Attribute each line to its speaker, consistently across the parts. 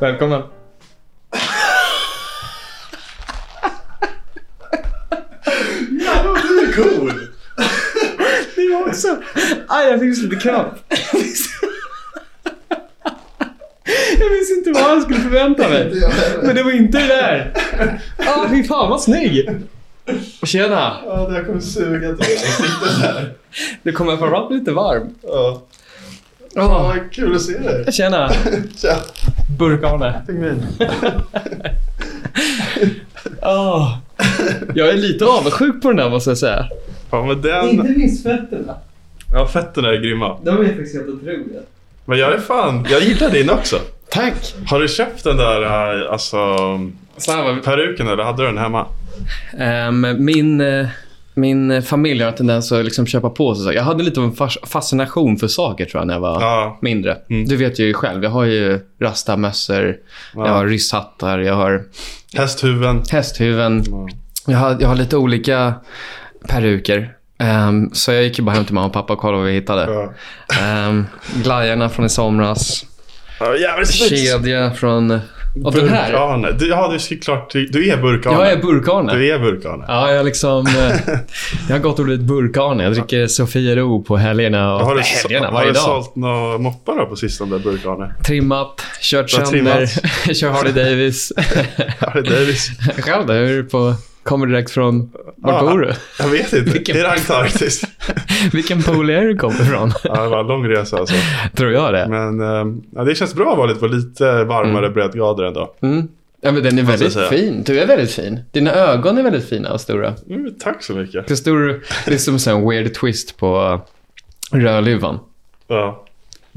Speaker 1: Välkommen.
Speaker 2: Du är cool!
Speaker 1: Ni var också. Aj, jag fick så lite kramp. Jag minns inte vad jag skulle förvänta mig. Men det var inte det där. Ah, fy fan vad snygg. Tjena.
Speaker 2: Ja, det här kommer suga till ansiktet här.
Speaker 1: Du kommer framförallt bli lite varm.
Speaker 2: Ja.
Speaker 1: Ah,
Speaker 2: Ja, kul att se dig.
Speaker 1: tjena.
Speaker 2: Tja,
Speaker 1: Burkane.
Speaker 2: pingvin.
Speaker 1: Ah, Jag är lite avundsjuk på den där måste jag säga.
Speaker 2: Fan, men den...
Speaker 3: Inte minst fötterna.
Speaker 2: Ja, fötterna är grymma.
Speaker 3: De är faktiskt helt otroliga.
Speaker 2: Men jag är fan... Jag gillar din också.
Speaker 1: Tack.
Speaker 2: Har du köpt den där eh, alltså,
Speaker 1: Så här var vi.
Speaker 2: peruken eller hade du den hemma?
Speaker 1: Ehm, min, eh, min familj har en tendens att liksom köpa på sig saker. Jag hade lite av en fas- fascination för saker tror jag när jag var
Speaker 2: Ja.
Speaker 1: mindre.
Speaker 2: Mm.
Speaker 1: Du vet ju själv. Jag har ju rastamössor, jag har rysshattar, jag har
Speaker 2: Hästhuven.
Speaker 1: hästhuven. Jag har, jag har lite olika peruker. Ehm, så jag gick ju bara hem till mamma och pappa och kollade vad vi hittade.
Speaker 2: Ja.
Speaker 1: Um, glajjorna från i somras,
Speaker 2: Ja, jävligt snyggt.
Speaker 1: kedja från... Och den här.
Speaker 2: Burkane. Du, ja, du är såklart... Du är burkane.
Speaker 1: Jag är burkane.
Speaker 2: Du är burkane.
Speaker 1: Ja, jag liksom... eh, jag har gått och blivit burkane. Jag dricker Sofiero på helgerna. Och,
Speaker 2: Har du,
Speaker 1: Nej, helgerna,
Speaker 2: har
Speaker 1: varje
Speaker 2: du
Speaker 1: dag.
Speaker 2: sålt några moppar då på sistone, där burkane?
Speaker 1: Trimmat, kört
Speaker 2: Du har
Speaker 1: sönder, kör Harley Davis.
Speaker 2: Harry Davis.
Speaker 1: Själv då? Hur är du på... Kommer direkt från... Vart
Speaker 2: Ja.
Speaker 1: bor du?
Speaker 2: Jag vet inte.
Speaker 1: Vilken-
Speaker 2: Är det Antarktis?
Speaker 1: Vilken pool är du kommer ifrån?
Speaker 2: ja, det var en lång resa alltså.
Speaker 1: Tror jag det.
Speaker 2: Men ehm, ja, det känns bra att vara lite på lite varmare breddgrader ändå.
Speaker 1: Mm. Ja, men den är
Speaker 2: jag
Speaker 1: väldigt
Speaker 2: säga.
Speaker 1: fin. Du är väldigt fin. Dina ögon är väldigt fina och stora.
Speaker 2: Mm, tack så mycket.
Speaker 1: Det stor, det är som en weird twist på Rödluvan.
Speaker 2: Ja.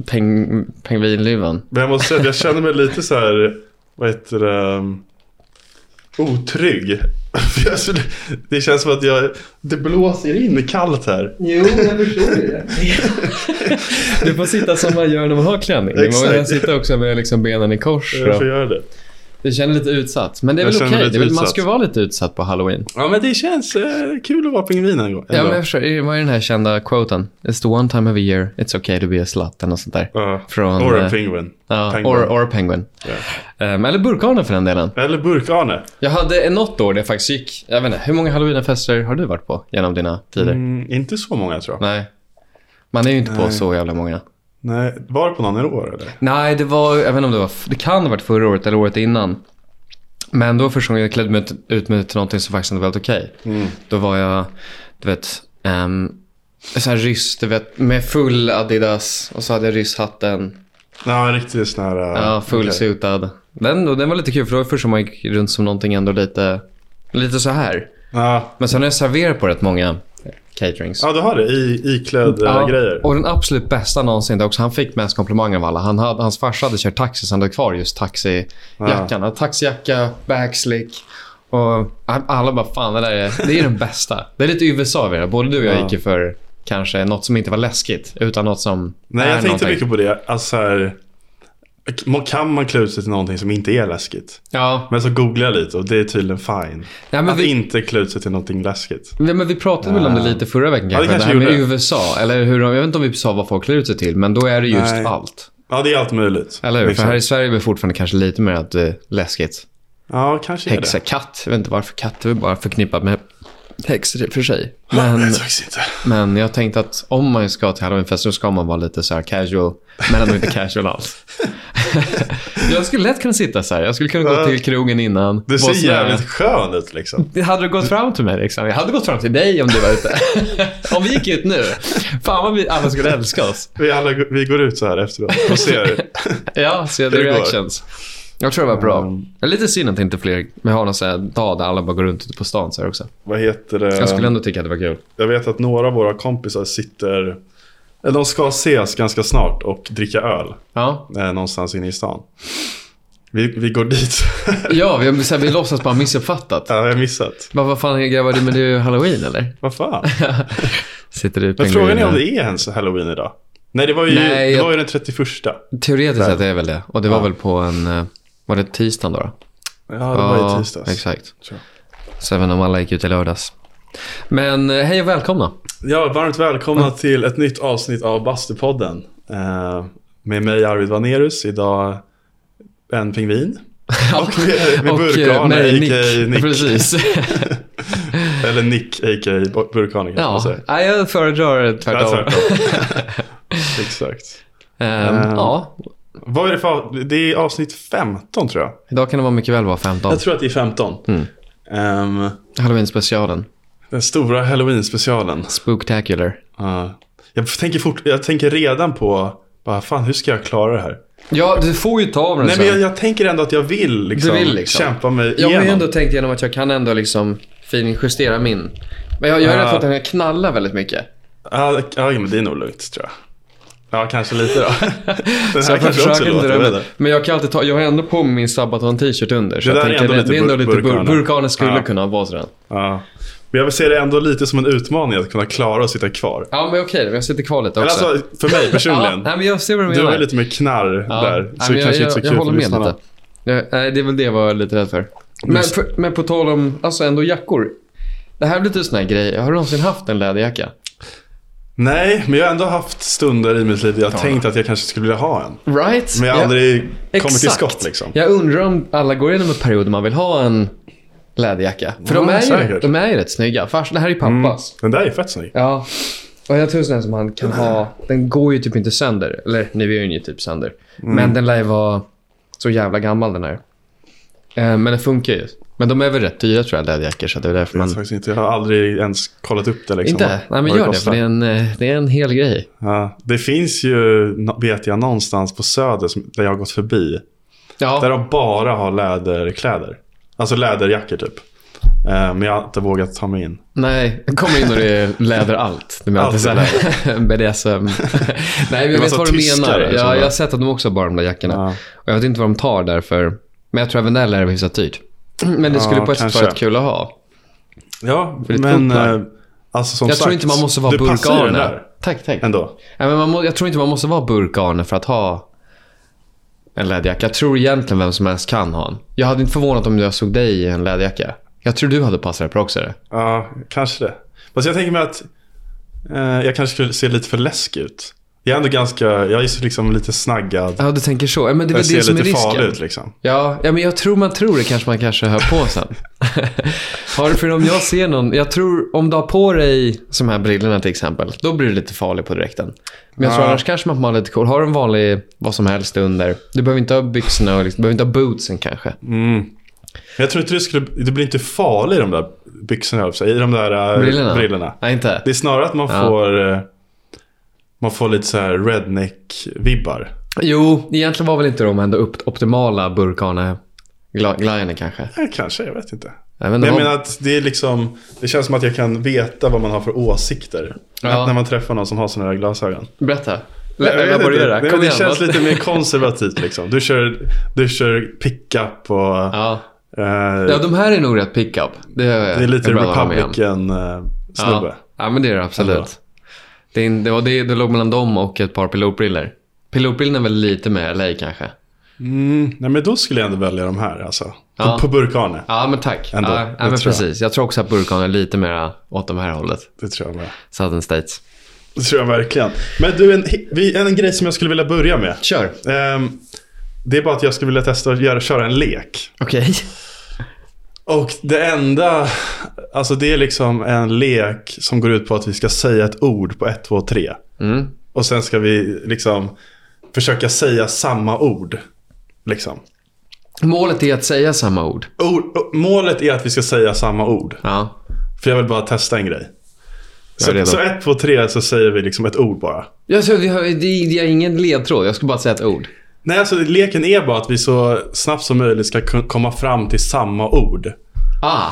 Speaker 1: Peng, pingvinluvan.
Speaker 2: Men jag måste säga att jag känner mig lite så här, vad heter det, ehm, otrygg. För jag skulle- det känns som att jag, det blåser in kallt här.
Speaker 3: Jo, jag förstår ju det.
Speaker 1: Du får sitta som man gör när man har klänning. Man
Speaker 2: Exakt.
Speaker 1: kan sitta också med liksom benen i kors.
Speaker 2: Jag får
Speaker 1: Och...
Speaker 2: eh, göra det.
Speaker 1: Du känner lite utsatt. Men det är
Speaker 2: Jag
Speaker 1: väl
Speaker 2: känner
Speaker 1: okej.
Speaker 2: mig
Speaker 1: Det är väl- Man
Speaker 2: utsatt.
Speaker 1: ska vara lite utsatt på halloween.
Speaker 2: Ja men det känns eh, kul att vara pingvin en gång.
Speaker 1: Ja, men jag förstår. Det var ju den här kända quoten. It's the one time of a year it's okay to be a slut. Eller något sånt där.
Speaker 2: Ja.
Speaker 1: Från,
Speaker 2: Or a
Speaker 1: eh,
Speaker 2: penguin.
Speaker 1: Ja,
Speaker 2: Penguin.
Speaker 1: Or, or penguin. Ehm, eller burkhanen för den delen.
Speaker 2: Eller burkane.
Speaker 1: Jag hade något år där jag faktiskt gick... Jag vet inte, hur många halloweenfester har du varit på genom dina tider?
Speaker 2: Mm, inte så många tror jag.
Speaker 1: Nej. Man är ju inte på
Speaker 2: Nej.
Speaker 1: så jävla många.
Speaker 2: Nej. Var det på någon år eller?
Speaker 1: Nej, det var... Jag vet inte om det var... Det kan ha varit förra året eller året innan. Men då första gången jag klädde mig ut- ut mig till någonting som faktiskt inte var helt okej. Då var jag, du vet, um, så här ryss, du vet, med full Adidas och så hade jag rysshatten.
Speaker 2: Ja, riktigt sån här... eh,
Speaker 1: Ja,
Speaker 2: okej.
Speaker 1: fullsutad. Den, den var lite kul, för det var först som man gick runt som någonting ändå lite, lite så här.
Speaker 2: Ja,
Speaker 1: Men sen har jag serverat på rätt många caterings.
Speaker 2: ja du har det. I, iklädd eh,
Speaker 1: Ja,
Speaker 2: grejer.
Speaker 1: Och den absolut bästa någonsin, det är också, han fick mest komplimanger av alla. Han hade, hans farsa hade kört taxi, så han hade kvar just taxijackan. Han hade Taxijacka, backslick. Och alla bara, fan det där är, det är den bästa. Det är lite USA över det. Både du och jag
Speaker 2: Ja.
Speaker 1: gick ju för kanske något som inte var läskigt, utan något som
Speaker 2: Nej,
Speaker 1: är
Speaker 2: jag tänkte
Speaker 1: någonting.
Speaker 2: mycket på det. Alltså så här, må- kan man klä ut sig till någonting som inte är läskigt?
Speaker 1: Ja,
Speaker 2: Men så googlar jag lite och det är tydligen fine.
Speaker 1: ja men
Speaker 2: att
Speaker 1: vi,
Speaker 2: inte klä ut sig till någonting läskigt.
Speaker 1: Ja, men vi pratade väl om det lite förra veckan
Speaker 2: Ja, det
Speaker 1: kanske. det, här
Speaker 2: kanske
Speaker 1: med
Speaker 2: gjorde.
Speaker 1: USA. Eller hur, de- jag vet inte om vi sa vad folk klär ut sig till, men då är det just
Speaker 2: Nej.
Speaker 1: allt.
Speaker 2: Ja, det är allt möjligt.
Speaker 1: Eller hur?
Speaker 2: Liksom.
Speaker 1: För här i Sverige är det fortfarande kanske lite mer att det är läskigt.
Speaker 2: Ja, kanske är det.
Speaker 1: Häxakatt. Jag vet inte varför katt är väl bara förknippat med häxor i och för sig. Men,
Speaker 2: Jag tror faktiskt inte.
Speaker 1: men jag tänkte att om man ska till halloweenfest så ska man vara lite så här casual, men ändå inte casual alls. jag skulle lätt kunna sitta så här. Jag skulle kunna gå till krogen innan.
Speaker 2: Du
Speaker 1: vara
Speaker 2: ser
Speaker 1: sån här-
Speaker 2: jävligt skön ut liksom.
Speaker 1: det hade du gått fram till mig liksom. Jag hade gått fram till dig om du var ute. om vi gick ut nu. Fan vad vi alla skulle älska oss.
Speaker 2: Vi, alla, går- vi går ut så här efteråt och ser.
Speaker 1: Ja, se the
Speaker 2: Hur det går.
Speaker 1: reactions. Jag tror det var bra.
Speaker 2: Mm.
Speaker 1: Det är lite synd att inte fler vi har någon sån här dag där alla bara går runt ute på stan så här också.
Speaker 2: vad heter det?
Speaker 1: Jag skulle ändå tycka att det var kul.
Speaker 2: Jag vet att några av våra kompisar sitter... eller De ska ses ganska snart och dricka öl
Speaker 1: Ja,
Speaker 2: eh, någonstans inne i stan. Vi, vi går dit.
Speaker 1: ja vi, så här, vi låtsas bara ha missuppfattat.
Speaker 2: ja, jag har missat.
Speaker 1: Vad, vad fan grabbar, du, men det är ju halloween eller?
Speaker 2: Vad fan?
Speaker 1: Sitter du
Speaker 2: Men frågan är om det är ens halloween idag? Nej, det var ju,
Speaker 1: Nej,
Speaker 2: det
Speaker 1: jag-
Speaker 2: var ju den 31. Ja,
Speaker 1: Teoretiskt sett är det väl det. Och det var
Speaker 2: Ja.
Speaker 1: väl på en... eh, Var det tisdagen då? då?
Speaker 2: det var i tisdags.
Speaker 1: Exakt.
Speaker 2: tror
Speaker 1: Så även om alla gick ut i lördags. Men eh, hej och välkomna.
Speaker 2: Ja, varmt välkomna till ett nytt avsnitt av Bastupodden. Eh, med mig Arvid Vanerius. Idag en pingvin.
Speaker 1: Ja.
Speaker 2: Och med, med
Speaker 1: Och, eh,
Speaker 2: burkhane,
Speaker 1: nej,
Speaker 2: a.k.a. Nick.
Speaker 1: Precis.
Speaker 2: Eller Nick, a.k.a. bo- burkhane kan man
Speaker 1: ja.
Speaker 2: säga.
Speaker 1: Nej, jag föredrar tvärtom.
Speaker 2: Ja, tvärtom. Exakt.
Speaker 1: Ehm,
Speaker 2: Ehm.
Speaker 1: Ja,
Speaker 2: Vad är det för av- Det är avsnitt 15 tror jag.
Speaker 1: idag kan det vara mycket väl vara 15.
Speaker 2: Jag tror att det är 15.
Speaker 1: Mm.
Speaker 2: Ehm,
Speaker 1: Halloween-specialen.
Speaker 2: den stora halloween-specialen.
Speaker 1: Spooktacular.
Speaker 2: Ja. jag, tänker fort, jag tänker redan på, bara, fan hur ska jag klara det här?
Speaker 1: Ja, du får ju ta av den
Speaker 2: Nej,
Speaker 1: sen.
Speaker 2: men jag, jag tänker ändå att jag vill, liksom,
Speaker 1: Alltså- Du vill liksom.
Speaker 2: kämpa mig
Speaker 1: Jag har
Speaker 2: igenom.
Speaker 1: ju ändå tänkt igenom att jag kan ändå liksom finjustera min. Men jag, jag är
Speaker 2: Ja.
Speaker 1: rädd för att den här knallar väldigt mycket.
Speaker 2: Ja, ja, men det är nog lugnt tror jag. Ja, kanske lite då. Den
Speaker 1: Så jag
Speaker 2: här
Speaker 1: får
Speaker 2: kanske också
Speaker 1: försöka inte
Speaker 2: låter, jag vet
Speaker 1: drömma.
Speaker 2: inte.
Speaker 1: Men jag kan alltid ta, jag har ändå på mig min Sabaton-t-shirt under. Så
Speaker 2: Det
Speaker 1: jag
Speaker 2: där är
Speaker 1: tänker
Speaker 2: ändå
Speaker 1: det,
Speaker 2: lite
Speaker 1: det är ändå
Speaker 2: bur-
Speaker 1: lite bur-
Speaker 2: burkanen.
Speaker 1: burkanen skulle
Speaker 2: Ja.
Speaker 1: kunna vara sådan.
Speaker 2: Ja. Men jag ser det ändå lite som en utmaning att kunna klara och sitta kvar.
Speaker 1: Ja men okej, jag sitter kvar lite
Speaker 2: Eller
Speaker 1: också.
Speaker 2: alltså, för mig
Speaker 1: ja,
Speaker 2: personligen.
Speaker 1: nej, men jag ser vad du
Speaker 2: du
Speaker 1: menar.
Speaker 2: har lite mer knarr
Speaker 1: Ja.
Speaker 2: där.
Speaker 1: Nej,
Speaker 2: Så
Speaker 1: men
Speaker 2: det kanske
Speaker 1: jag,
Speaker 2: inte är så
Speaker 1: jag,
Speaker 2: kul
Speaker 1: jag håller
Speaker 2: för
Speaker 1: med
Speaker 2: lyssnarna.
Speaker 1: lite. Ja, nej, det är väl det jag var lite rädd för. Men,
Speaker 2: Just-
Speaker 1: för, men på tal om, alltså ändå jackor. Det här blir lite sån här grej. Har du någonsin haft en läderjacka?
Speaker 2: Nej, men jag har ändå haft stunder i mitt liv där jag
Speaker 1: Ja.
Speaker 2: tänkt att jag kanske skulle vilja ha en.
Speaker 1: Right?
Speaker 2: Men jag har
Speaker 1: Ja.
Speaker 2: aldrig kommit till skott liksom.
Speaker 1: Jag undrar om alla går igenom en period där man vill ha en läderjacka. För
Speaker 2: Ja,
Speaker 1: de, är ju,
Speaker 2: säkert. Mm.
Speaker 1: de är ju rätt snygga. Fars, det här är ju pappas.
Speaker 2: Den där är fett snygg.
Speaker 1: Ja. Och jag tror sån här som han kan ha. Den går ju typ inte sönder. Eller nu är den ju typ sönder. Men den lär ju vara så jävla gammal den här. Eh, men den funkar ju. Men de är väl rätt dyra tror jag, läderjackor. Så det är därför
Speaker 2: Jag,
Speaker 1: man...
Speaker 2: vet faktiskt inte, jag har aldrig ens kollat upp det. Liksom,
Speaker 1: Mm. Inte? Nej
Speaker 2: vad-
Speaker 1: men
Speaker 2: vad
Speaker 1: gör det.
Speaker 2: kostar.
Speaker 1: För det är en, eh, det är en hel grej.
Speaker 2: Ja, det finns ju, no- vet jag, någonstans på Söder som, där jag har gått förbi. Där
Speaker 1: Ja.
Speaker 2: de bara har läderkläder. Alltså läderjackor typ. Eh, Men jag har inte vågat ta mig in.
Speaker 1: Nej, kommer in och det är läder allt. Det är alltid
Speaker 2: Allt
Speaker 1: så
Speaker 2: är
Speaker 1: här BDSM. Nej men
Speaker 2: Det
Speaker 1: jag
Speaker 2: var
Speaker 1: vet
Speaker 2: så
Speaker 1: vad du
Speaker 2: tyskar
Speaker 1: menar.
Speaker 2: där som
Speaker 1: Ja,
Speaker 2: bara-
Speaker 1: jag har sett att de också har bara de där jackorna.
Speaker 2: Ja.
Speaker 1: Och jag vet inte vad de tar därför. Men jag tror även där lär det vara hyfsat dyrt. Men det skulle
Speaker 2: Ja,
Speaker 1: på ett sätt
Speaker 2: kanske.
Speaker 1: vara rätt kul att ha.
Speaker 2: Ja,
Speaker 1: det är ett
Speaker 2: men
Speaker 1: coolt plagg.
Speaker 2: eh, alltså som
Speaker 1: Jag
Speaker 2: sagt.
Speaker 1: tror inte man måste vara
Speaker 2: du passar ju den
Speaker 1: burkane.
Speaker 2: där
Speaker 1: Tack, tack.
Speaker 2: ändå.
Speaker 1: Nej, men man må, jag tror inte man måste vara burkane för att ha en läderjacka. Jag tror egentligen vem som helst kan ha en. Jag hade inte förvånat om jag såg dig i en läderjacka. Jag tror du hade passat dig på också. det.
Speaker 2: Ja, kanske det. Fast jag tänker mig att eh, jag kanske skulle se lite för läskig ut. Jag är ändå ganska, jag är så liksom lite snaggad.
Speaker 1: Ja, du tänker så. Ja, men det är
Speaker 2: jag
Speaker 1: väl det
Speaker 2: ser
Speaker 1: som är
Speaker 2: lite
Speaker 1: risken.
Speaker 2: farlig ut liksom.
Speaker 1: Ja, ja, men jag tror man tror det kanske man kanske hör på sen. har, för om jag ser någon, jag tror om du har på dig de här brillorna till exempel, då blir du lite farlig på direkten. Men jag tror
Speaker 2: Ja.
Speaker 1: annars kanske man får vara lite cool. Har du en vanlig, vad som helst under, du behöver inte ha byxorna och liksom, du behöver inte ha bootsen kanske.
Speaker 2: Mm. Jag tror inte det skulle, det blir inte farlig i de där byxorna, höll jag på att säga, i de där eh,
Speaker 1: Brillorna?
Speaker 2: brillorna.
Speaker 1: Nej, inte?
Speaker 2: Det är snarare att man
Speaker 1: Ja.
Speaker 2: får eh, man får lite så här redneck-vibbar.
Speaker 1: Jo, egentligen var väl inte de ändå upp, optimala burkane-glajjorna kanske.
Speaker 2: Ja, Eh, kanske, jag vet inte.
Speaker 1: Nej, men
Speaker 2: Men
Speaker 1: de
Speaker 2: jag
Speaker 1: var-
Speaker 2: menar att det är liksom Det känns som att jag kan veta vad man har för åsikter.
Speaker 1: Ja.
Speaker 2: Att när man träffar någon som har sådana här glasögon.
Speaker 1: Berätta.
Speaker 2: Jag vet
Speaker 1: Lä-
Speaker 2: inte.
Speaker 1: Laborera.
Speaker 2: Nej,
Speaker 1: Kom
Speaker 2: men det
Speaker 1: igen.
Speaker 2: känns
Speaker 1: vad-
Speaker 2: lite mer konservativt liksom. Du kör, du kör pickup och
Speaker 1: Ja.
Speaker 2: eh,
Speaker 1: ja, de här är nog rätt pickup. Det,
Speaker 2: det är lite
Speaker 1: republiken.
Speaker 2: republican-snubbe.
Speaker 1: Ja. ja, men det är det
Speaker 2: Ändå.
Speaker 1: absolut. Alltså. Det, är in- det, var det, det låg mellan dem och ett par pilotbriller. Pilotbrillorna är väl lite med LA kanske?
Speaker 2: Mm, nej, men då skulle jag ändå välja de här alltså.
Speaker 1: Ja.
Speaker 2: På, på burkane.
Speaker 1: Ja, men tack.
Speaker 2: Ändå,
Speaker 1: ja,
Speaker 2: det
Speaker 1: ja, men
Speaker 2: tror jag.
Speaker 1: precis. Jag. tror också att burkan är lite mer åt de här hållet.
Speaker 2: Det tror jag med.
Speaker 1: Southern States.
Speaker 2: Det tror jag verkligen. Men du, en, vi- en grej som jag skulle vilja börja med.
Speaker 1: Kör.
Speaker 2: Ehm, det är bara att jag skulle vilja testa att göra, köra en lek.
Speaker 1: Okej.
Speaker 2: Och det enda, alltså det är liksom en lek som går ut på att vi ska säga ett ord på ett, två, tre.
Speaker 1: Mm.
Speaker 2: Och sen ska vi liksom försöka säga samma ord. Liksom.
Speaker 1: Målet är att säga samma ord.
Speaker 2: Ord, o- målet är att vi ska säga samma ord.
Speaker 1: Ja.
Speaker 2: För jag vill bara testa en grej.
Speaker 1: är
Speaker 2: Så,
Speaker 1: redo.
Speaker 2: så ett, två, tre så säger vi liksom ett ord bara.
Speaker 1: Jag tror, vi har, det, är- det är ingen ledtråd. Jag ska bara säga ett ord.
Speaker 2: Nej, alltså leken är bara att vi så snabbt som möjligt ska kun- komma fram till samma ord.
Speaker 1: Ah,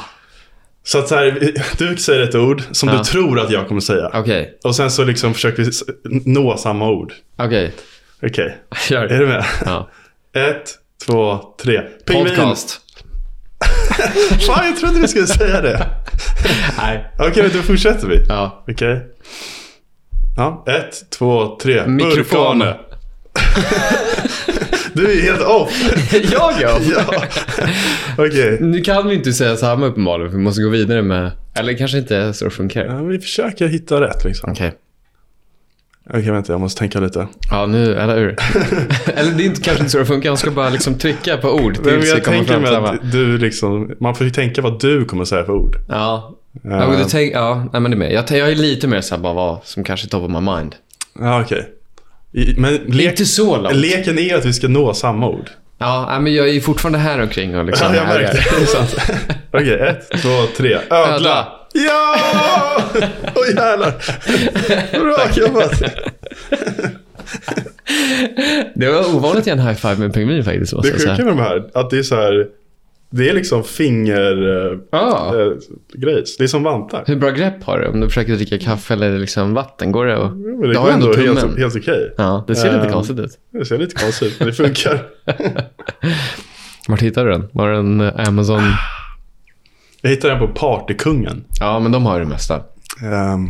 Speaker 2: Så att så här, du säger ett ord som
Speaker 1: Ja.
Speaker 2: du tror att jag kommer säga.
Speaker 1: okej.
Speaker 2: Och sen så liksom försöker vi s- nå samma ord.
Speaker 1: Okej.
Speaker 2: Okej, är
Speaker 1: Kör.
Speaker 2: du med?
Speaker 1: Ja.
Speaker 2: Ett, två, tre. Pingvin!
Speaker 1: Podcast.
Speaker 2: Fan, jag trodde du skulle säga det.
Speaker 1: Nej.
Speaker 2: Okej, men då fortsätter vi.
Speaker 1: Ja.
Speaker 2: Okej. Ja, ett, två, tre.
Speaker 1: Mikrofon.
Speaker 2: Burkane. du är helt off.
Speaker 1: Jag ja.
Speaker 2: ja. Okej.
Speaker 1: Nu kan vi inte säga samma uppenbarligen, för vi måste gå vidare med... Eller kanske inte så det funkar.
Speaker 2: Ja, vi försöker hitta rätt liksom.
Speaker 1: Okej.
Speaker 2: Okej, vänta. Jag måste tänka lite.
Speaker 1: Ja, nu, eller hur? eller det är inte, kanske inte så det funkar. Man ska bara liksom trycka på ord
Speaker 2: Men
Speaker 1: tills det
Speaker 2: jag
Speaker 1: kommer
Speaker 2: tänker
Speaker 1: fram
Speaker 2: mig
Speaker 1: samma.
Speaker 2: att du liksom... Man får ju tänka vad du kommer säga för ord.
Speaker 1: Ja, ja, men
Speaker 2: Eh,
Speaker 1: du tänk, ja nej, men det är med. Jag, tän- jag är lite mer så här bara vad som kanske är top of my mind.
Speaker 2: Ja, okej. I- Men lek,
Speaker 1: Inte så långt.
Speaker 2: leken är att vi ska nå samma ord.
Speaker 1: Ja, nej, men jag är ju fortfarande här omkring och liksom.
Speaker 2: Ja, jag
Speaker 1: härjar.
Speaker 2: märkte det. det. är sant. Okej, ett, två, tre. Ödla!
Speaker 1: Ödla.
Speaker 2: Ja! Åh jävlar. Bra jobbat.
Speaker 1: Det var ovanligt i en high five med en pingvin faktiskt.
Speaker 2: Det
Speaker 1: Måste jag
Speaker 2: sjuka
Speaker 1: säga.
Speaker 2: med de här, att det är så här. Det är liksom fingergrejs.
Speaker 1: Ja.
Speaker 2: det är som vantar.
Speaker 1: Hur bra grepp har du om du försöker dricka kaffe eller liksom vatten? Går det att...
Speaker 2: Men det
Speaker 1: Du
Speaker 2: går
Speaker 1: har ju ändå
Speaker 2: ändå
Speaker 1: tummen.
Speaker 2: helt, helt okej.
Speaker 1: Ja, det ser lite
Speaker 2: Ehm.
Speaker 1: konstigt ut.
Speaker 2: Det ser lite konstigt ut, men det funkar.
Speaker 1: Vart hittade du den? Var det en eh, Amazon?
Speaker 2: Jag hittade den på Partykungen.
Speaker 1: Ja, men de har ju det mesta.
Speaker 2: Ehm,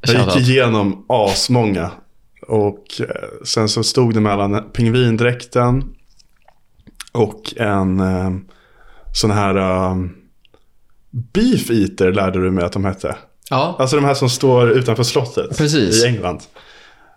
Speaker 2: jag
Speaker 1: Shoutout.
Speaker 2: gick igenom asmånga. Och eh, sen så stod det mellan pingvindräkten och en eh, sån här eh, beef eater lärde du mig att de hette.
Speaker 1: Ja,
Speaker 2: Alltså de här som står utanför slottet
Speaker 1: Precis.
Speaker 2: i England.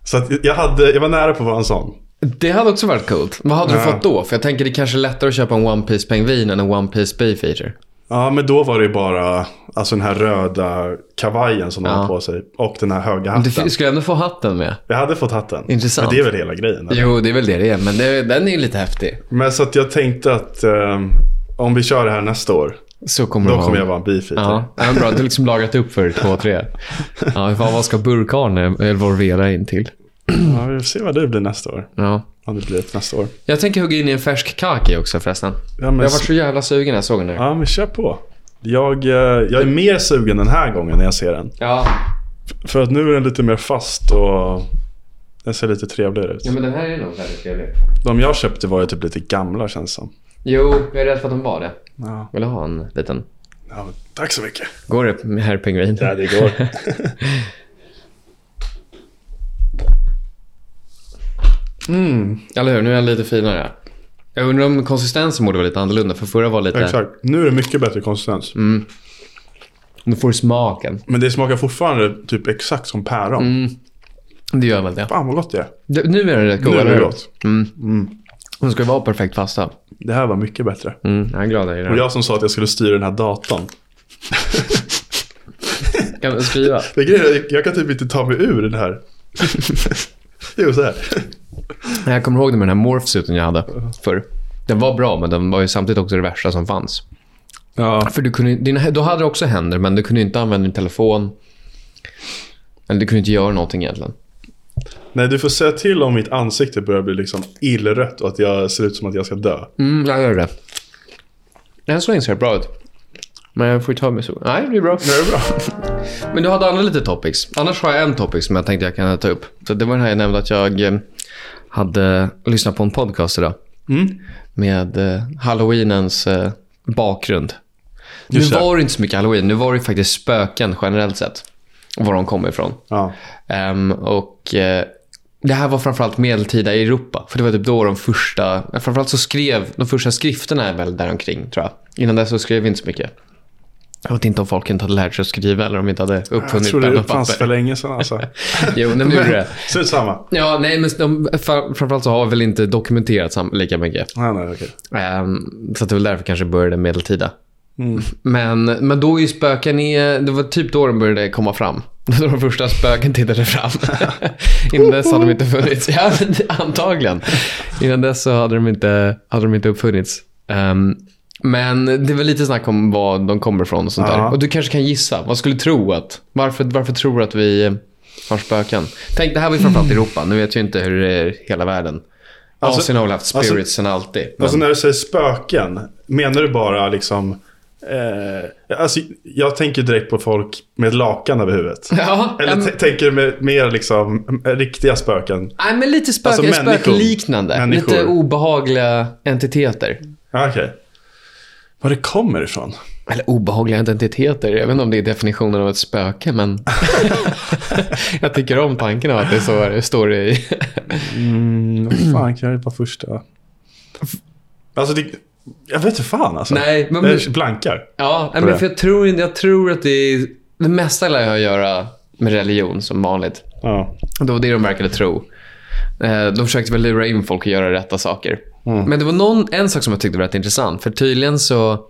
Speaker 2: Så att jag, hade, jag var nära på att vara en sån.
Speaker 1: det hade också varit coolt. Vad hade du
Speaker 2: Ja.
Speaker 1: fått då? För jag tänker det kanske är lättare att köpa en One Piece pingvin än en One Piece beefeater.
Speaker 2: Ja, men då var det ju bara alltså den här röda kavajen som de
Speaker 1: Ja.
Speaker 2: har på sig och den här höga
Speaker 1: Men Du
Speaker 2: hatten.
Speaker 1: f- skulle ändå få hatten med.
Speaker 2: Jag hade fått hatten.
Speaker 1: Intressant.
Speaker 2: Men det är väl hela grejen. eller?
Speaker 1: Jo, det är väl det det är. Men det, den är ju lite häftig.
Speaker 2: Men så att jag tänkte att eh, om vi kör det här nästa år,
Speaker 1: Så kommer det
Speaker 2: då kommer jag vara en beefeater.
Speaker 1: Ja, ja men bra. Du har liksom lagat upp för två, tre. Ja, hur fan, vad ska burkarne eller Volvera in till?
Speaker 2: Ja, vi får se vad det blir nästa år.
Speaker 1: Ja.
Speaker 2: Om det blir ett nästa år.
Speaker 1: Jag tänker hugga in i en färsk kaki också förresten.
Speaker 2: Ja, men,
Speaker 1: Jag var så jävla sugen när jag såg den nu.
Speaker 2: ja, men kör på. Jag, eh, jag är mer sugen den här gången när jag ser den.
Speaker 1: Ja.
Speaker 2: För att nu är den lite mer fast och den ser lite trevligare ut.
Speaker 1: ja, men den här är nog väldigt trevlig.
Speaker 2: De jag köpte var ju typ lite gamla känns som.
Speaker 1: Jo, jag är rädd för att den var det.
Speaker 2: Ja.
Speaker 1: Vill du ha en liten?
Speaker 2: Ja, men tack så mycket.
Speaker 1: Går det, herr pingvin?
Speaker 2: Ja, det går. Mm,
Speaker 1: Eller hur? Nu är den lite finare. Jag undrar om konsistensen borde vara lite annorlunda, för förra var lite...
Speaker 2: Exakt. Nu är det mycket bättre konsistens.
Speaker 1: Nu får du smaken.
Speaker 2: Men det smakar fortfarande typ exakt som päron.
Speaker 1: Det gör väl det.
Speaker 2: Fan vad gott det är.
Speaker 1: Det- Nu är den rätt god,
Speaker 2: Nu är
Speaker 1: eller
Speaker 2: det
Speaker 1: hur?
Speaker 2: gott.
Speaker 1: Mm. De ska ju vara perfekt fasta.
Speaker 2: Det här var mycket bättre.
Speaker 1: Mm, jag är glad jag
Speaker 2: Och
Speaker 1: gillar
Speaker 2: jag som sa att jag skulle styra den här datorn.
Speaker 1: den. Kan du skriva?
Speaker 2: Det är grejen, jag kan typ inte ta mig ur den här. jo, så här.
Speaker 1: Jag kommer ihåg det med den här morphsuiten jag hade förr. Den var bra, men den var ju samtidigt också det värsta som fanns.
Speaker 2: Ja.
Speaker 1: För du kunde, dina, då hade du också händer, men du kunde inte använda din telefon. Eller du kunde inte göra någonting egentligen.
Speaker 2: Nej, du får säga till om mitt ansikte börjar bli liksom illrött och att jag ser ut som att jag ska dö.
Speaker 1: Mm, jag gör det. Än så länge ser det bra ut. Men jag får ju ta mig så. Nej, det blir bra.
Speaker 2: Det är bra.
Speaker 1: Men du hade andra lite topics. Annars har jag en topic som jag tänkte jag kan ta upp. Så det var den här jag nämnde att jag eh, hade lyssnat på en podcast idag. Mm. Med eh, halloweenens eh, bakgrund. Nu
Speaker 2: Just det.
Speaker 1: var det inte så mycket halloween. Nu var det faktiskt spöken generellt sett. Var de kom ifrån.
Speaker 2: Ja.
Speaker 1: Ehm, och eh, Det här var framförallt medeltida Europa. För det var typ då de första... Framförallt så skrev... De första skrifterna är väl däromkring, tror jag. Innan dess så skrev vi inte så mycket. Jag vet inte om folk inte hade lärt sig att skriva eller om de inte hade
Speaker 2: Jag
Speaker 1: uppfunnit
Speaker 2: tror
Speaker 1: penna
Speaker 2: det
Speaker 1: och papper.
Speaker 2: fanns för länge sedan alltså.
Speaker 1: Jo, nej, men gjorde det.
Speaker 2: Strunt samma.
Speaker 1: Ja, nej, men de, fra- framförallt så har väl inte dokumenterat sam- lika mycket.
Speaker 2: Nej, nej, okej.
Speaker 1: Ehm, så att det var därför kanske började medeltida.
Speaker 2: Mm.
Speaker 1: Men, men då är ju spöken i, Det var typ då de började komma fram. Då de första spöken tittade fram. Innan dess hade de inte funnits. Ja, men det- antagligen. Innan dess så hade de inte, hade de inte uppfunnits. Ehm, men det var lite snack om var de kommer ifrån och sånt där.
Speaker 2: Ja.
Speaker 1: Och du kanske kan gissa. Vad skulle du tro att... Varför, varför tror du att vi eh, har spöken? Tänk, det här var ju framförallt Europa. Nu vet jag inte hur det är i hela världen.
Speaker 2: Alltså-
Speaker 1: Asien har väl haft spirits
Speaker 2: alltså-
Speaker 1: sen alltid. men-
Speaker 2: Alltså när du säger spöken, menar du bara liksom... Eh, alltså, jag tänker direkt på folk med lakan över huvudet.
Speaker 1: Ja,
Speaker 2: Eller
Speaker 1: men-
Speaker 2: t- tänker du med- mer liksom m- riktiga spöken?
Speaker 1: Nej, men lite spöken,
Speaker 2: Alltså, människor.
Speaker 1: spökliknande.
Speaker 2: Människor.
Speaker 1: Lite obehagliga entiteter.
Speaker 2: Ja, Okej. Var det kommer ifrån?
Speaker 1: Eller obehagliga entiteter. Jag vet inte om det är definitionen av ett spöke, men jag tycker om tanken av att det är så det står i...
Speaker 2: Mm, vad fan kan jag vara första? Alltså, det, jag vet inte fan alltså.
Speaker 1: Nej, men-
Speaker 2: Jag blankar.
Speaker 1: Ja, nej,
Speaker 2: På
Speaker 1: men
Speaker 2: det.
Speaker 1: för jag tror, jag tror att det är... Det mesta lär jag göra med religion som vanligt.
Speaker 2: Ja.
Speaker 1: Det var det de verkade tro. Eh, De försökte väl lura in folk att göra rätta saker. Men det var någon, en sak som jag tyckte var rätt intressant. För tydligen så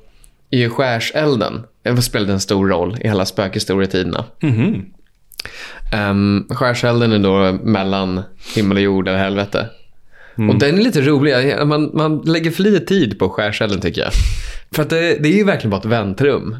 Speaker 1: är ju skärselden den spelade en stor roll i alla spökhistorietiderna.
Speaker 2: Mhm.
Speaker 1: Um, skärselden är då mellan himmel och jord eller helvete. Och den är lite rolig. Jag- Man, man lägger för lite tid på skärselden tycker jag. För att det, det är ju verkligen bara ett väntrum.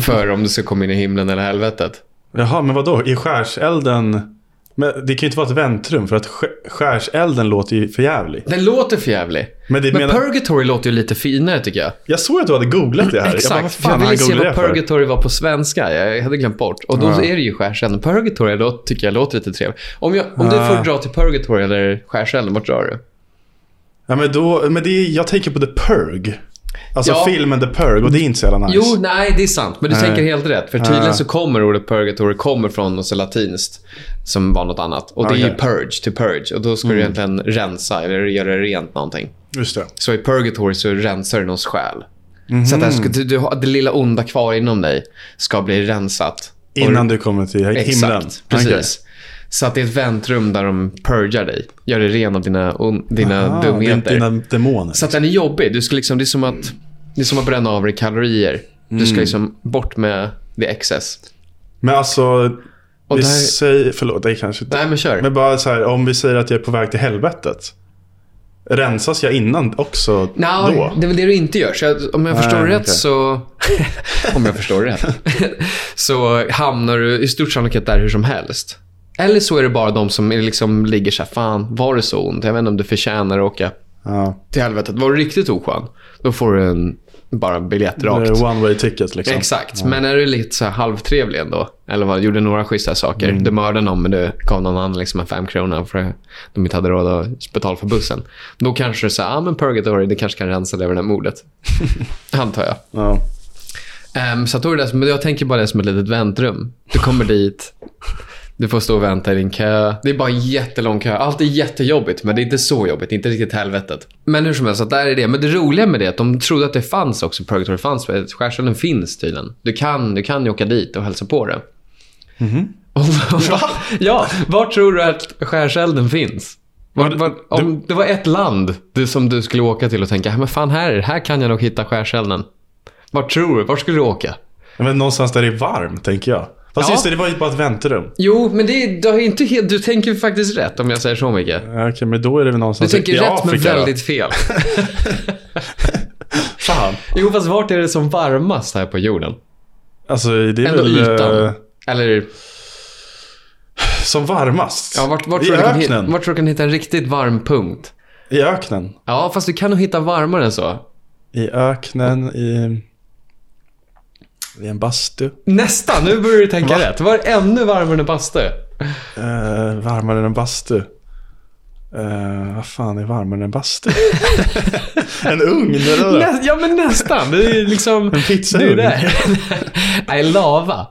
Speaker 1: för om du ska komma in i himlen eller helvetet.
Speaker 2: Jaha, men vadå? I skärselden? Men det kan ju inte vara ett väntrum för att sk- skärselden låter ju förjävlig.
Speaker 1: Den låter för jävlig.
Speaker 2: Men det
Speaker 1: Men
Speaker 2: menar...
Speaker 1: Purgatory låter ju lite finare tycker jag.
Speaker 2: Jag såg att du hade googlat det här. Jag bara, vad
Speaker 1: Exakt. jag
Speaker 2: fan har
Speaker 1: ville
Speaker 2: han
Speaker 1: se
Speaker 2: googlat det
Speaker 1: vad
Speaker 2: för?
Speaker 1: Purgatory var på svenska. Jag hade glömt bort. Och då
Speaker 2: Ja.
Speaker 1: är det ju skärselden. Purgatory då tycker jag låter lite trevligt. Om, jag, om du
Speaker 2: Ja.
Speaker 1: får dra till Purgatory eller skärselden, vart drar du?
Speaker 2: Ja, men då, men det är, jag tänker på The Purg. Alltså
Speaker 1: Ja.
Speaker 2: filmen The Purg och det är inte så jävla nice.
Speaker 1: Jo, nej, det är sant. Men du
Speaker 2: Nej.
Speaker 1: tänker helt rätt. För tydligen
Speaker 2: Ah.
Speaker 1: så kommer ordet purgatory kommer från något så latinskt som var något annat. Och det är ju
Speaker 2: Okej. Mm.
Speaker 1: purge, to purge. Och då ska du egentligen rensa eller göra rent någonting.
Speaker 2: Just det.
Speaker 1: Så i purgatory så rensar du någons själ. Så att
Speaker 2: Mhm.
Speaker 1: det, här ska, du, du, har- det lilla onda kvar inom dig ska bli rensat. Och-
Speaker 2: Innan du kommer till himlen.
Speaker 1: Exakt, precis. Så att det är ett väntrum där de purgar dig. Gör dig ren av dina, on, dina
Speaker 2: Ah,
Speaker 1: dumheter.
Speaker 2: Dina demoner.
Speaker 1: Så att den är jobbig. Du ska liksom, det, är som att, det är som att bränna av dig kalorier. Du
Speaker 2: Mm.
Speaker 1: ska liksom bort med the excess.
Speaker 2: Men alltså,
Speaker 1: Och
Speaker 2: vi
Speaker 1: det här-
Speaker 2: säger... Förlåt, det är kanske inte...
Speaker 1: Nej, men kör.
Speaker 2: Men bara så här, om vi säger att jag är på väg till helvetet. Rensas jag innan också
Speaker 1: Nej,
Speaker 2: då?
Speaker 1: det är väl det du inte gör. Så jag, om jag förstår
Speaker 2: Nej,
Speaker 1: rätt
Speaker 2: okej.
Speaker 1: så... om jag förstår rätt. så hamnar du i stort sannolikhet där hur som helst. Eller så är det bara de som är liksom ligger så här, fan, var det så ont? Jag vet inte om du förtjänar att åka
Speaker 2: Ja,
Speaker 1: till helvetet. Var du riktigt oskön, då får du en, bara en biljett
Speaker 2: det
Speaker 1: rakt.
Speaker 2: är one way ticket liksom.
Speaker 1: Exakt, men är du lite så här halvtrevlig ändå, eller vad, gjorde några schyssta saker. Du mördade någon men du gav någon annan liksom en femkrona för att de inte hade råd att betala för bussen. Då kanske du säger, ah, men purgatory, det kanske kan rensa dig över det här mordet. Antar jag.
Speaker 2: Ja.
Speaker 1: Ehm, så att då är det, där- men jag tänker bara det som ett litet väntrum. Du kommer dit, du får stå och vänta i din kö. Det är bara en jättelång kö. Allt är jättejobbigt, men det är inte så jobbigt. Det är inte riktigt helvetet. Men hur som helst, så att där är det. Men det roliga med det är att de trodde att det fanns också. Purgatory fanns. för att Skärselden finns tydligen. Du kan, du kan ju åka dit och hälsa på det. Och, va? Ja, var tror du att skärselden finns? Var, var, om det var ett land du, som du skulle åka till och tänka, "Ja, men fan här, här kan jag nog hitta skärselden. Var tror du? Var skulle du åka?
Speaker 2: Men någonstans där det är varmt, tänker jag. Fast
Speaker 1: Ja.
Speaker 2: just det, det var ju bara ett väntrum.
Speaker 1: Jo, men det, du, har inte helt, du tänker faktiskt rätt om jag säger så mycket.
Speaker 2: Ja, Okej, men då är det väl
Speaker 1: Du
Speaker 2: någonstans
Speaker 1: tänker
Speaker 2: i
Speaker 1: rätt
Speaker 2: Afrika.
Speaker 1: men
Speaker 2: då.
Speaker 1: väldigt fel.
Speaker 2: Fan.
Speaker 1: Jo, fast vart är det som varmast här på jorden?
Speaker 2: Alltså, det är
Speaker 1: Ändå
Speaker 2: väl...
Speaker 1: ytan.
Speaker 2: eh,
Speaker 1: Eller,
Speaker 2: Som varmast.
Speaker 1: ja, vart, vart,
Speaker 2: I
Speaker 1: tror du kan, hit-
Speaker 2: öknen.
Speaker 1: vart tror du kan hitta en riktigt varm punkt?
Speaker 2: I öknen.
Speaker 1: Ja, fast du kan nog hitta varmare än så.
Speaker 2: I öknen, i... I en bastu.
Speaker 1: Nästan, nu börjar du tänka rätt. Var ännu varmare än bastu.
Speaker 2: Eh, varmare än en bastu. Eh, vad fan är varmare än bastu? en ugn eller? vadå?
Speaker 1: Nä, ja, men nästan. Det är liksom... En
Speaker 2: pizzaugn.
Speaker 1: Nej, lava.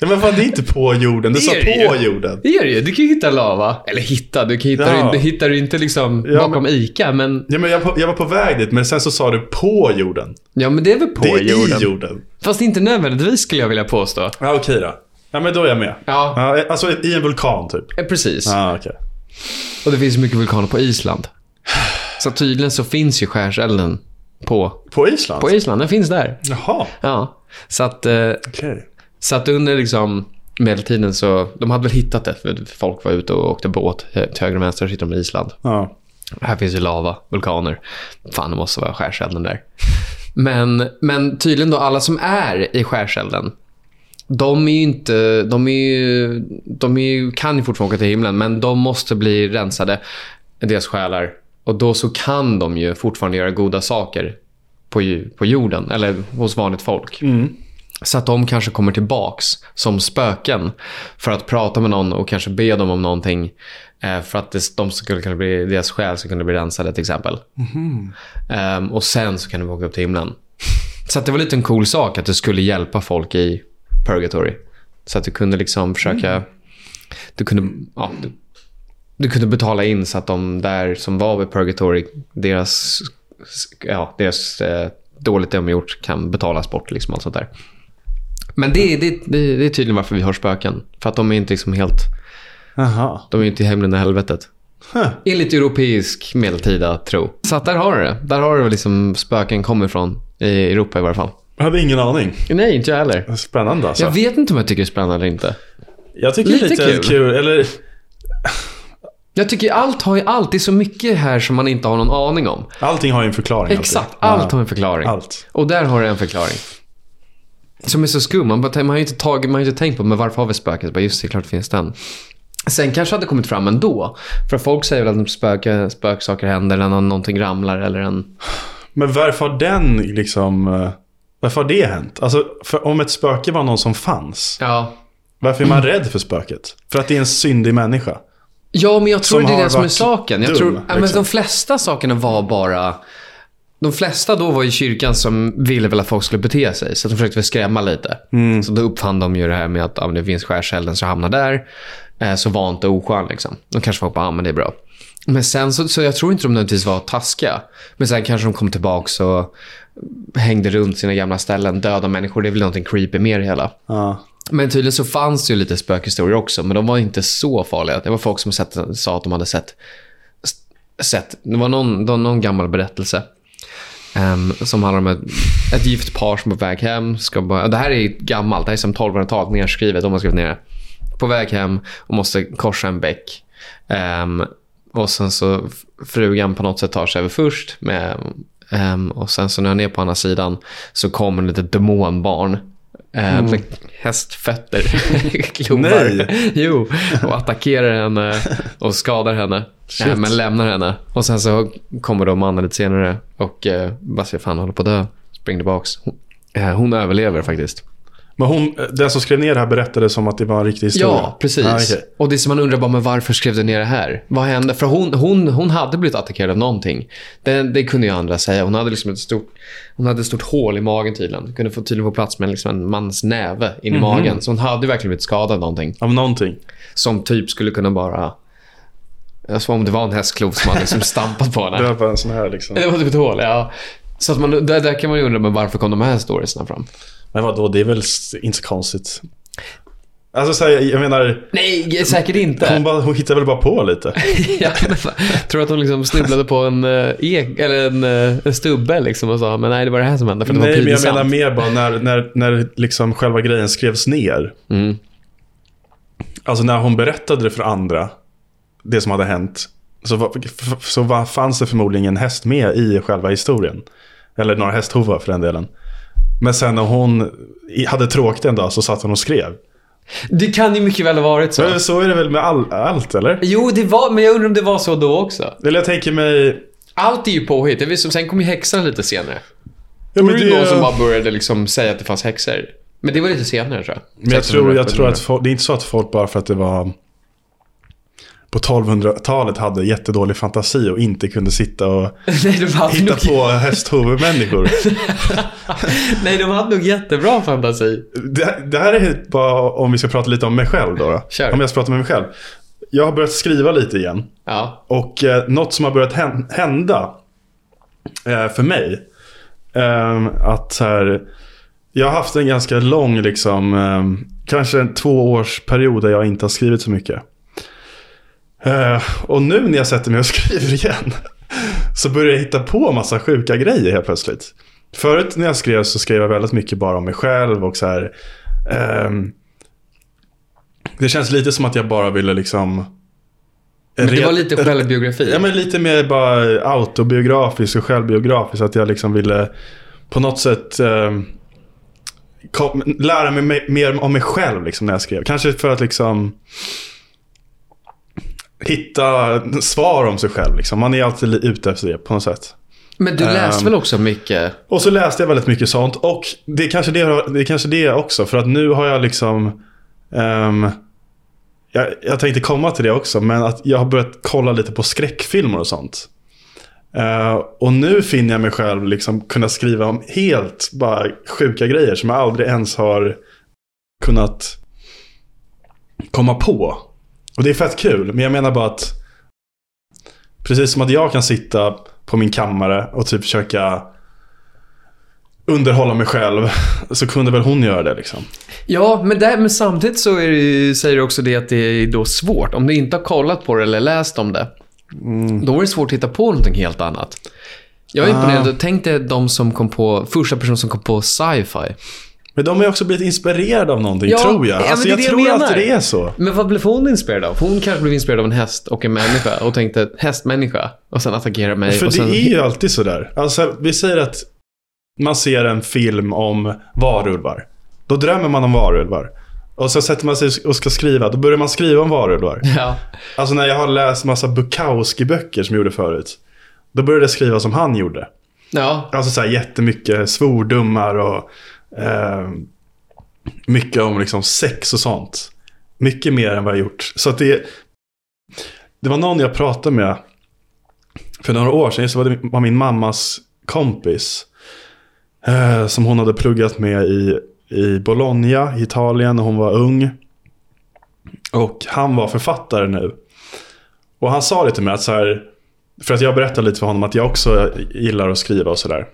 Speaker 2: Ja, men fan, det är inte på jorden. Det
Speaker 1: Det
Speaker 2: sa
Speaker 1: är det
Speaker 2: på
Speaker 1: ju.
Speaker 2: jorden.
Speaker 1: Det gör det ju. Du kan ju hitta lava. Eller hitta, du kan hitta,
Speaker 2: Ja.
Speaker 1: det inte- hittar du inte liksom
Speaker 2: Ja,
Speaker 1: bakom ICA, men...
Speaker 2: Ja, men jag, på- jag var på väg dit, men sen så sa du på jorden.
Speaker 1: Ja, men det är väl på
Speaker 2: det är
Speaker 1: jorden.
Speaker 2: i jorden.
Speaker 1: Fast inte nödvändigtvis skulle jag vilja påstå.
Speaker 2: Ja, okej då. Ja, men då är jag med.
Speaker 1: Ja,
Speaker 2: Ja, alltså i en vulkan typ.
Speaker 1: eh, precis.
Speaker 2: Ja, okej.
Speaker 1: Och det finns mycket vulkaner på Island. Så tydligen så finns ju skärselden på,
Speaker 2: På Island?
Speaker 1: på Island. Den finns där.
Speaker 2: Jaha,
Speaker 1: Ja. Så att... Eh,
Speaker 2: okej.
Speaker 1: Så att under liksom medeltiden så, de hade väl hittat det för folk var ute och åkte båt hö- till höger och vänster och sitter de i Island.
Speaker 2: Ja.
Speaker 1: Här finns ju lava, vulkaner. Fan, det måste vara skärselden där. Men, men tydligen då alla som är i skärselden, de är ju inte, de är ju, de är ju, kan ju fortfarande åka till himlen, men de måste bli rensade, deras själar. Och då så kan de ju fortfarande göra goda saker på, ju- på jorden, eller hos vanligt folk. Så att de kanske kommer tillbaks som spöken för att prata med någon och kanske be dem om någonting. eh, För att det- de skulle kunna bli, deras själ skulle kunna bli rensade till exempel. Ehm, Och sen så kan de åka upp till himlen. Så att det var lite en cool sak att du skulle hjälpa folk i Purgatory. Så att du kunde liksom försöka... Du, kunde, ja, du, du kunde betala in så att de där som var vid Purgatory, deras, ja, deras eh, dåligt de gjort kan betalas bort. Liksom, allt sånt där. Men det, är- det, är- det, är- det är tydligen varför vi har spöken. För att de är inte liksom helt...
Speaker 2: Jaha.
Speaker 1: De är inte i himlen och helvetet.
Speaker 2: Huh.
Speaker 1: Enligt europeisk medeltida tro. Så att där har du det. Där har du väl liksom spöken kommer ifrån. I Europa i varje fall.
Speaker 2: Jag hade ingen aning.
Speaker 1: Nej, inte jag heller.
Speaker 2: Spännande alltså.
Speaker 1: Jag vet inte om jag tycker det är spännande eller inte.
Speaker 2: Jag tycker det är
Speaker 1: Lite
Speaker 2: lite
Speaker 1: kul.
Speaker 2: kul. Eller,
Speaker 1: Jag tycker allt har ju allt. Det är så mycket här som man inte har någon aning om.
Speaker 2: allting har ju en förklaring. alltid.
Speaker 1: Exakt. Allt har en förklaring.
Speaker 2: Allt.
Speaker 1: Och där har du en förklaring. Som är så skum. Man, bara tänker- man har ju inte, tagit, man har ju inte tänkt på men varför har vi spöken. Så bara, Just det, klart det finns den. Sen kanske hade kommit fram ändå. För folk säger väl att spöke, spöksaker händer eller när någonting ramlar eller en...
Speaker 2: Men varför har den liksom... eh, Varför har det hänt? Alltså, för om ett spöke var någon som fanns,
Speaker 1: Ja.
Speaker 2: varför är man
Speaker 1: Mm.
Speaker 2: rädd för spöket? För att det är en syndig människa.
Speaker 1: Ja, men jag tror
Speaker 2: Som
Speaker 1: det är
Speaker 2: har
Speaker 1: det som är
Speaker 2: varit
Speaker 1: saken. Jag
Speaker 2: dum,
Speaker 1: tror, ja, men
Speaker 2: liksom.
Speaker 1: de flesta sakerna var bara... De flesta då var i kyrkan som ville väl att folk skulle bete sig. Så att de försökte väl skrämma lite.
Speaker 2: Mm.
Speaker 1: Så då uppfann de ju det här med att ja, men det finns skärselden så hamnar där. Eh, så var inte oskön liksom. Då kanske folk bara, ja men det är bra. Men sen så, så jag tror inte de nödvändigtvis var taskiga. Men sen kanske de kom tillbaka och hängde runt sina gamla ställen. Döda människor, det är väl någonting creepy mer i det hela.
Speaker 2: Ja.
Speaker 1: Men tydligen så fanns det ju lite spökhistorier också, men de var inte så farliga. Det var folk som sett, sa att de hade sett... s- sett det var någon, det var någon gammal berättelse ehm, som handlar om ett, ett gift par som är på väg hem. Ska bara, det här är gammalt, det här är som 1200-talet nerskrivet, de har skrivit ner det. På väg hem och måste korsa en bäck. Ehm, och sen så f- frugan på något sätt tar sig över först. Med, ehm, och sen så när hon är på andra sidan så kommer ett litet demonbarn. eh, Med hästfötter, klubbar.
Speaker 2: Nej.
Speaker 1: Jo, och attackerar henne och skadar henne.
Speaker 2: Shit.
Speaker 1: Eh, men lämnar henne. Och sen så kommer då mannen lite senare och eh, vad ser fan håller på att dö. Spring tillbaks. Hon, eh, hon överlever faktiskt.
Speaker 2: Men hon, den som skrev ner det här berättade som att det var en riktig historia.
Speaker 1: Ja, precis.
Speaker 2: Ah, okej.
Speaker 1: Och det som man undrar bara, men varför skrev du ner det här? Vad hände? För hon, hon, hon hade blivit attackerad av någonting. Det, det kunde ju andra säga. Hon hade liksom ett stort, hon hade ett stort hål i magen tydligen. Kunde få, tydligen få plats med liksom en mans näve in i magen. Så hon hade verkligen blivit skadad av någonting.
Speaker 2: Av någonting.
Speaker 1: Som typ skulle kunna bara... Jag som om det var en hästklov som hade liksom stampat på henne.
Speaker 2: Det var bara en sån här liksom.
Speaker 1: Det var typ ett hål, ja. Så att man, där, där kan man ju undra, men varför kom de här storiesna fram?
Speaker 2: Men vadå, det är väl s- inte så konstigt. Alltså så här, jag menar,
Speaker 1: Nej, säkert inte.
Speaker 2: hon, bara, hon hittar väl bara på lite.
Speaker 1: ja, men fan. tror att hon liksom snubblade på en, eh, ek, eller en, eh, en stubbe liksom och sa men nej, det var det här som hände för det var
Speaker 2: Nej, men jag
Speaker 1: pinsamt.
Speaker 2: menar mer bara när, när, när liksom själva grejen skrevs ner.
Speaker 1: Mm.
Speaker 2: Alltså när hon berättade det för andra, det som hade hänt, så, var- f- så var, fanns det förmodligen en häst med i själva historien. Eller några hästhovar för den delen. Men sen när hon i- hade tråkigt en dag så satt hon och skrev.
Speaker 1: Det kan ju mycket väl ha varit så.
Speaker 2: Men så är det väl med all, allt, eller?
Speaker 1: Jo, det var, men jag undrar om det var så då också.
Speaker 2: Eller jag tänker mig...
Speaker 1: Allt är ju påhitt. Det är väl som- Sen kom ju häxan lite senare.
Speaker 2: Ja,
Speaker 1: Det
Speaker 2: men
Speaker 1: var ju
Speaker 2: det-
Speaker 1: någon som bara började liksom säga att det fanns häxor. Men det var lite senare tror jag.
Speaker 2: Men jag tror, jag tror att folk, det är inte så att folk bara för att det var på 1200-talet hade jättedålig fantasi och inte kunde sitta och
Speaker 1: nej, de hade
Speaker 2: hitta
Speaker 1: nog,
Speaker 2: på hästhuvudmänniskor.
Speaker 1: nej, de hade nog jättebra fantasi.
Speaker 2: Det, det här är bara om vi ska prata lite om mig själv då.
Speaker 1: Kör.
Speaker 2: Om jag ska prata med mig själv. Jag har börjat skriva lite igen.
Speaker 1: Ja.
Speaker 2: Och eh, något som har börjat hän- hända eh, för mig. Eh, att så här, jag har haft en ganska lång, liksom, eh, kanske en tvåårsperiod där jag inte har skrivit så mycket. Eh, och nu när jag sätter mig och skriver igen så börjar jag hitta på massa sjuka grejer helt plötsligt. Förut när jag skrev så skrev jag väldigt mycket bara om mig själv och så här. ehm, det känns lite som att jag bara ville liksom...
Speaker 1: Men det
Speaker 2: re-
Speaker 1: var lite självbiografi.
Speaker 2: Ja, men lite mer bara autobiografiskt och självbiografiskt. Att jag liksom ville på något sätt eh, kom, lära mig me- mer om mig själv liksom, när jag skrev. Kanske för att liksom hitta svar om sig själv. Liksom. Man är alltid li- ute efter det på något sätt.
Speaker 1: Men du läste
Speaker 2: Ehm.
Speaker 1: väl också mycket?
Speaker 2: Och så läste jag väldigt mycket sånt. Och det är kanske det, det, är kanske det också. För att nu har jag liksom... ehm, jag, jag tänkte komma till det också. Men att jag har börjat kolla lite på skräckfilmer och sånt. Eh, och nu finner jag mig själv liksom kunna skriva om helt bara sjuka grejer som jag aldrig ens har kunnat komma på. Och det är fett kul. Men jag menar bara att precis som att jag kan sitta på min kammare och typ försöka underhålla mig själv så kunde väl hon göra det liksom.
Speaker 1: Ja, men, där, men samtidigt så är det, ju- säger du också det att det är då svårt. Om du inte har kollat på det eller läst om det, då är det svårt att hitta på någonting helt annat. Jag är
Speaker 2: Mm. Ah.
Speaker 1: imponerad. Tänk dig de som kom på, första personen som kom på sci-fi.
Speaker 2: Men de har också blivit inspirerade av någonting
Speaker 1: Ja,
Speaker 2: tror
Speaker 1: ja,
Speaker 2: jag.
Speaker 1: men
Speaker 2: Alltså,
Speaker 1: det är
Speaker 2: jag
Speaker 1: det jag
Speaker 2: tror
Speaker 1: menar.
Speaker 2: alltid det är så.
Speaker 1: Men vad blev hon inspirerad av? Hon kanske blev inspirerad av en häst och en människa och tänkte hästmänniska och sen attackera mig.
Speaker 2: För
Speaker 1: och sen...
Speaker 2: det är ju alltid sådär. Alltså, vi säger att man ser en film om varulvar. Då drömmer man om varulvar. Och så sätter man sig och ska skriva. Då börjar man skriva om varulvar.
Speaker 1: Ja.
Speaker 2: Alltså när jag har läst massa Bukowski-böcker som jag gjorde förut. Då började jag skriva som han gjorde.
Speaker 1: ja.
Speaker 2: Alltså så här jättemycket svordomar och eh, mycket om liksom sex och sånt. Mycket mer än vad jag gjort. Så att det, det var någon jag pratade med för några år sedan. Så var, det, var min mammas kompis. Eh, som hon hade pluggat med i, i Bologna i Italien när hon var ung. Och han var författare nu. Och han sa det till mig att så här. För att jag berättade lite för honom att jag också gillar att skriva och sådär.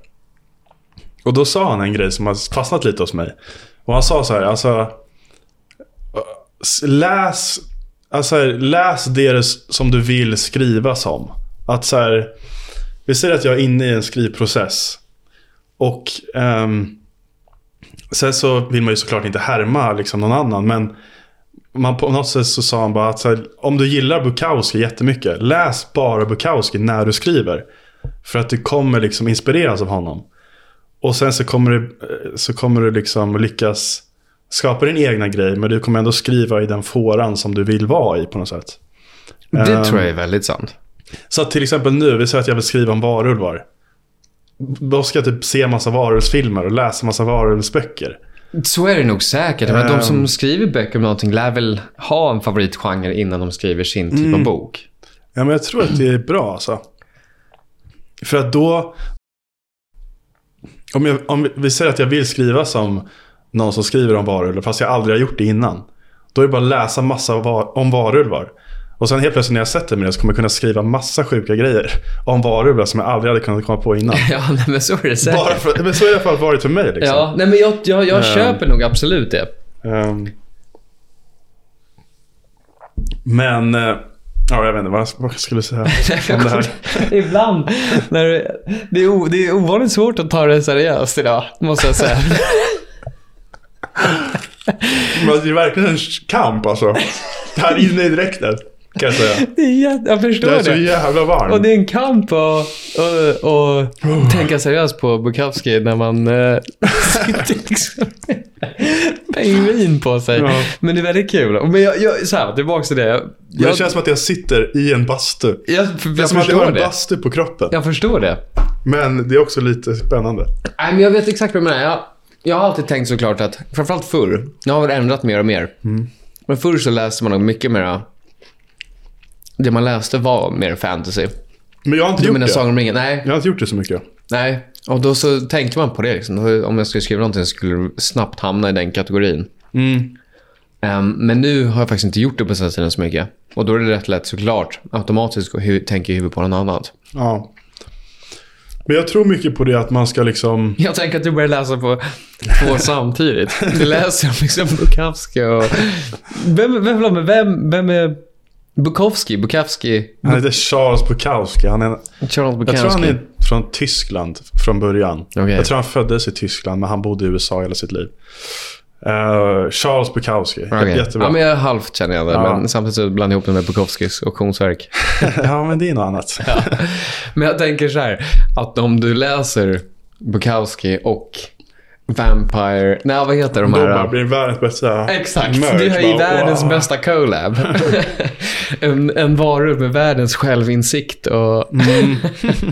Speaker 2: Och då sa han en grej som har fastnat lite hos mig. Och han sa så här, alltså. s- Läs, alltså här, läs det s- som du vill skriva som. Att så här, vi säger att jag är inne i en skrivprocess. Och ehm, sen så vill man ju såklart inte härma liksom någon annan. Men man på något sätt så sa han bara att så här, om du gillar Bukowski jättemycket, läs bara Bukowski när du skriver. För att du kommer liksom inspireras av honom. Och sen så kommer du, eh, så kommer du liksom lyckas skapa din egna grej, men du kommer ändå skriva i den fåran som du vill vara i på något sätt.
Speaker 1: Det
Speaker 2: Ehm,
Speaker 1: tror jag är väldigt sant.
Speaker 2: Så att till exempel nu, vi säger att jag vill skriva om varulvar. Då ska jag typ se massa varulvsfilmer och läsa massa varulvsböcker.
Speaker 1: Så är det nog säkert. Men
Speaker 2: Ehm.
Speaker 1: de som skriver böcker om någonting lär väl ha en favoritgenre innan de skriver sin typ
Speaker 2: Mm.
Speaker 1: av bok.
Speaker 2: Ja, men jag tror att det är bra alltså. För att då... Om, jag, om vi säger att jag vill skriva som någon som skriver om varulvar, fast jag aldrig har gjort det innan. Då är det bara att läsa massa var, om varulvar. Och sen helt plötsligt när jag sätter mig ner så kommer jag kunna skriva massa sjuka grejer om varulvar som jag aldrig hade kunnat komma på innan.
Speaker 1: Ja, nej, men så är det säkert.
Speaker 2: Bara Ehm. för, men så har det i alla fall varit för mig. Liksom.
Speaker 1: Ja, nej, men jag, jag, jag köper nog absolut det.
Speaker 2: Ehm. men, eh, ja jag vet inte vad jag, vad jag skulle säga om det här.
Speaker 1: Ibland. När du, det, är o, det är ovanligt svårt att ta det seriöst idag, måste jag säga.
Speaker 2: Men det är verkligen en kamp alltså. Här inne i dräkten kan jag säga.
Speaker 1: Det är, jä- jag förstår
Speaker 2: Jag är
Speaker 1: det.
Speaker 2: så jävla varm.
Speaker 1: Och det är en kamp att att-
Speaker 2: Oh.
Speaker 1: att tänka seriöst på Bukowski när man eh, sitter liksom med en pingvin på sig.
Speaker 2: Ja.
Speaker 1: Men det är väldigt kul. Men jag, jag, så här, tillbaka till det. Jag,
Speaker 2: Men det
Speaker 1: jag, jag,
Speaker 2: känns som att jag sitter i en bastu. Det är
Speaker 1: jag
Speaker 2: som att jag har
Speaker 1: förstår
Speaker 2: en
Speaker 1: det.
Speaker 2: bastu på kroppen.
Speaker 1: Jag förstår det.
Speaker 2: Men det är också lite spännande.
Speaker 1: Nej, men jag vet exakt vad du menar. Jag, jag har alltid tänkt såklart att, framförallt förr, nu har det ändrat mer och mer. Men förr så läste man nog mycket mer, det man läste var mer fantasy.
Speaker 2: Men jag har inte
Speaker 1: Du
Speaker 2: gjort
Speaker 1: menar
Speaker 2: det.
Speaker 1: Sagan om ringen? Nej.
Speaker 2: Jag har inte gjort det så mycket.
Speaker 1: nej. Och då så tänkte man på det. Liksom. Om jag skulle skriva någonting så skulle det snabbt hamna i den kategorin. Ehm, men nu har jag faktiskt inte gjort det på senaste tiden så mycket. Och då är det rätt lätt såklart, automatiskt, att hu- tänka i huvudet på något annat.
Speaker 2: Ja. Men jag tror mycket på det att man ska liksom...
Speaker 1: Jag tänker att du börjar läsa på två samtidigt. Du läser om liksom Bukowski och... Vem, vem, vem, vem, vem är Bukowski? Bukowski?
Speaker 2: Han heter Charles Bukowski. Han är,
Speaker 1: Charles
Speaker 2: jag
Speaker 1: Bukowski?
Speaker 2: tror han är från Tyskland från början.
Speaker 1: Okej.
Speaker 2: Jag tror han föddes i Tyskland men han bodde i USA hela sitt liv. Eh, Charles Bukowski.
Speaker 1: Okej.
Speaker 2: Jättebra.
Speaker 1: Ja, men jag halvt känner jag det.
Speaker 2: Ja.
Speaker 1: Men samtidigt så blandar jag ihop det med Bukowskis auktionsverk.
Speaker 2: ja, men det är något annat.
Speaker 1: Men jag tänker så här, att om du läser Bukowski och Vampire... Nej, vad heter de
Speaker 2: Då
Speaker 1: här?
Speaker 2: bara blir det världens bästa
Speaker 1: Exakt.
Speaker 2: merch,
Speaker 1: du har ju
Speaker 2: bara,
Speaker 1: världens
Speaker 2: wow.
Speaker 1: bästa collab. en, en varulv med världens självinsikt och
Speaker 2: Mm.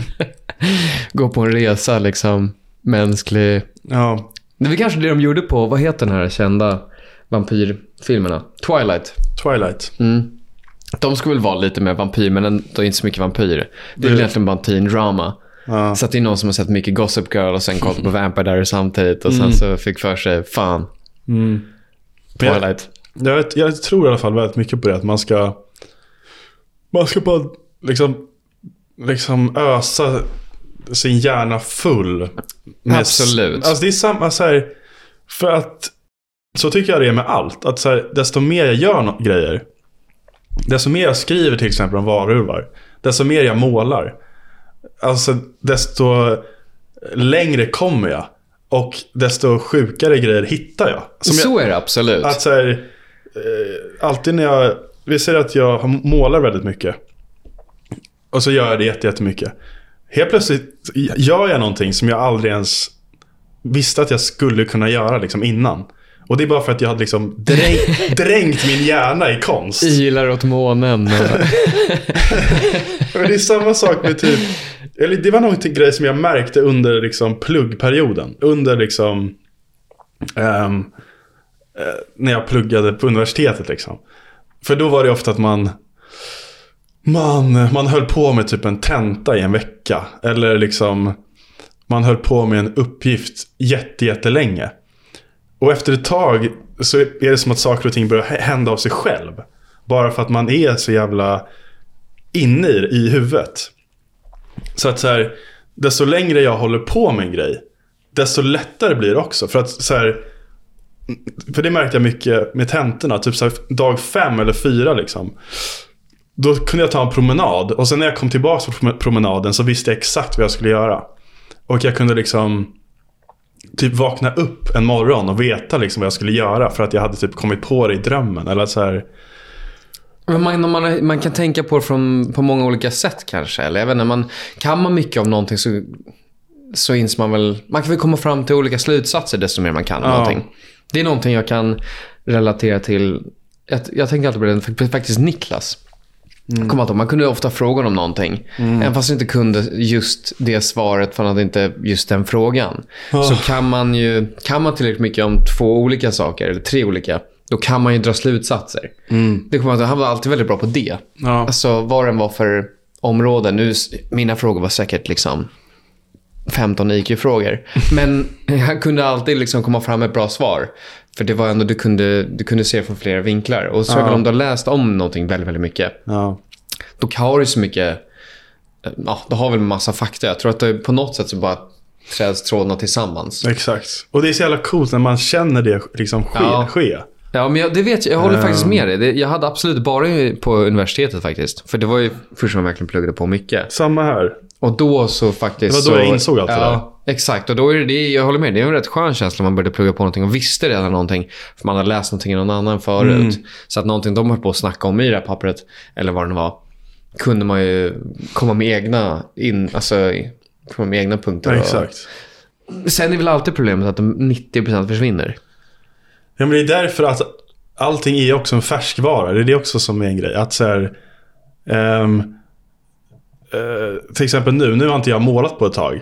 Speaker 1: gå på en resa liksom. Mänsklig.
Speaker 2: Ja,
Speaker 1: Det var kanske det de gjorde på, vad heter den här kända vampyrfilmerna? Twilight.
Speaker 2: Twilight.
Speaker 1: Mm. De skulle väl vara lite mer vampyr, men ändå inte så mycket vampyr. Det är väl
Speaker 2: Det-
Speaker 1: egentligen bara en teen drama.
Speaker 2: Ja.
Speaker 1: Så att det är någon som har sett mycket Gossip Girl och sen kollat på Vampire Diaries samtidigt och
Speaker 2: Mm.
Speaker 1: sen så fick för sig, fan,
Speaker 2: Jag,
Speaker 1: Twilight.
Speaker 2: jag, jag tror i alla fall väldigt mycket på det. Att man ska... Man ska bara liksom, liksom ösa sin hjärna full.
Speaker 1: Absolut.
Speaker 2: Alltså det är samma så här, för att så tycker jag det är med allt. Att så här, desto mer jag gör no- grejer, desto mer jag skriver till exempel om varulvar, desto mer jag målar, alltså desto längre kommer jag. Och desto sjukare grejer hittar jag. Som jag
Speaker 1: så är det absolut.
Speaker 2: att så här, eh, alltid när jag, vi säger att jag målar väldigt mycket. Och så gör jag det jätte- jättemycket. Helt plötsligt gör jag någonting som jag aldrig ens visste att jag skulle kunna göra liksom innan. Och det är bara för att jag hade liksom dräng- dränkt min hjärna i konst.
Speaker 1: Ilar åt månen.
Speaker 2: Men det är samma sak med typ, eller det var nog inte en grej som jag märkte under liksom pluggperioden. Under liksom, ehm, eh, när jag pluggade på universitetet liksom. För då var det ofta att man, man, man höll på med typ en tenta i en vecka. Eller liksom, man höll på med en uppgift jätte, jättelänge. Och efter ett tag så är det som att saker och ting börjar hä- hända av sig själv. Bara för att man är så jävla inne i, det, i huvudet. Så att så här, desto längre jag håller på med en grej, desto lättare blir det också. För att så här, för det märkte jag mycket med tentorna, typ så här, dag fem eller fyra liksom. Då kunde jag ta en promenad och sen när jag kom tillbaka på promenaden så visste jag exakt vad jag skulle göra. Och jag kunde liksom typ vakna upp en morgon och veta liksom vad jag skulle göra för att jag hade typ kommit på det i drömmen. Eller så här,
Speaker 1: Men man, om man, man kan tänka på det från, på många olika sätt kanske. Eller även när man kan man mycket av någonting så, så inser man väl... Man kan väl komma fram till olika slutsatser desto mer man kan. om
Speaker 2: Ja.
Speaker 1: Någonting. Det är någonting jag kan relatera till. Jag, jag tänker alltid på det, fakt- faktiskt Niklas. Kom att man kunde ofta fråga honom någonting. Även fast han inte kunde just det svaret, för han hade inte just den frågan. Så kan man ju, kan man tillräckligt mycket om två olika saker, eller tre olika, då kan man ju dra slutsatser. Det kommer jag ihåg, han var alltid väldigt bra på det.
Speaker 2: ja.
Speaker 1: Alltså vad den var för områden. Nu, mina frågor var säkert liksom 15 IQ-frågor. Men han kunde alltid liksom komma fram med ett bra svar. För det var ändå, du kunde, du kunde se från flera vinklar. Och så väl om du har läst om någonting väldigt, väldigt mycket
Speaker 2: Ja.
Speaker 1: då har du så mycket... eh, Ja, då har väl en massa fakta. Jag tror att det, på något sätt så bara träds trådarna tillsammans.
Speaker 2: Exakt. Och det är så jävla coolt när man känner det liksom ske.
Speaker 1: Ja.
Speaker 2: ske.
Speaker 1: Ja, men jag, det vet jag. Jag håller faktiskt med dig. Det, jag hade absolut bara ju på universitetet faktiskt. För det var ju först som jag verkligen pluggade på mycket.
Speaker 2: Samma här.
Speaker 1: Och då så faktiskt...
Speaker 2: Det var då
Speaker 1: så,
Speaker 2: jag insåg allt det
Speaker 1: ja, Exakt. Och då är det- det, jag håller med. Det är en rätt skön känsla när man började plugga på någonting och visste redan någonting. För man hade läst någonting i någon annan förut.
Speaker 2: Mm.
Speaker 1: Så att någonting de höll på att snacka om i det här pappret, eller vad det nu var, kunde man ju komma med egna, in, alltså, komma med egna punkter.
Speaker 2: Ja,
Speaker 1: och-
Speaker 2: exakt.
Speaker 1: Sen är väl alltid problemet att de 90 försvinner.
Speaker 2: Ja, men det är därför att allting är också en färskvara. Det är det också som är en grej. Att så här, ehm, eh, till exempel nu, nu har inte jag målat på ett tag.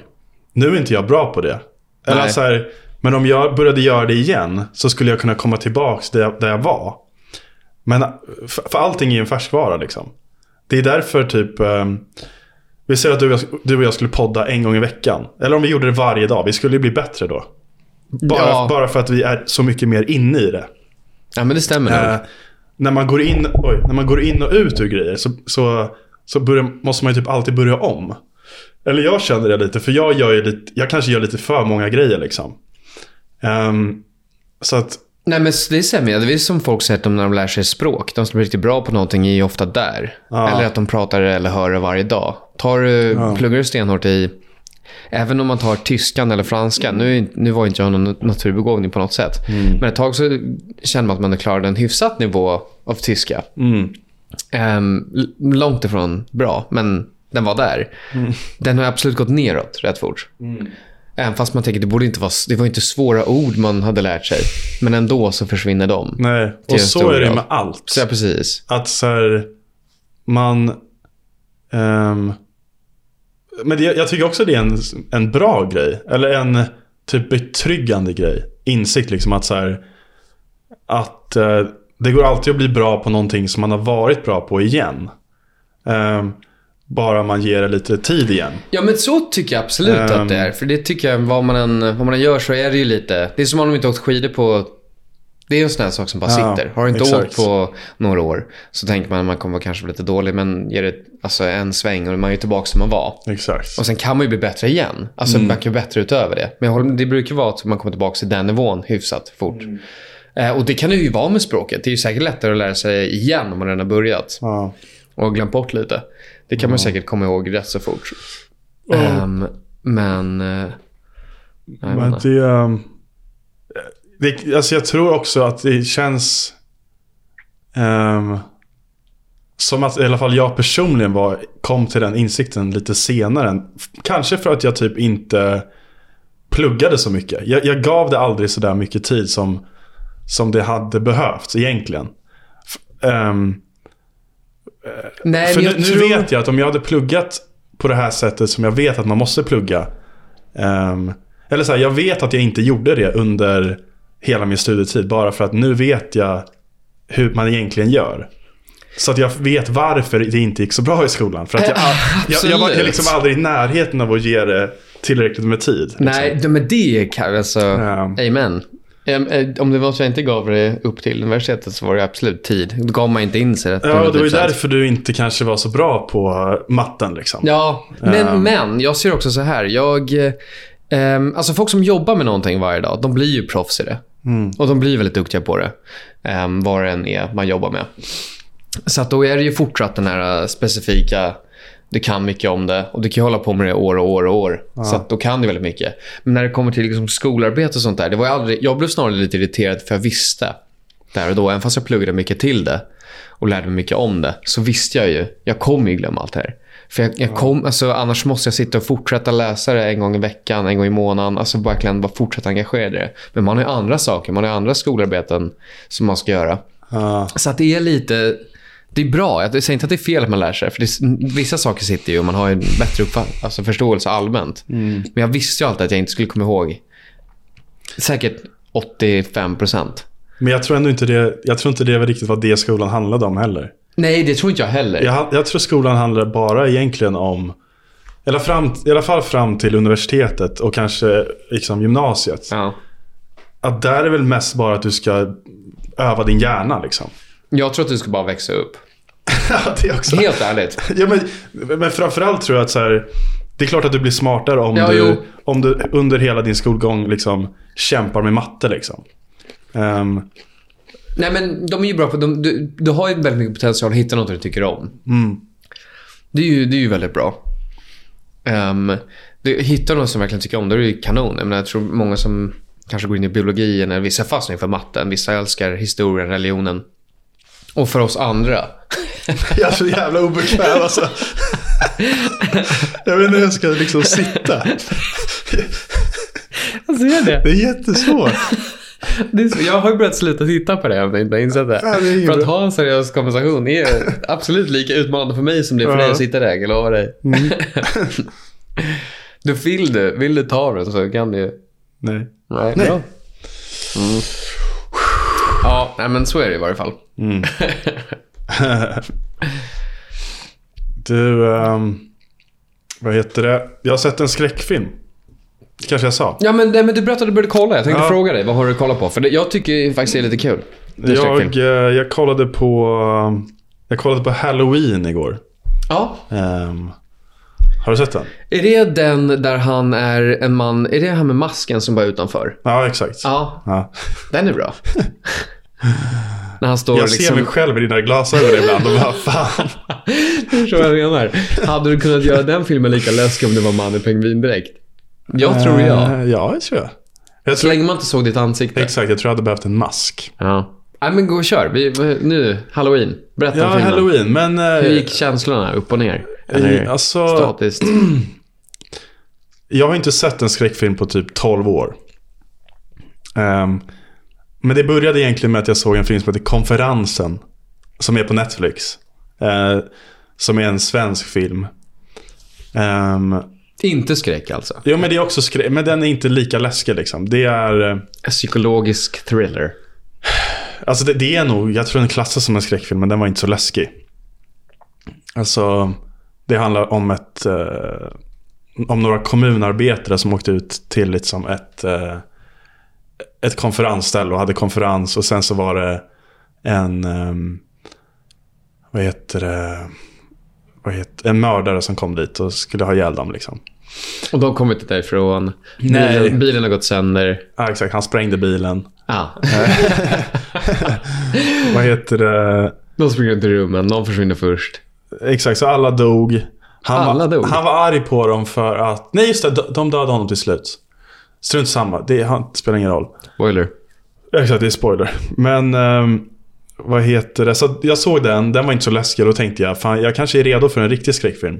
Speaker 2: Nu är inte jag bra på det. Eller
Speaker 1: Nej.
Speaker 2: så här, men om jag började göra det igen så skulle jag kunna komma tillbaka där jag, där jag var. Men eh, för, för allting är ju en färskvara liksom. Det är därför typ... ehm, vi säger att du, och jag- du och jag skulle podda en gång i veckan. Eller om vi gjorde det varje dag. Vi skulle ju bli bättre då. Bara,
Speaker 1: Ja.
Speaker 2: bara för att vi är så mycket mer inne i det.
Speaker 1: Ja, men det stämmer nog.
Speaker 2: Eh, när, man går in, oj, när man går in och ut ur grejer så, så, så börjar, måste man ju typ alltid börja om. Eller jag känner det lite, för jag, gör ju lite, jag kanske gör lite för många grejer. liksom. Ehm, så att,
Speaker 1: Nej, men det stämmer. ju. Det är som folk säger att de, när de lär sig språk. De som blir riktigt bra på någonting är ju ofta där.
Speaker 2: Ja.
Speaker 1: Eller att de pratar eller hör det varje dag. Tar, du- Pluggar du stenhårt i... Även om man tar tyskan eller franskan. Nu, är inte- nu var inte jag någon naturbegåvning på något sätt. Men ett tag så kände man att man klarade en hyfsat nivå av tyska.
Speaker 2: mm,
Speaker 1: Ehm, l- långt ifrån bra, men den var där.
Speaker 2: Mm.
Speaker 1: Den har absolut gått neråt rätt fort. Även fast man tänker det borde inte vara, s- det var inte svåra ord man hade lärt sig. Men ändå så försvinner de.
Speaker 2: nej,
Speaker 1: en
Speaker 2: och så
Speaker 1: stor
Speaker 2: är det
Speaker 1: grad.
Speaker 2: med allt.
Speaker 1: Så ja, precis.
Speaker 2: Att så här, man... ehm, men det, jag tycker också det är en, en bra grej. Eller en typ betryggande grej. Insikt liksom att så här, Att eh, det går alltid att bli bra på någonting som man har varit bra på igen. Ehm, bara man ger det lite tid igen.
Speaker 1: Ja, men så tycker jag absolut
Speaker 2: Ehm.
Speaker 1: att det är. För det tycker jag, vad man, än, vad man än gör så är det ju lite... Det är som om de inte åkt skidor på Det är en sån här sak som bara
Speaker 2: Ja,
Speaker 1: sitter. Har du inte
Speaker 2: exakt.
Speaker 1: åkt på några år så tänker man att man kommer vara kanske lite dålig. Men ger det alltså, en sväng och man är ju tillbaka som man var.
Speaker 2: Exakt.
Speaker 1: Och sen kan man ju bli bättre igen. Alltså
Speaker 2: Mm.
Speaker 1: man kan ju bli bättre utöver det. Men jag håller, med, det brukar vara att man kommer tillbaka till den nivån hyfsat fort.
Speaker 2: Mm.
Speaker 1: Eh, och det kan det ju vara med språket. Det är ju säkert lättare att lära sig igen om man redan har börjat.
Speaker 2: Ja.
Speaker 1: Och glömt bort lite. Det kan man säkert komma ihåg rätt så fort. Ehm, men... eh, jag vet
Speaker 2: Men
Speaker 1: inte.
Speaker 2: det, ehm, det, alltså jag tror också att det känns ehm, som att i alla fall jag personligen var, kom till den insikten lite senare. Kanske för att jag typ inte pluggade så mycket. Jag, jag gav det aldrig så där mycket tid som, som det hade behövts egentligen. F- ehm,
Speaker 1: Nej,
Speaker 2: för
Speaker 1: men
Speaker 2: nu,
Speaker 1: jag
Speaker 2: nu
Speaker 1: tror...
Speaker 2: vet jag att om jag hade pluggat på det här sättet som jag vet att man måste plugga. ehm, eller så här, jag vet att jag inte gjorde det under hela min studietid. Bara för att nu vet jag hur man egentligen gör. Så att jag vet varför det inte gick så bra i skolan. För att jag, jag, jag var
Speaker 1: absolut.
Speaker 2: liksom aldrig i närheten av att ge det tillräckligt med tid. liksom.
Speaker 1: Nej, det- men det är kanske... Alltså,
Speaker 2: Ja.
Speaker 1: Amen. Em, eh, Om det var så jag inte gav det upp till universitetet så var det absolut tid. Då gav man inte in sig rätt typ
Speaker 2: Ja, och det var ju
Speaker 1: 100%.
Speaker 2: därför du inte kanske var så bra på matten. Liksom.
Speaker 1: Ja, men,
Speaker 2: Ehm.
Speaker 1: men jag ser också så här. Jag, ehm, alltså folk som jobbar med någonting varje dag, de blir ju proffs i det.
Speaker 2: Mm.
Speaker 1: Och de blir väldigt duktiga på det, um, vad det än är man jobbar med. Så att då är det ju fortsatt den här eh, specifika, du kan mycket om det och du kan ju hålla på med det år och år och år. Så att då kan du väldigt mycket. Men när det kommer till liksom skolarbete och sånt där, det var ju aldrig, jag blev snarare lite irriterad för jag visste där och då, även fast jag pluggade mycket till det och lärde mig mycket om det, så visste jag ju, jag kommer ju glömma allt det här. För jag, jag kom, alltså, annars måste jag sitta och fortsätta läsa det en gång i veckan, en gång i månaden. Alltså verkligen bara fortsätta engagera i det. Men man har ju andra saker, man har ju andra skolarbeten som man ska göra.
Speaker 2: Ja.
Speaker 1: Så att det är lite... Det är bra. Jag säger inte att det är fel att man lär sig. För det, vissa saker sitter ju och man har en bättre uppfatt, alltså förståelse allmänt. Men jag visste ju alltid att jag inte skulle komma ihåg säkert 85 procent.
Speaker 2: Men jag tror ändå inte det, jag tror inte det var riktigt vad det skolan handlade om heller.
Speaker 1: Nej, det tror inte jag heller.
Speaker 2: Jag, jag tror skolan handlar bara egentligen om, eller fram, i alla fall fram till universitetet och kanske liksom gymnasiet.
Speaker 1: Ja.
Speaker 2: Att där är väl mest bara att du ska öva din hjärna liksom.
Speaker 1: Jag tror att du ska bara växa upp.
Speaker 2: Ja, det också.
Speaker 1: Helt ärligt.
Speaker 2: Ja, men, men framförallt tror jag att så här, det är klart att du blir smartare om,
Speaker 1: Ja, jo.
Speaker 2: du, om du under hela din skolgång liksom, kämpar med matte. Liksom. Ehm,
Speaker 1: Nej, men de är ju bra på... De, du, du har ju väldigt mycket potential att hitta något du tycker om. Det, är ju, det är ju väldigt bra. Um, du, hittar du någon som verkligen tycker om det, då är det ju kanon. Jag, menar, jag tror många som kanske går in i biologin, eller vissa fastnar för matten. Vissa älskar historien, religionen. Och för oss andra.
Speaker 2: Jag är så jävla obekväm alltså. Jag vet inte hur jag ska liksom sitta.
Speaker 1: Jag ser
Speaker 2: Det är jättesvårt.
Speaker 1: Det är så, jag har ju börjat sluta titta på det om jag inte har insett det.
Speaker 2: Ja, det är ju
Speaker 1: för att
Speaker 2: bra.
Speaker 1: ha en seriös konversation är ju absolut lika utmanande för mig som det är för
Speaker 2: Ja. Mm.
Speaker 1: dig att sitta där. Jag lovar dig. du, vill, du, vill du ta den så kan du ju.
Speaker 2: Nej.
Speaker 1: Nej.
Speaker 2: Nej.
Speaker 1: Bra. Mm. Ja, nej, men så är det i varje fall.
Speaker 2: Du, ehm, vad heter det? Jag har sett en skräckfilm. Det kanske jag sa.
Speaker 1: Ja, men, nej, men du berättade att du började kolla. Jag tänkte
Speaker 2: Ja.
Speaker 1: fråga dig. Vad har du kollat på? För det, jag tycker faktiskt det är lite kul. Det är
Speaker 2: Jag,
Speaker 1: skräckfilm.
Speaker 2: eh, jag kollade på ehm, Jag kollade på Halloween igår.
Speaker 1: Ja.
Speaker 2: Ehm, har du sett den?
Speaker 1: Är det den där han är en man? Är det han med masken som bara är utanför?
Speaker 2: Ja, exakt.
Speaker 1: Ja,
Speaker 2: Ja.
Speaker 1: Den är bra. När han står
Speaker 2: Jag ser
Speaker 1: liksom...
Speaker 2: mig själv i dina glasögon ibland och bara fan.
Speaker 1: Förstår vad jag menar? Hade du kunnat göra den filmen lika läskig om det var man i pingvindräkt? Jag tror jag.
Speaker 2: Eh, Ja, det tror jag. Jag
Speaker 1: Så
Speaker 2: tror,
Speaker 1: länge man inte såg ditt ansikte.
Speaker 2: exakt, jag tror jag hade behövt en mask.
Speaker 1: Ja. Nej, men gå och kör. Vi, vi- nu, halloween. Berätta
Speaker 2: Ja,
Speaker 1: om filmen.
Speaker 2: halloween. Men eh,
Speaker 1: Hur gick känslorna? Upp och ner?
Speaker 2: eh,
Speaker 1: Eller
Speaker 2: alltså,
Speaker 1: statiskt?
Speaker 2: jag har inte sett en skräckfilm på typ 12 år. Ehm, men det började egentligen med att jag såg en film som heter Konferensen. Som är på Netflix. Eh, som är en svensk film. Ehm,
Speaker 1: Inte skräck alltså.
Speaker 2: jo, men det är också skrä- Men den är inte lika läskig liksom. Det är... eh,
Speaker 1: En psykologisk thriller.
Speaker 2: Alltså det, det är nog, jag tror den klassas som en skräckfilm, men den var inte så läskig. Alltså, det handlar om ett... Eh, om några kommunarbetare som åkte ut till liksom ett... Eh, ett konferensställe och hade konferens och sen så var det en, ehm, vad heter det, vad heter, en mördare som kom dit och skulle ha ihjäl dem. Liksom.
Speaker 1: Och de kommer inte därifrån.
Speaker 2: Nej.
Speaker 1: Bilen, bilen har gått sönder.
Speaker 2: Ja, exakt, han sprängde bilen.
Speaker 1: Ah.
Speaker 2: Eh. Vad heter det?
Speaker 1: De springer runt i rummen. Någon försvinner först.
Speaker 2: Exakt, så alla dog. Han,
Speaker 1: Alla
Speaker 2: var,
Speaker 1: dog?
Speaker 2: han var arg på dem för att... Nej, just det. de- De dödade honom till slut. Strunt samma. Det han, spelar ingen roll.
Speaker 1: Boiler.
Speaker 2: Exakt, det är spoiler. Men ehm, vad heter det? Så att jag såg den. Den var inte så läskig. Då tänkte jag, fan jag kanske är redo för en riktig skräckfilm.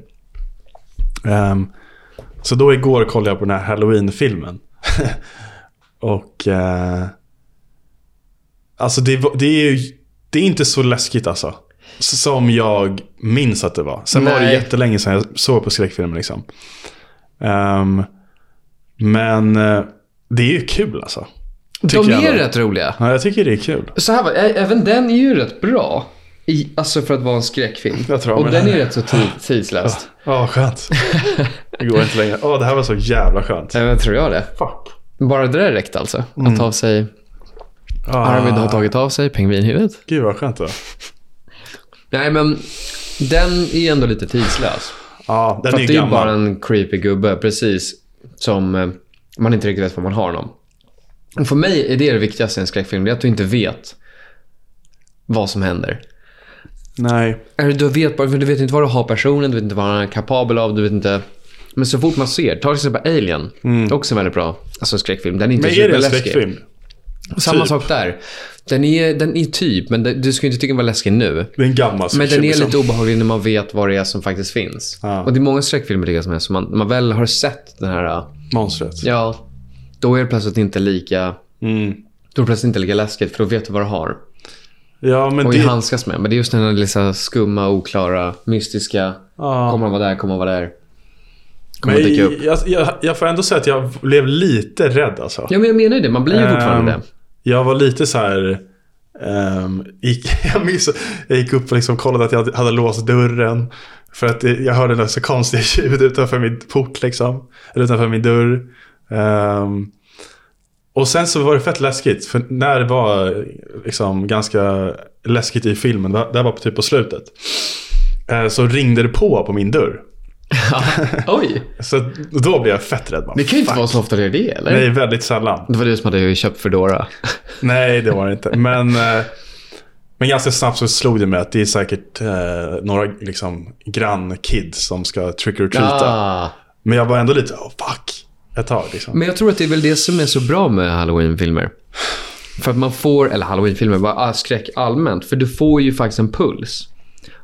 Speaker 2: Ehm, så då igår kollade jag på den här Halloween-filmen. Och... eh, alltså det, var- det är ju... Det är inte så läskigt alltså. S- Som jag minns att det var. Sen var det
Speaker 1: Nej.
Speaker 2: jättelänge sedan jag såg på skräckfilmer liksom. Ehm, men eh, det är ju kul alltså.
Speaker 1: de
Speaker 2: Tycker jag
Speaker 1: är
Speaker 2: då.
Speaker 1: rätt roliga.
Speaker 2: Ja, jag tycker det är kul.
Speaker 1: Så här var ä- även den är ju rätt bra. I, alltså för att vara en skräckfilm.
Speaker 2: Jag tror jag
Speaker 1: och
Speaker 2: med.
Speaker 1: den är rätt så tid, tidslöst.
Speaker 2: Ja, skönt. Det går inte längre. Åh, det här var så jävla skönt.
Speaker 1: Ja. Jag tror jag det.
Speaker 2: Fuck.
Speaker 1: Bara det där räckte alltså.
Speaker 2: Mm.
Speaker 1: Att ta av sig. Arvid
Speaker 2: Ah.
Speaker 1: har tagit av sig pingvinhuvudet.
Speaker 2: Gud vad skönt det var.
Speaker 1: Nej men. Den är ändå lite tidslös.
Speaker 2: Ja, den
Speaker 1: För
Speaker 2: är ju
Speaker 1: att det är ju
Speaker 2: gammal.
Speaker 1: bara en creepy gubbe. Precis. Som eh, man inte riktigt vet var man har honom. Och för mig är det det viktigaste i en skräckfilm. Det är att du inte vet vad som händer.
Speaker 2: Nej.
Speaker 1: Eller Du vet, bara- för du vet inte vad du har personen, du vet inte vad han är kapabel av, du vet inte. Men så fort man ser, ta till exempel Alien. Också en väldigt bra alltså, skräckfilm. Den är inte
Speaker 2: Mm. Men är det en
Speaker 1: superläskig.
Speaker 2: skräckfilm?
Speaker 1: Samma
Speaker 2: Typ.
Speaker 1: sak där. Den är, den är typ, men den, du ska ju inte tycka den var läskig nu.
Speaker 2: Det är en gammal
Speaker 1: Men den är
Speaker 2: liksom.
Speaker 1: lite obehaglig när man vet vad det är som faktiskt finns.
Speaker 2: Ja.
Speaker 1: Och det är många skräckfilmer tycker jag som är så. Man, när man väl har sett den här,
Speaker 2: Monstret.
Speaker 1: ja, då är det plötsligt inte lika,
Speaker 2: Mm.
Speaker 1: då är det plötsligt inte lika läskigt för då vet du vad du har.
Speaker 2: Ja, men
Speaker 1: Och
Speaker 2: det...
Speaker 1: ju handskas med. Men det är just den här lilla skumma, oklara, mystiska.
Speaker 2: Ja.
Speaker 1: Kommer han vara där? Kommer han vara där? Kommer
Speaker 2: men
Speaker 1: han dyka upp?
Speaker 2: jag, jag, jag får ändå säga att jag blev lite rädd alltså.
Speaker 1: Ja, men jag menar ju det. Man blir ju fortfarande
Speaker 2: Ehm,
Speaker 1: det.
Speaker 2: Jag var lite så här... ehm, gick, jag, minns, jag gick upp och liksom kollade att jag hade låst dörren. För att det- jag hörde något så konstiga ljud utanför min port liksom. Eller utanför min dörr. Ehm, och sen så var det fett läskigt. För när det var liksom ganska läskigt i filmen, det här var typ på slutet. eh, Så ringde det på på min dörr.
Speaker 1: Oj!
Speaker 2: Så då blev jag fett rädd. Bara,
Speaker 1: Det kan ju inte
Speaker 2: "Fuck."
Speaker 1: vara så ofta det är det, eller?
Speaker 2: Nej, väldigt sällan.
Speaker 1: Det var du som hade köpt Foodora.
Speaker 2: Nej, det var det inte. Men, eh, men ganska snabbt så slog det mig att det är säkert eh, några liksom, grannkids som ska trick or treata.
Speaker 1: Ah.
Speaker 2: Men jag var ändå lite, oh, fuck, ett tag. Liksom.
Speaker 1: Men jag tror att det är väl det som är så bra med halloweenfilmer. För att man får, eller halloweenfilmer, bara ah, skräck allmänt. För du får ju faktiskt en puls.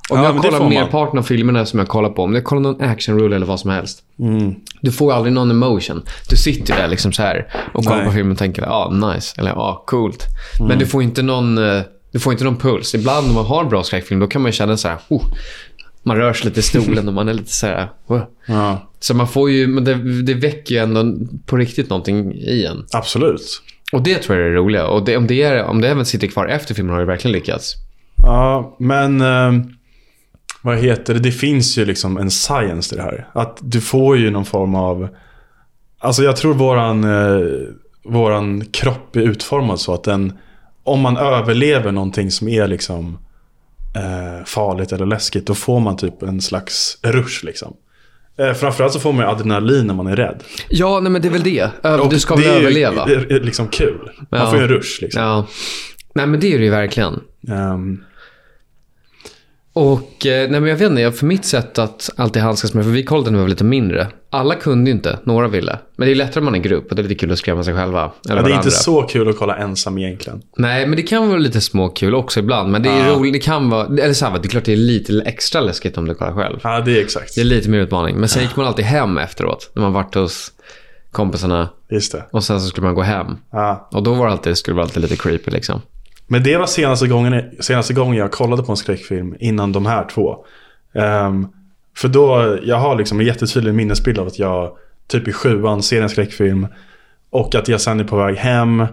Speaker 1: Om
Speaker 2: Ja, men
Speaker 1: jag
Speaker 2: det
Speaker 1: kollar
Speaker 2: får man.
Speaker 1: merparten av filmerna som jag kollar på, om jag kollar någon actionrulle eller vad som helst.
Speaker 2: Mm.
Speaker 1: Du får ju aldrig någon emotion. Du sitter ju där liksom så här och kollar
Speaker 2: Nej.
Speaker 1: på filmen och tänker ja, ah, nice, eller ja, ah, coolt. Men du får inte någon... eh, Du får inte någon puls. Ibland om man har en bra skräckfilm, då kan man ju känna så här... Oh, man rör sig lite i stolen och man är lite så här... "Wow."
Speaker 2: Ja,
Speaker 1: Så man får ju, men det, det väcker ju ändå på riktigt någonting i en.
Speaker 2: absolut.
Speaker 1: Och det tror jag är det roliga. Och det, om, det är, om det även sitter kvar efter filmen har det verkligen lyckats.
Speaker 2: Ja, men eh, vad heter det? Det finns ju liksom en science i det här. Att du får ju någon form av... Alltså jag tror våran, eh, våran kropp är utformad så att den... Om man överlever någonting som är liksom eh, farligt eller läskigt, då får man typ en slags rush liksom. Eh, framförallt så får man ju adrenalin när man är rädd.
Speaker 1: Ja, nej men det är väl det.
Speaker 2: Och
Speaker 1: du ska väl
Speaker 2: det är ju-
Speaker 1: överleva.
Speaker 2: Det är liksom kul. Man
Speaker 1: Ja.
Speaker 2: får ju en rush liksom.
Speaker 1: Ja. Nej men det är det ju verkligen.
Speaker 2: Ehm,
Speaker 1: Och eh, nej men jag vet inte, jag- för mitt sätt att alltid handskas med, för vi kollade när vi var lite mindre. Alla kunde ju inte, några ville. Men det är lättare om man är en grupp och det är lite kul att skrämma sig själva. Eller
Speaker 2: ja, det är inte
Speaker 1: varandra.
Speaker 2: så kul att kolla ensam egentligen.
Speaker 1: Nej, men det kan vara lite småkul också ibland. Men det är
Speaker 2: Ja.
Speaker 1: roligt, det kan vara, eller så här, det är klart det är lite extra läskigt om du kollar själv.
Speaker 2: Ja, det är exakt.
Speaker 1: Det är lite mer utmaning. Men sen gick man alltid hem efteråt. När man varit hos kompisarna.
Speaker 2: Just det.
Speaker 1: Och sen så skulle man gå hem.
Speaker 2: Ja.
Speaker 1: Och då var det alltid, skulle det vara alltid lite creepy liksom.
Speaker 2: Men det var senaste gången, senaste gången jag kollade på en skräckfilm innan de här två. Ehm, för då, jag har liksom en jättetydlig minnesbild av att jag typ i sjuan ser en skräckfilm. Och att jag sen är på väg hem.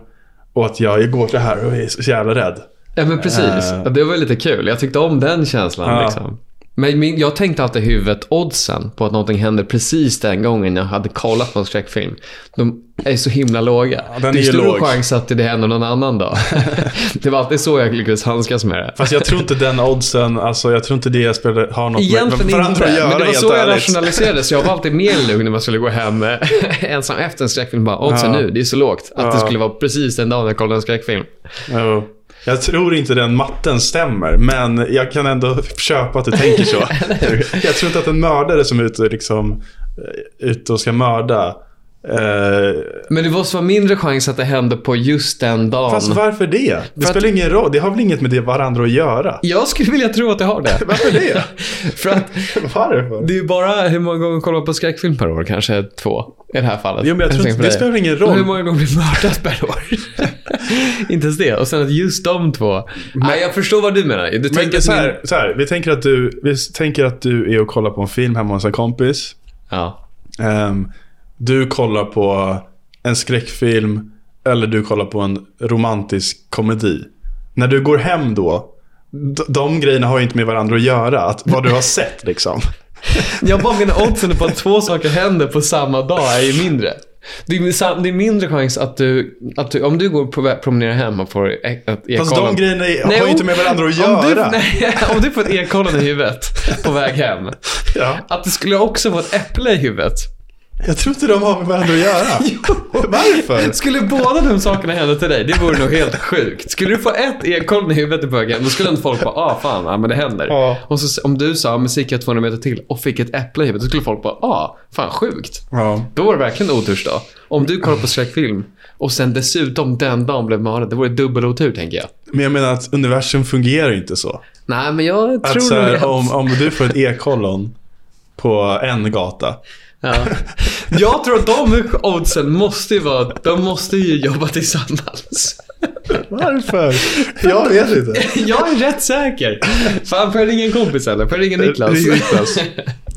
Speaker 2: Och att jag, jag går till det här och är så jävla rädd.
Speaker 1: Ja men precis.
Speaker 2: Äh.
Speaker 1: Ja, Det var ju lite kul. Jag tyckte om den känslan
Speaker 2: Ja.
Speaker 1: liksom. Men min, jag tänkte alltid i huvudet oddsen på att någonting händer precis den gången jag hade kollat på en skräckfilm. De är så himla låga.
Speaker 2: den
Speaker 1: det
Speaker 2: är ju
Speaker 1: stor
Speaker 2: låg.
Speaker 1: chans att det händer någon annan dag. det var alltid så jag lyckades handskas med det.
Speaker 2: Fast Alltså, jag tror inte den oddsen, alltså jag tror inte det spelar, har något
Speaker 1: Egentligen
Speaker 2: med varandra
Speaker 1: inte,
Speaker 2: att göra
Speaker 1: men det var
Speaker 2: helt
Speaker 1: så jag
Speaker 2: ärligt.
Speaker 1: rationaliserade. Så jag var alltid mer lugn när man skulle gå hem eh, ensam efter en skräckfilm. Bara, oddsen
Speaker 2: Ja.
Speaker 1: nu, det är så lågt. Att det
Speaker 2: Ja.
Speaker 1: skulle vara precis den dagen jag kollade en skräckfilm.
Speaker 2: Ja. Jag tror inte den matten stämmer, men jag kan ändå köpa att du tänker så. jag tror inte att en mördare som är ute, liksom, eh, ute och ska mörda. Eh,
Speaker 1: Men det måste vara mindre chans att det hände på just den dagen.
Speaker 2: fast alltså, varför det? Det
Speaker 1: att-
Speaker 2: spelar ingen roll. Det har väl inget med det varandra att göra?
Speaker 1: Jag skulle vilja tro att det har det.
Speaker 2: Varför det?
Speaker 1: För att
Speaker 2: varför?
Speaker 1: det är ju bara hur många gånger kollar man på skräckfilm per år? Kanske två i det här fallet.
Speaker 2: Jo, men jag tror
Speaker 1: tänker
Speaker 2: inte-
Speaker 1: på
Speaker 2: det
Speaker 1: dig.
Speaker 2: spelar ingen roll.
Speaker 1: Och hur många gånger blir mördat per år? inte ens det. Och sen att just de två. Nej, jag förstår vad du menar. Du
Speaker 2: Men
Speaker 1: tänker att
Speaker 2: så,
Speaker 1: min-
Speaker 2: här, så här, vi tänker att du, vi tänker att du är och kollar på en film hemma hos en kompis.
Speaker 1: Ja.
Speaker 2: Ehm, du kollar på en skräckfilm eller du kollar på en romantisk komedi. När du går hem då, d- de grejerna har ju inte med varandra att göra. Att vad du har sett liksom.
Speaker 1: Jag bara menar oddsen på att två saker händer på samma dag är ju mindre. Det är, ju sam- det är mindre chans att du, att du, om du går på vä- promenerar hem och får e- ett e
Speaker 2: Fast Alltså, de grejerna är, har ju inte med varandra att
Speaker 1: Om du,
Speaker 2: göra.
Speaker 1: nej, om du får ett ekollon i huvudet på väg hem.
Speaker 2: ja,
Speaker 1: Att du skulle också få ett äpple i huvudet.
Speaker 2: jag tror inte de har med varandra att göra. Varför?
Speaker 1: Skulle båda de sakerna hända till dig, det vore nog helt sjukt. Skulle du få ett ekollon i huvudet på väg hem, då skulle inte folk bara ah fan, ja, men det händer.
Speaker 2: Ja.
Speaker 1: Och så, om du sa men så gick jag 200 meter till och fick ett äpple i huvudet, då skulle folk bara ah, fan sjukt.
Speaker 2: Ja.
Speaker 1: Då var det verkligen otursdag. Om du kollar på skräckfilm och sen dessutom den dagen blev mördad, det vore dubbel otur tänker jag.
Speaker 2: Men jag menar att universum fungerar ju inte så.
Speaker 1: Nej, men jag tror
Speaker 2: Att så
Speaker 1: nog att...
Speaker 2: här, om, om du får ett ekollon på en gata.
Speaker 1: Ja. Jag tror att de oddsen måste ju vara, de måste ju jobba tillsammans.
Speaker 2: Varför? Jag vet inte.
Speaker 1: Jag är rätt säker. Fan, får jag ringa en kompis eller? Får jag ringa Niklas?
Speaker 2: Ring Niklas.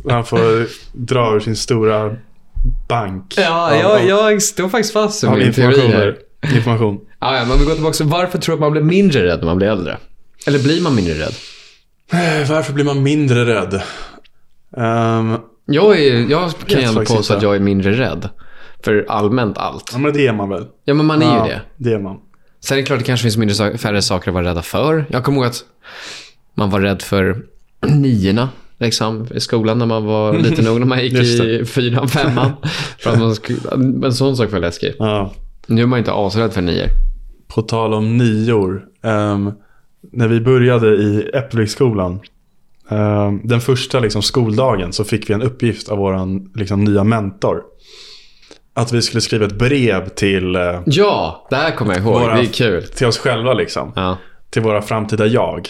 Speaker 2: Han får dra ur sin stora bank.
Speaker 1: Ja, jag, jag står faktiskt fast i
Speaker 2: av
Speaker 1: min teori här.
Speaker 2: informationer. Information.
Speaker 1: Ja, ja, men vi går tillbaka till varför tror du att man blir mindre rädd när man blir äldre? Eller blir man mindre rädd?
Speaker 2: Eh, Varför blir man mindre rädd? Ehm,
Speaker 1: Jag, är, jag kan ju ändå
Speaker 2: faktiskt
Speaker 1: påstå
Speaker 2: inte.
Speaker 1: att jag är mindre rädd. För allmänt allt.
Speaker 2: ja, men det är man väl?
Speaker 1: Ja, men man är ju det.
Speaker 2: Det är man.
Speaker 1: Sen är det klart det kanske finns mindre, sak- färre saker att vara rädda för. Jag kommer ihåg att man var rädd för niorna liksom, i skolan när man var liten ung. När man gick
Speaker 2: Just
Speaker 1: i fyran, femman. för att man skulle, en sån sak var läskig.
Speaker 2: Ja.
Speaker 1: Nu är man inte asrädd för nior.
Speaker 2: På tal om nior. ehm, när vi började i Äppelviksskolan. ehm, den första liksom, skoldagen så fick vi en uppgift av vår liksom, nya mentor. Att vi skulle skriva ett brev till, eh,
Speaker 1: Ja, det här kommer jag ihåg.
Speaker 2: Våra-
Speaker 1: Det är kul.
Speaker 2: till oss själva. Liksom.
Speaker 1: Ja,
Speaker 2: till våra framtida jag.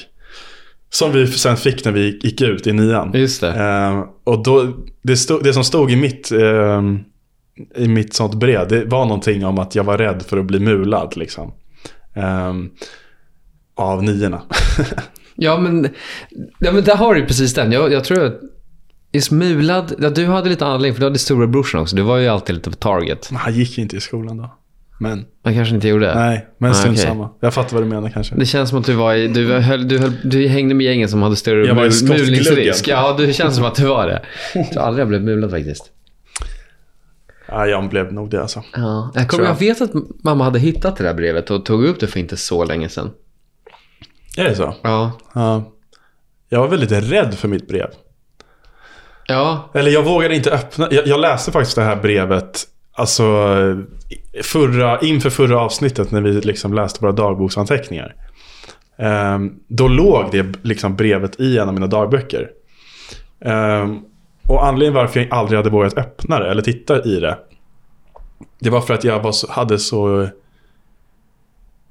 Speaker 2: Som vi sen fick när vi gick ut i nian.
Speaker 1: just det.
Speaker 2: Eh, och då, det, stod, det som stod i mitt, ehm, i mitt sånt brev, det var någonting om att jag var rädd för att bli mulad. Liksom. Ehm, av niorna.
Speaker 1: Ja, men, ja, men där har du ju precis den. Jag, jag tror att i smulad, ja, du hade lite anledning för du hade storebrorsan också. Du var ju alltid lite på target.
Speaker 2: Men Han gick ju inte i skolan då. Men,
Speaker 1: Man kanske inte gjorde.
Speaker 2: nej, men
Speaker 1: Ah,
Speaker 2: strunt
Speaker 1: okej.
Speaker 2: samma. Jag fattar vad du menar kanske.
Speaker 1: Det känns som att du var i, du, höll, du, höll, du hängde med gängen som hade större
Speaker 2: Jag var i
Speaker 1: mul-
Speaker 2: skottgluggen.
Speaker 1: mulningsrisk. Ja, du det känns som att du var det. Jag tror aldrig jag blev mulad faktiskt.
Speaker 2: Ja, jag blev nog det alltså.
Speaker 1: Ja. Jag,
Speaker 2: Tror
Speaker 1: kommer,
Speaker 2: jag.
Speaker 1: jag vet att mamma hade hittat det där brevet och tog upp det för inte så länge sedan.
Speaker 2: Är det så?
Speaker 1: Ja.
Speaker 2: Ja. Jag var väldigt rädd för mitt brev.
Speaker 1: Ja,
Speaker 2: Eller jag vågade inte öppna. Jag, jag läste faktiskt det här brevet alltså, eh, förra, inför förra avsnittet när vi liksom läste våra dagboksanteckningar. Ehm, då låg det liksom brevet i en av mina dagböcker. Ehm, och anledningen varför jag aldrig hade vågat öppna det eller titta i det. Det var för att jag var så, hade så...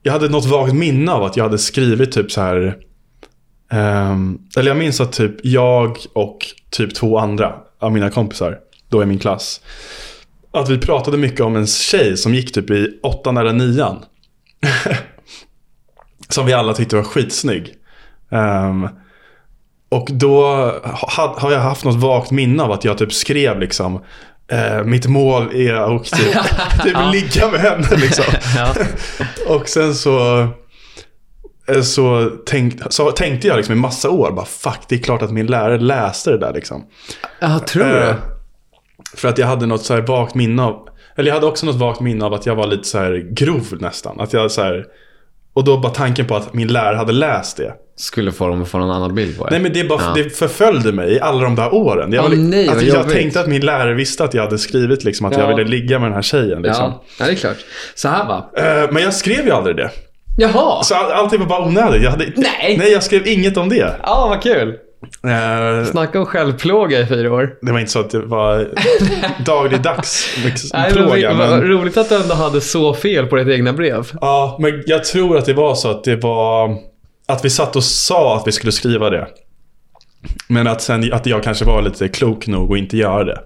Speaker 2: Jag hade något vagt minne av att jag hade skrivit typ så här... Ehm, eller jag minns att typ jag och typ två andra av mina kompisar, då i min klass. Att vi pratade mycket om en tjej som gick typ i åttan eller nian. som vi alla tyckte var skitsnygg. Ehm, och då ha, har jag haft något vagt minne av att jag typ skrev liksom eh, mitt mål är och typ, typ ligga med henne liksom.
Speaker 1: ja.
Speaker 2: Och sen så eh, så, tänk, så tänkte jag liksom i massa år, bara fuck, det är klart att min lärare läste det där liksom.
Speaker 1: Ja, tror
Speaker 2: Eh, För att jag hade något så här vagt minne av, eller jag hade också något vagt minne av att jag var lite så här grov nästan. Att jag så här, och då bara tanken på att min lärare hade läst det.
Speaker 1: Skulle få dem att få någon annan bild på er.
Speaker 2: Nej men det, är bara,
Speaker 1: Ja.
Speaker 2: det förföljde mig i alla de där åren. Jag,
Speaker 1: Åh,
Speaker 2: var li-
Speaker 1: nej,
Speaker 2: att
Speaker 1: vad
Speaker 2: jag
Speaker 1: jobbigt.
Speaker 2: tänkte att min lärare visste att jag hade skrivit liksom, att
Speaker 1: Ja.
Speaker 2: jag ville ligga med den här tjejen. Liksom.
Speaker 1: ja. ja, det är klart. Så här va.
Speaker 2: Eh, Men jag skrev ju aldrig det.
Speaker 1: Jaha!
Speaker 2: Så all- allting var bara onödigt. Jag hade,
Speaker 1: Nej.
Speaker 2: nej, jag skrev inget om det.
Speaker 1: Ja, vad kul.
Speaker 2: Eh,
Speaker 1: Snacka om självplåga i fyra år.
Speaker 2: Det var inte så att det var dagligdags
Speaker 1: Nej,
Speaker 2: liksom,
Speaker 1: men, vi-
Speaker 2: plåga.
Speaker 1: vad
Speaker 2: Men,
Speaker 1: Roligt att du ändå hade så fel på ditt egna brev.
Speaker 2: ja, men jag tror att det var så att det var att vi satt och sa att vi skulle skriva det. Men att, sen, att jag kanske var lite klok nog att inte göra det.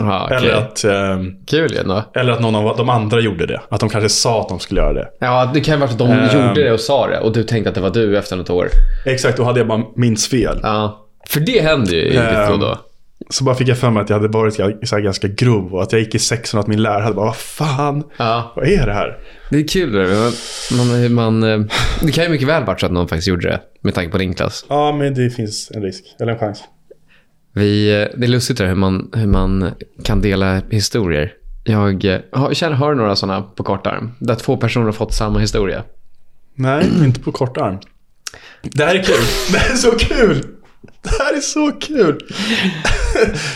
Speaker 1: Aha, okej.
Speaker 2: Eller, att, eh,
Speaker 1: Kul ju ändå.
Speaker 2: eller att någon av de andra gjorde det. Att de kanske sa att de skulle göra det.
Speaker 1: Ja, det kan ju ha varit att de
Speaker 2: Ehm.
Speaker 1: gjorde det och sa det och du tänkte att det var du efter något år.
Speaker 2: Exakt, då hade jag bara minns fel.
Speaker 1: Ja. För det händer ju i ditt då
Speaker 2: Ehm.
Speaker 1: och då.
Speaker 2: Så bara fick jag för mig att jag hade varit ga- så här ganska grov och att jag gick i sexan och att min lärare hade bara, vad fan,
Speaker 1: Ja.
Speaker 2: vad är det här?
Speaker 1: Det är kul det där. Man, man, man, eh, det kan ju mycket väl varit så att någon faktiskt gjorde det med tanke på din klass.
Speaker 2: Ja, men det finns en risk, eller en chans.
Speaker 1: Vi, eh, det är lustigt det där hur man, hur man kan dela historier. Jag eh, har, känner, har några sådana på kort arm. Där två personer har fått samma historia.
Speaker 2: Nej, inte på kort arm. Det här är kul. Det här är så kul. Det här är så kul.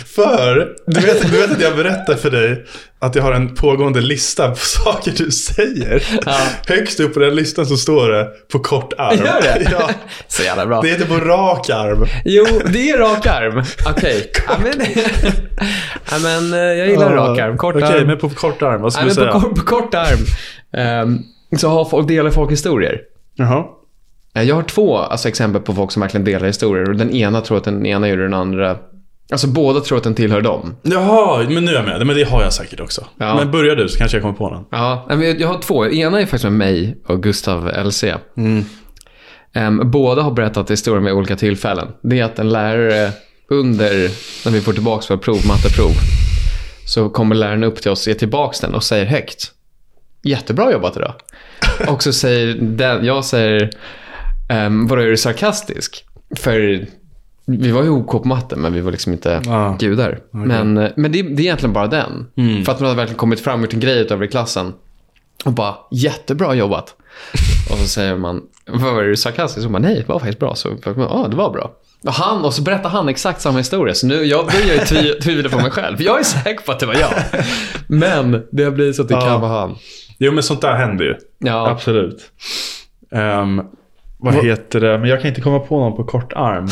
Speaker 2: För du vet, du vet att jag berättar för dig att jag har en pågående lista på saker du säger.
Speaker 1: Ja.
Speaker 2: Högst upp på den listan så står det på kort arm.
Speaker 1: Gör det?
Speaker 2: Ja,
Speaker 1: Så jävla bra.
Speaker 2: det heter på rak arm.
Speaker 1: Jo, det är rak arm. Okej. Ja, men, ja, men eh, jag gillar rak arm. Kort
Speaker 2: Okej,
Speaker 1: arm.
Speaker 2: men på kort arm. Vad ska
Speaker 1: Nej,
Speaker 2: du
Speaker 1: men
Speaker 2: säga?
Speaker 1: på, kort, på kort arm ehm, så har folk, delar folk historier.
Speaker 2: Jaha.
Speaker 1: Eh, Jag har två alltså, exempel på folk som verkligen delar historier. Och den ena tror att den ena gjorde den andra. Alltså båda tror att den tillhör dem.
Speaker 2: Jaha, men nu är jag med. Men det har jag säkert också.
Speaker 1: Ja.
Speaker 2: Men börjar du så kanske jag kommer på någon.
Speaker 1: Ja, nej, men jag- jag har två. Ena är faktiskt med mig och Gustav LC. Ehm, båda har berättat historier med olika tillfällen. Det är att en lärare under, när vi får tillbaka våra prov, matteprov, så kommer läraren upp till oss, ger tillbaka den och säger högt. Jättebra jobbat idag. Och så säger den, jag säger, um, vadå är du sarkastisk? För vi var ju OK på matten, men vi var liksom inte
Speaker 2: Ja. Mm.
Speaker 1: gudar. Men, eh, men det, det är egentligen bara den. För att man har verkligen kommit fram och gjort en grej utöver i klassen. Och bara, jättebra jobbat. Och så säger man, vad var det sarkastiskt? Och man, nej, det var faktiskt bra. Så, ja, ah, det var bra. Och, han, och så berättar han exakt samma historia. Så nu jag börjar ju tvi- tvivla på mig själv. Jag är säker på att det var jag. Men det blir så att det
Speaker 2: Ja.
Speaker 1: kan vara han.
Speaker 2: Jo, men sånt där händer ju.
Speaker 1: Ja,
Speaker 2: Absolut. Ehm, vad heter det? Men jag kan inte komma på någon på kort arm.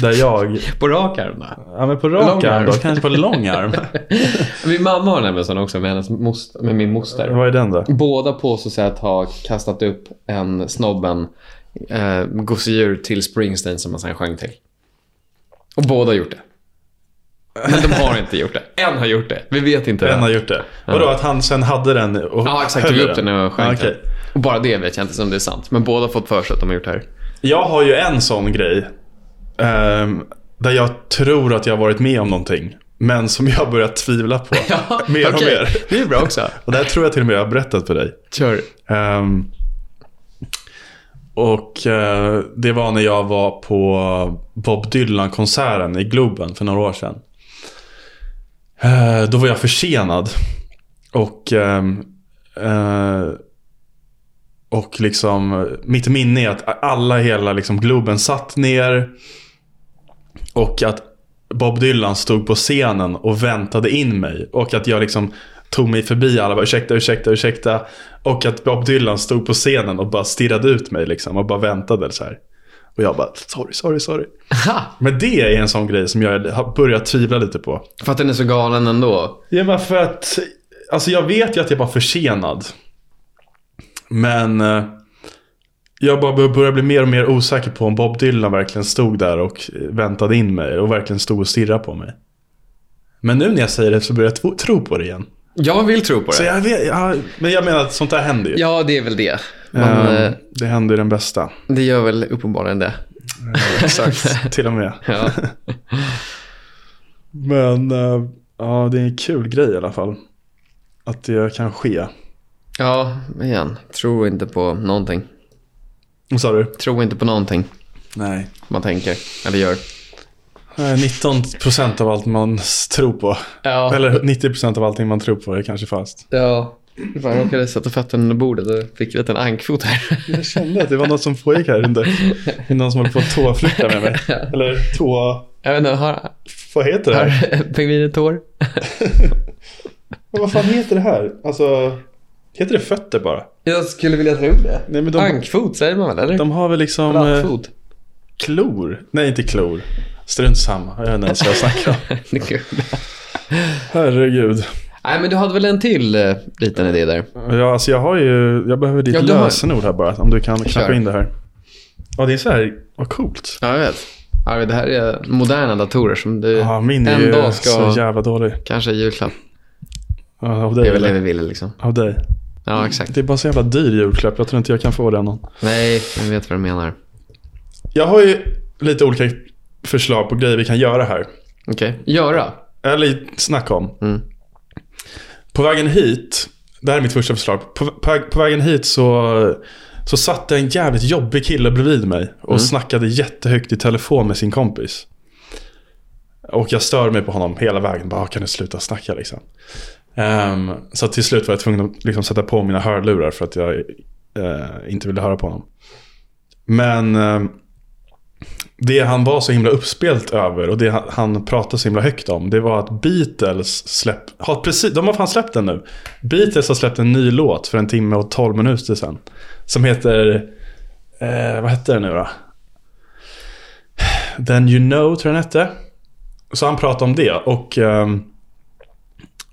Speaker 2: Där jag...
Speaker 1: på rak arm då.
Speaker 2: Ja, men på rak
Speaker 1: Lång
Speaker 2: arm då.
Speaker 1: arm.
Speaker 2: Kanske på lång arm.
Speaker 1: Min mamma har nämligen sån också med, hennes mos- med min moster.
Speaker 2: vad är den då?
Speaker 1: Båda påstås att ha kastat upp en snobben eh, gosedjur till Springsteen som man sen sjöng till. Och båda har gjort det. Men de har inte gjort det. En har gjort det. Vi vet inte.
Speaker 2: Den
Speaker 1: vem.
Speaker 2: har gjort det. Vadå, att han sen hade den och
Speaker 1: Ja, exakt.
Speaker 2: höll
Speaker 1: Tog upp den och sjöng
Speaker 2: Ja,
Speaker 1: till.
Speaker 2: okej.
Speaker 1: Och bara det vet jag inte om det är sant. Men båda har fått för sig att de har gjort det här.
Speaker 2: Jag har ju en sån grej. ehm, där jag tror att jag har varit med om någonting. Men som jag börjar tvivla på. mer och
Speaker 1: okej.
Speaker 2: mer.
Speaker 1: Det är bra också.
Speaker 2: Och det här tror jag till och med jag har berättat för dig.
Speaker 1: Kör.
Speaker 2: Ehm, och eh, det var när jag var på Bob Dylan-konserten i Globen för några år sedan. Eh, då var jag försenad. Och, ehm, eh, och liksom, mitt minne är att alla i hela liksom, Globen satt ner. Och att Bob Dylan stod på scenen och väntade in mig. Och att jag liksom tog mig förbi alla bara ursäkta, ursäkta, ursäkta. Och att Bob Dylan stod på scenen och bara stirrade ut mig liksom och bara väntade så här. Och jag bara sorry, sorry, sorry.
Speaker 1: Ha!
Speaker 2: Men det är en sån grej som jag har börjat tvivla lite på.
Speaker 1: För att den är så galen ändå.
Speaker 2: Ja men för att, alltså jag vet ju att jag var försenad. Men eh, jag bara bör- börjar bli mer och mer osäker på om Bob Dylan verkligen stod där och eh, väntade in mig och verkligen stod och stirrade på mig. Men nu när jag säger det så börjar jag tro- tro på det igen.
Speaker 1: Jag vill tro på det.
Speaker 2: Så jag vet, ja, men jag menar att sånt där händer ju.
Speaker 1: Ja, det är väl det. Man,
Speaker 2: Eh,
Speaker 1: eh,
Speaker 2: det händer ju den bästa.
Speaker 1: det gör väl uppenbarligen det.
Speaker 2: Exakt, till och med.
Speaker 1: Ja.
Speaker 2: Men eh, ja, det är en kul grej i alla fall. Att det kan ske.
Speaker 1: Ja, igen. Tror inte på någonting.
Speaker 2: Vad sa du?
Speaker 1: Tro inte på någonting
Speaker 2: Nej.
Speaker 1: man tänker eller gör.
Speaker 2: 19% Eh, av allt man s- tror på.
Speaker 1: Ja.
Speaker 2: Eller 90% av allting man tror på är kanske fast.
Speaker 1: Ja. Fan, jag råkade sätta fötterna under bordet och fick en liten ankfot här.
Speaker 2: Jag kände att det var något som pågick här under. Det är Någon som håller på att tåflirta med mig. Eller tå...
Speaker 1: Jag vet inte, har,
Speaker 2: Vad heter det här?
Speaker 1: har pingvinen tår?
Speaker 2: Men vad fan heter det här? Alltså... Heter det fötter bara?
Speaker 1: Jag skulle vilja tro det.
Speaker 2: Nej men de,
Speaker 1: Ankfot säger man väl? Eller?
Speaker 2: de har väl liksom... eh,
Speaker 1: Plattfot.
Speaker 2: Klor? Nej, inte klor. Strunt samma. Jag vet inte ens vad jag snackar om.
Speaker 1: Det är kul.
Speaker 2: Herregud.
Speaker 1: Nej, men du hade väl en till eh, liten idé där?
Speaker 2: Ja, alltså jag har ju... Jag behöver ditt
Speaker 1: Ja, du har-
Speaker 2: lösenord här bara. Om du kan knappa
Speaker 1: Kör.
Speaker 2: in det här. Ja, det är så här... Vad coolt.
Speaker 1: Ja, jag vet. Ja, det här är moderna datorer som du
Speaker 2: Ja, min är
Speaker 1: en
Speaker 2: ju
Speaker 1: dag
Speaker 2: Eh, så
Speaker 1: ska...
Speaker 2: jävla dålig.
Speaker 1: Kanske i julklapp.
Speaker 2: Ja, av
Speaker 1: Det
Speaker 2: dig.
Speaker 1: är väl det
Speaker 2: eller?
Speaker 1: vi ville liksom.
Speaker 2: Av dig.
Speaker 1: Ja, exakt.
Speaker 2: Det är bara så jävla dyr julklapp. Jag tror inte jag kan få den. Någon.
Speaker 1: Nej, jag vet vad du menar.
Speaker 2: Jag har ju lite olika förslag på grejer vi kan göra här.
Speaker 1: Okej. Göra.
Speaker 2: Eller snacka om.
Speaker 1: Mm.
Speaker 2: På vägen hit. Det här är mitt första förslag. På, på, på vägen hit så, så satt det en jävligt jobbig kille bredvid mig. Och snackade jättehögt i telefon med sin kompis. Och jag stör mig på honom hela vägen. Bara, kan du sluta snacka liksom? Ehm, så till slut var jag tvungen att liksom, sätta på mina hörlurar för att jag eh, inte ville höra på honom. Men ehm, det han var så himla uppspelt över och det han- han pratade så himla högt om, det var att Beatles släpp, har precis, de har fan släppt den nu. Beatles har släppt en ny låt för en timme och tolv minuter sedan. Som heter, eh, vad hette den nu då? Then You Know tror jag den hette. Så han pratade om det och ehm,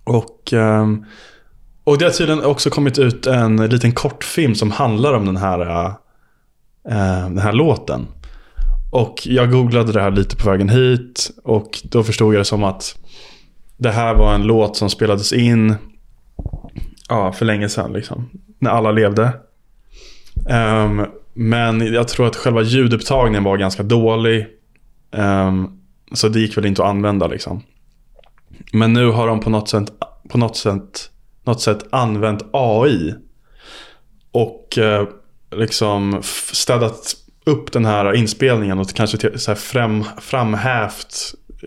Speaker 2: och, ehm, och det har tydligen också kommit ut en liten kortfilm som handlar om den här, eh, den här låten. Och jag googlade det här lite på vägen hit och då förstod jag det som att det här var en låt som spelades in ja, för länge sedan. Liksom, när alla levde. Ehm, men jag tror att själva ljudupptagningen var ganska dålig. Ehm, så det gick väl inte att använda. Liksom. Men nu har de på något sätt, på något sätt, något sätt använt AI. Och eh, liksom f- städat upp den här inspelningen och kanske till, så här fram, framhävt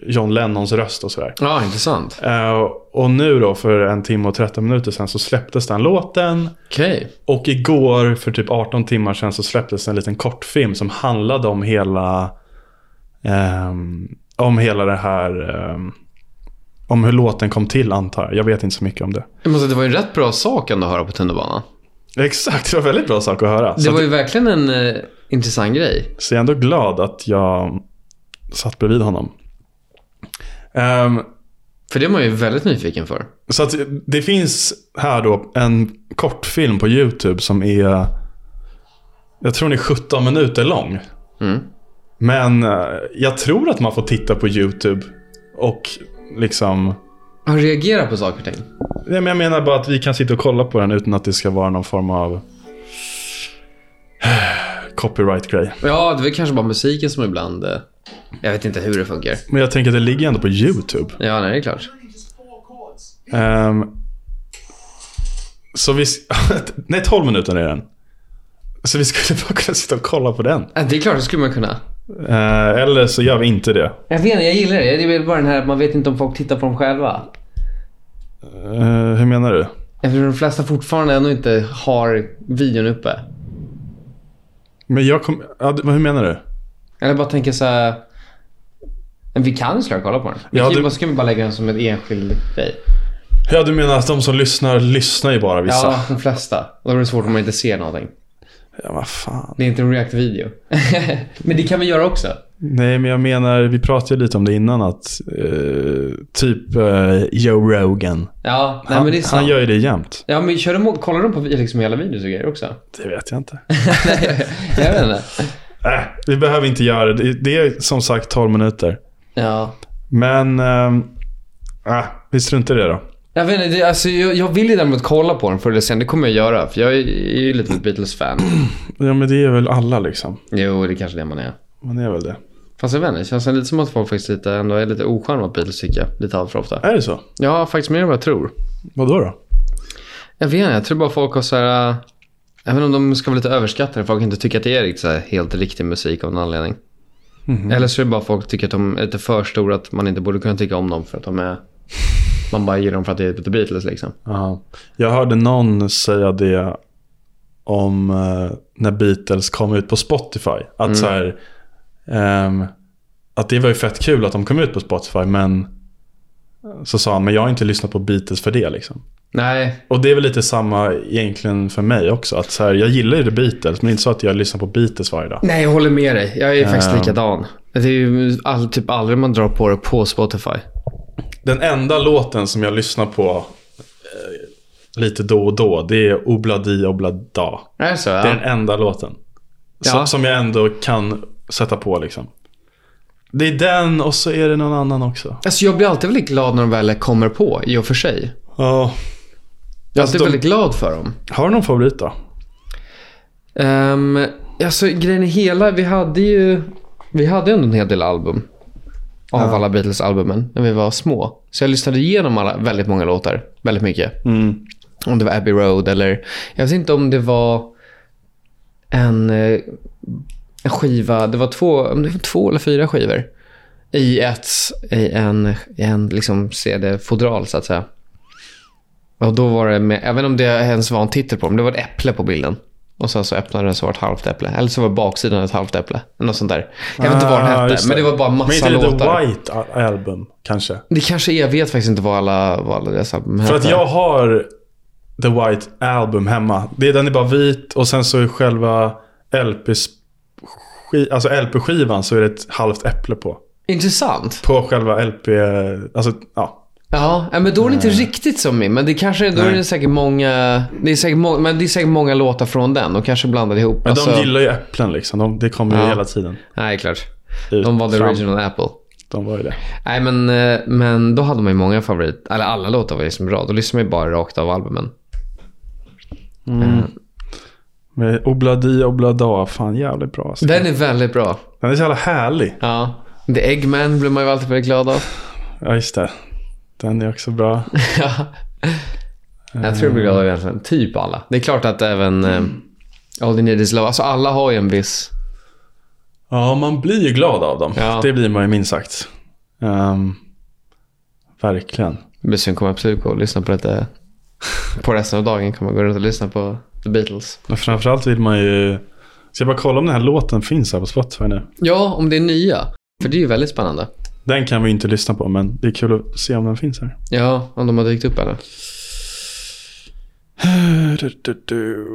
Speaker 2: John Lennons röst och sådär.
Speaker 1: Ja, intressant.
Speaker 2: Eh, och nu då för en timme och 13 minuter sedan så släpptes den låten.
Speaker 1: Okej.
Speaker 2: Och igår för typ 18 timmar sedan så släpptes en liten kortfilm som handlade om hela ehm, om hela det här ehm, om hur låten kom till antar jag. Jag vet inte så mycket om det.
Speaker 1: Men alltså, det var ju en rätt bra sak ändå att höra på tunnelbanan.
Speaker 2: Exakt, det var väldigt bra sak att höra.
Speaker 1: Det
Speaker 2: Så,
Speaker 1: var
Speaker 2: att,
Speaker 1: ju verkligen en eh, intressant grej.
Speaker 2: så jag är ändå glad att jag satt bredvid honom. Ehm,
Speaker 1: För det är man ju väldigt nyfiken för.
Speaker 2: Så att det finns här då en kortfilm på YouTube som är... Jag tror den är 17 minuter lång.
Speaker 1: Mm.
Speaker 2: Men eh, jag tror att man får titta på YouTube och liksom...
Speaker 1: Att reagera på saker och ting.
Speaker 2: Nej, men Jag menar bara att vi kan sitta och kolla på den utan att det ska vara någon form av eh, copyright-grej.
Speaker 1: Ja, det är väl kanske bara musiken som ibland... eh, Jag vet inte hur det funkar.
Speaker 2: Men jag tänker att det ligger ändå på YouTube.
Speaker 1: Ja, nej, det är klart.
Speaker 2: Ehm, så vi... Nej, 12 minuter är den. Så vi skulle bara kunna sitta och kolla på den.
Speaker 1: Eh, Det är klart, det skulle man kunna.
Speaker 2: Eh, eller så gör vi inte det.
Speaker 1: Jag vet inte, jag gillar det. Det är väl bara den här att man vet inte om folk tittar på dem själva.
Speaker 2: Eh, hur menar du?
Speaker 1: Eftersom de flesta fortfarande ännu inte har videon uppe.
Speaker 2: Men jag kom, ja, du- hur menar du?
Speaker 1: Eller bara tänka så här... Men vi kan ju såklart kolla på den. Vi
Speaker 2: Ja,
Speaker 1: kan ju
Speaker 2: det-
Speaker 1: bara, så kan vi bara lägga den som en enskild grej.
Speaker 2: Ja, du menar att de som lyssnar, lyssnar ju bara vissa.
Speaker 1: Ja,
Speaker 2: Ja,
Speaker 1: de flesta. Och då är det svårt om man inte ser någonting.
Speaker 2: vad fan.
Speaker 1: Det är inte en react-video. Men det kan vi göra också.
Speaker 2: Nej, men jag menar, vi pratade ju lite om det innan att eh, typ eh, Joe Rogan.
Speaker 1: Ja, nej,
Speaker 2: Han,
Speaker 1: men det är sant.
Speaker 2: han gör ju det jämt.
Speaker 1: Ja, men kör de, kollar de på liksom hela videos och grejer också?
Speaker 2: Det vet jag inte.
Speaker 1: jag vet inte.
Speaker 2: Äh, vi behöver inte göra det. Det är som sagt 12 minuter.
Speaker 1: Ja.
Speaker 2: Men, ehm, äh, vi struntar i det då.
Speaker 1: Jag vet inte, det, alltså, jag, jag vill ju däremot kolla på den förr eller senare. Det kommer jag göra. För jag är, är ju lite av ett Beatles-fan.
Speaker 2: Ja, men det är väl alla liksom.
Speaker 1: Jo, det är kanske det man är.
Speaker 2: Man är väl det.
Speaker 1: Fast jag vet inte, det känns lite som att folk faktiskt lite, ändå är lite ocharmiga mot Beatles tycker jag. Lite alltför ofta.
Speaker 2: Är det så?
Speaker 1: Ja, faktiskt mer än vad jag tror.
Speaker 2: Vadå då?
Speaker 1: Jag vet inte, jag tror bara folk har så här... äh, Även om de ska vara lite överskattade. Folk inte tycker att det är riktigt så här helt riktig musik av någon anledning.
Speaker 2: Mhm.
Speaker 1: Eller så är det bara folk tycker att de är lite för stora. Att man inte borde kunna tycka om dem för att de är... Man bara gillar dem för att det är The Beatles liksom.
Speaker 2: Ja. Jag hörde någon säga det om eh, när Beatles kom ut på Spotify. Att, så här, ehm, att det var ju fett kul att de kom ut på Spotify, men så sa han, men jag har inte lyssnat på Beatles för det. Liksom.
Speaker 1: Nej,
Speaker 2: Och det är väl lite samma egentligen för mig också. Att så här, jag gillar ju The Beatles, men det är inte så att jag lyssnar på Beatles varje dag.
Speaker 1: nej jag håller med dig. Jag är faktiskt
Speaker 2: Ja.
Speaker 1: likadan. Det är ju all, typ aldrig man drar på det på Spotify.
Speaker 2: Den enda låten som jag lyssnar på eh, lite då och då, det är Obladi Oblada.
Speaker 1: Är det så?
Speaker 2: Det är
Speaker 1: Ja.
Speaker 2: den enda låten. Som,
Speaker 1: Ja.
Speaker 2: som jag ändå kan sätta på liksom. Det är den och så är det någon annan också.
Speaker 1: Alltså jag blir alltid väldigt glad när de väl kommer på, i och för sig.
Speaker 2: Ja.
Speaker 1: Jag är
Speaker 2: Alltså,
Speaker 1: alltid
Speaker 2: de-
Speaker 1: väldigt glad för dem.
Speaker 2: Har du någon favorit då?
Speaker 1: Um, alltså grejen är hela, vi hade ju vi hade ändå en hel del album. Av alla Beatles-albumen när vi var små. Så jag lyssnade igenom alla, väldigt många låtar. Väldigt mycket. Om det var Abbey Road eller... Jag vet inte om det var en, eh, en skiva. Det var två, om det var två eller fyra skivor. I ett, i en, i en liksom CD-fodral så att säga. Och då var det med, jag vet inte om det ens var en titel på dem, det var ett äpple på bilden. Och sen så öppnade den så var det ett halvt äpple. Eller så var baksidan ett halvt äpple. Något sånt där. Jag vet inte vad den
Speaker 2: Ah,
Speaker 1: hette,
Speaker 2: just
Speaker 1: men det var bara massa
Speaker 2: Men inte
Speaker 1: låtar.
Speaker 2: The White Al- Album kanske?
Speaker 1: Det kanske är, jag vet faktiskt inte vad alla, vad alla deras album
Speaker 2: För
Speaker 1: hette.
Speaker 2: att jag har The White Album hemma. Det är den är bara vit och sen så är själva LP alltså LP-skivan så är det ett halvt äpple på.
Speaker 1: Intressant.
Speaker 2: På själva LP, alltså ja.
Speaker 1: Ja, ja, men då är det inte riktigt som min. Men det kanske då är det
Speaker 2: Eh. Nej.
Speaker 1: säkert många, det är säkert må, men det är säkert många låtar från den. och kanske blandade ihop.
Speaker 2: Men
Speaker 1: Alltså-
Speaker 2: de gillar ju äpplen liksom. De, det kommer ju
Speaker 1: Ja.
Speaker 2: hela tiden.
Speaker 1: Nej, klart.
Speaker 2: ut
Speaker 1: De var the
Speaker 2: fram.
Speaker 1: original apple.
Speaker 2: De var ju det.
Speaker 1: Nej, men, eh, men då hade man ju många favorit... Eller alla låtar var ju liksom bra. Då lyssnade man ju bara rakt av albumen.
Speaker 2: Med Obladi Oblada, fan jävligt bra. Alltså.
Speaker 1: Den är väldigt bra.
Speaker 2: Den är så jävla härlig.
Speaker 1: Ja. The Eggman blir man ju alltid väldigt glad av.
Speaker 2: Ja, just det. Den är också bra.
Speaker 1: Ja. Jag tror jag blir glad av egentligen typ alla. Det är klart att även eh, All You Need Is Love. Alltså alla har ju en viss...
Speaker 2: Ja, man blir ju glad av dem.
Speaker 1: Ja.
Speaker 2: Det blir man ju minst sagt. Ehm, verkligen.
Speaker 1: Bussen kommer absolut gå och lyssna på lite... På resten av dagen kommer jag gå runt och lyssna på The Beatles.
Speaker 2: Men framförallt vill man ju... Ska jag bara kolla om den här låten finns här på Spotify nu?
Speaker 1: Ja, om det är nya. För det är ju väldigt spännande.
Speaker 2: Den kan vi ju inte lyssna på, men det är kul att se om den finns här.
Speaker 1: Ja, om de har dykt upp eller?
Speaker 2: Du, du, du.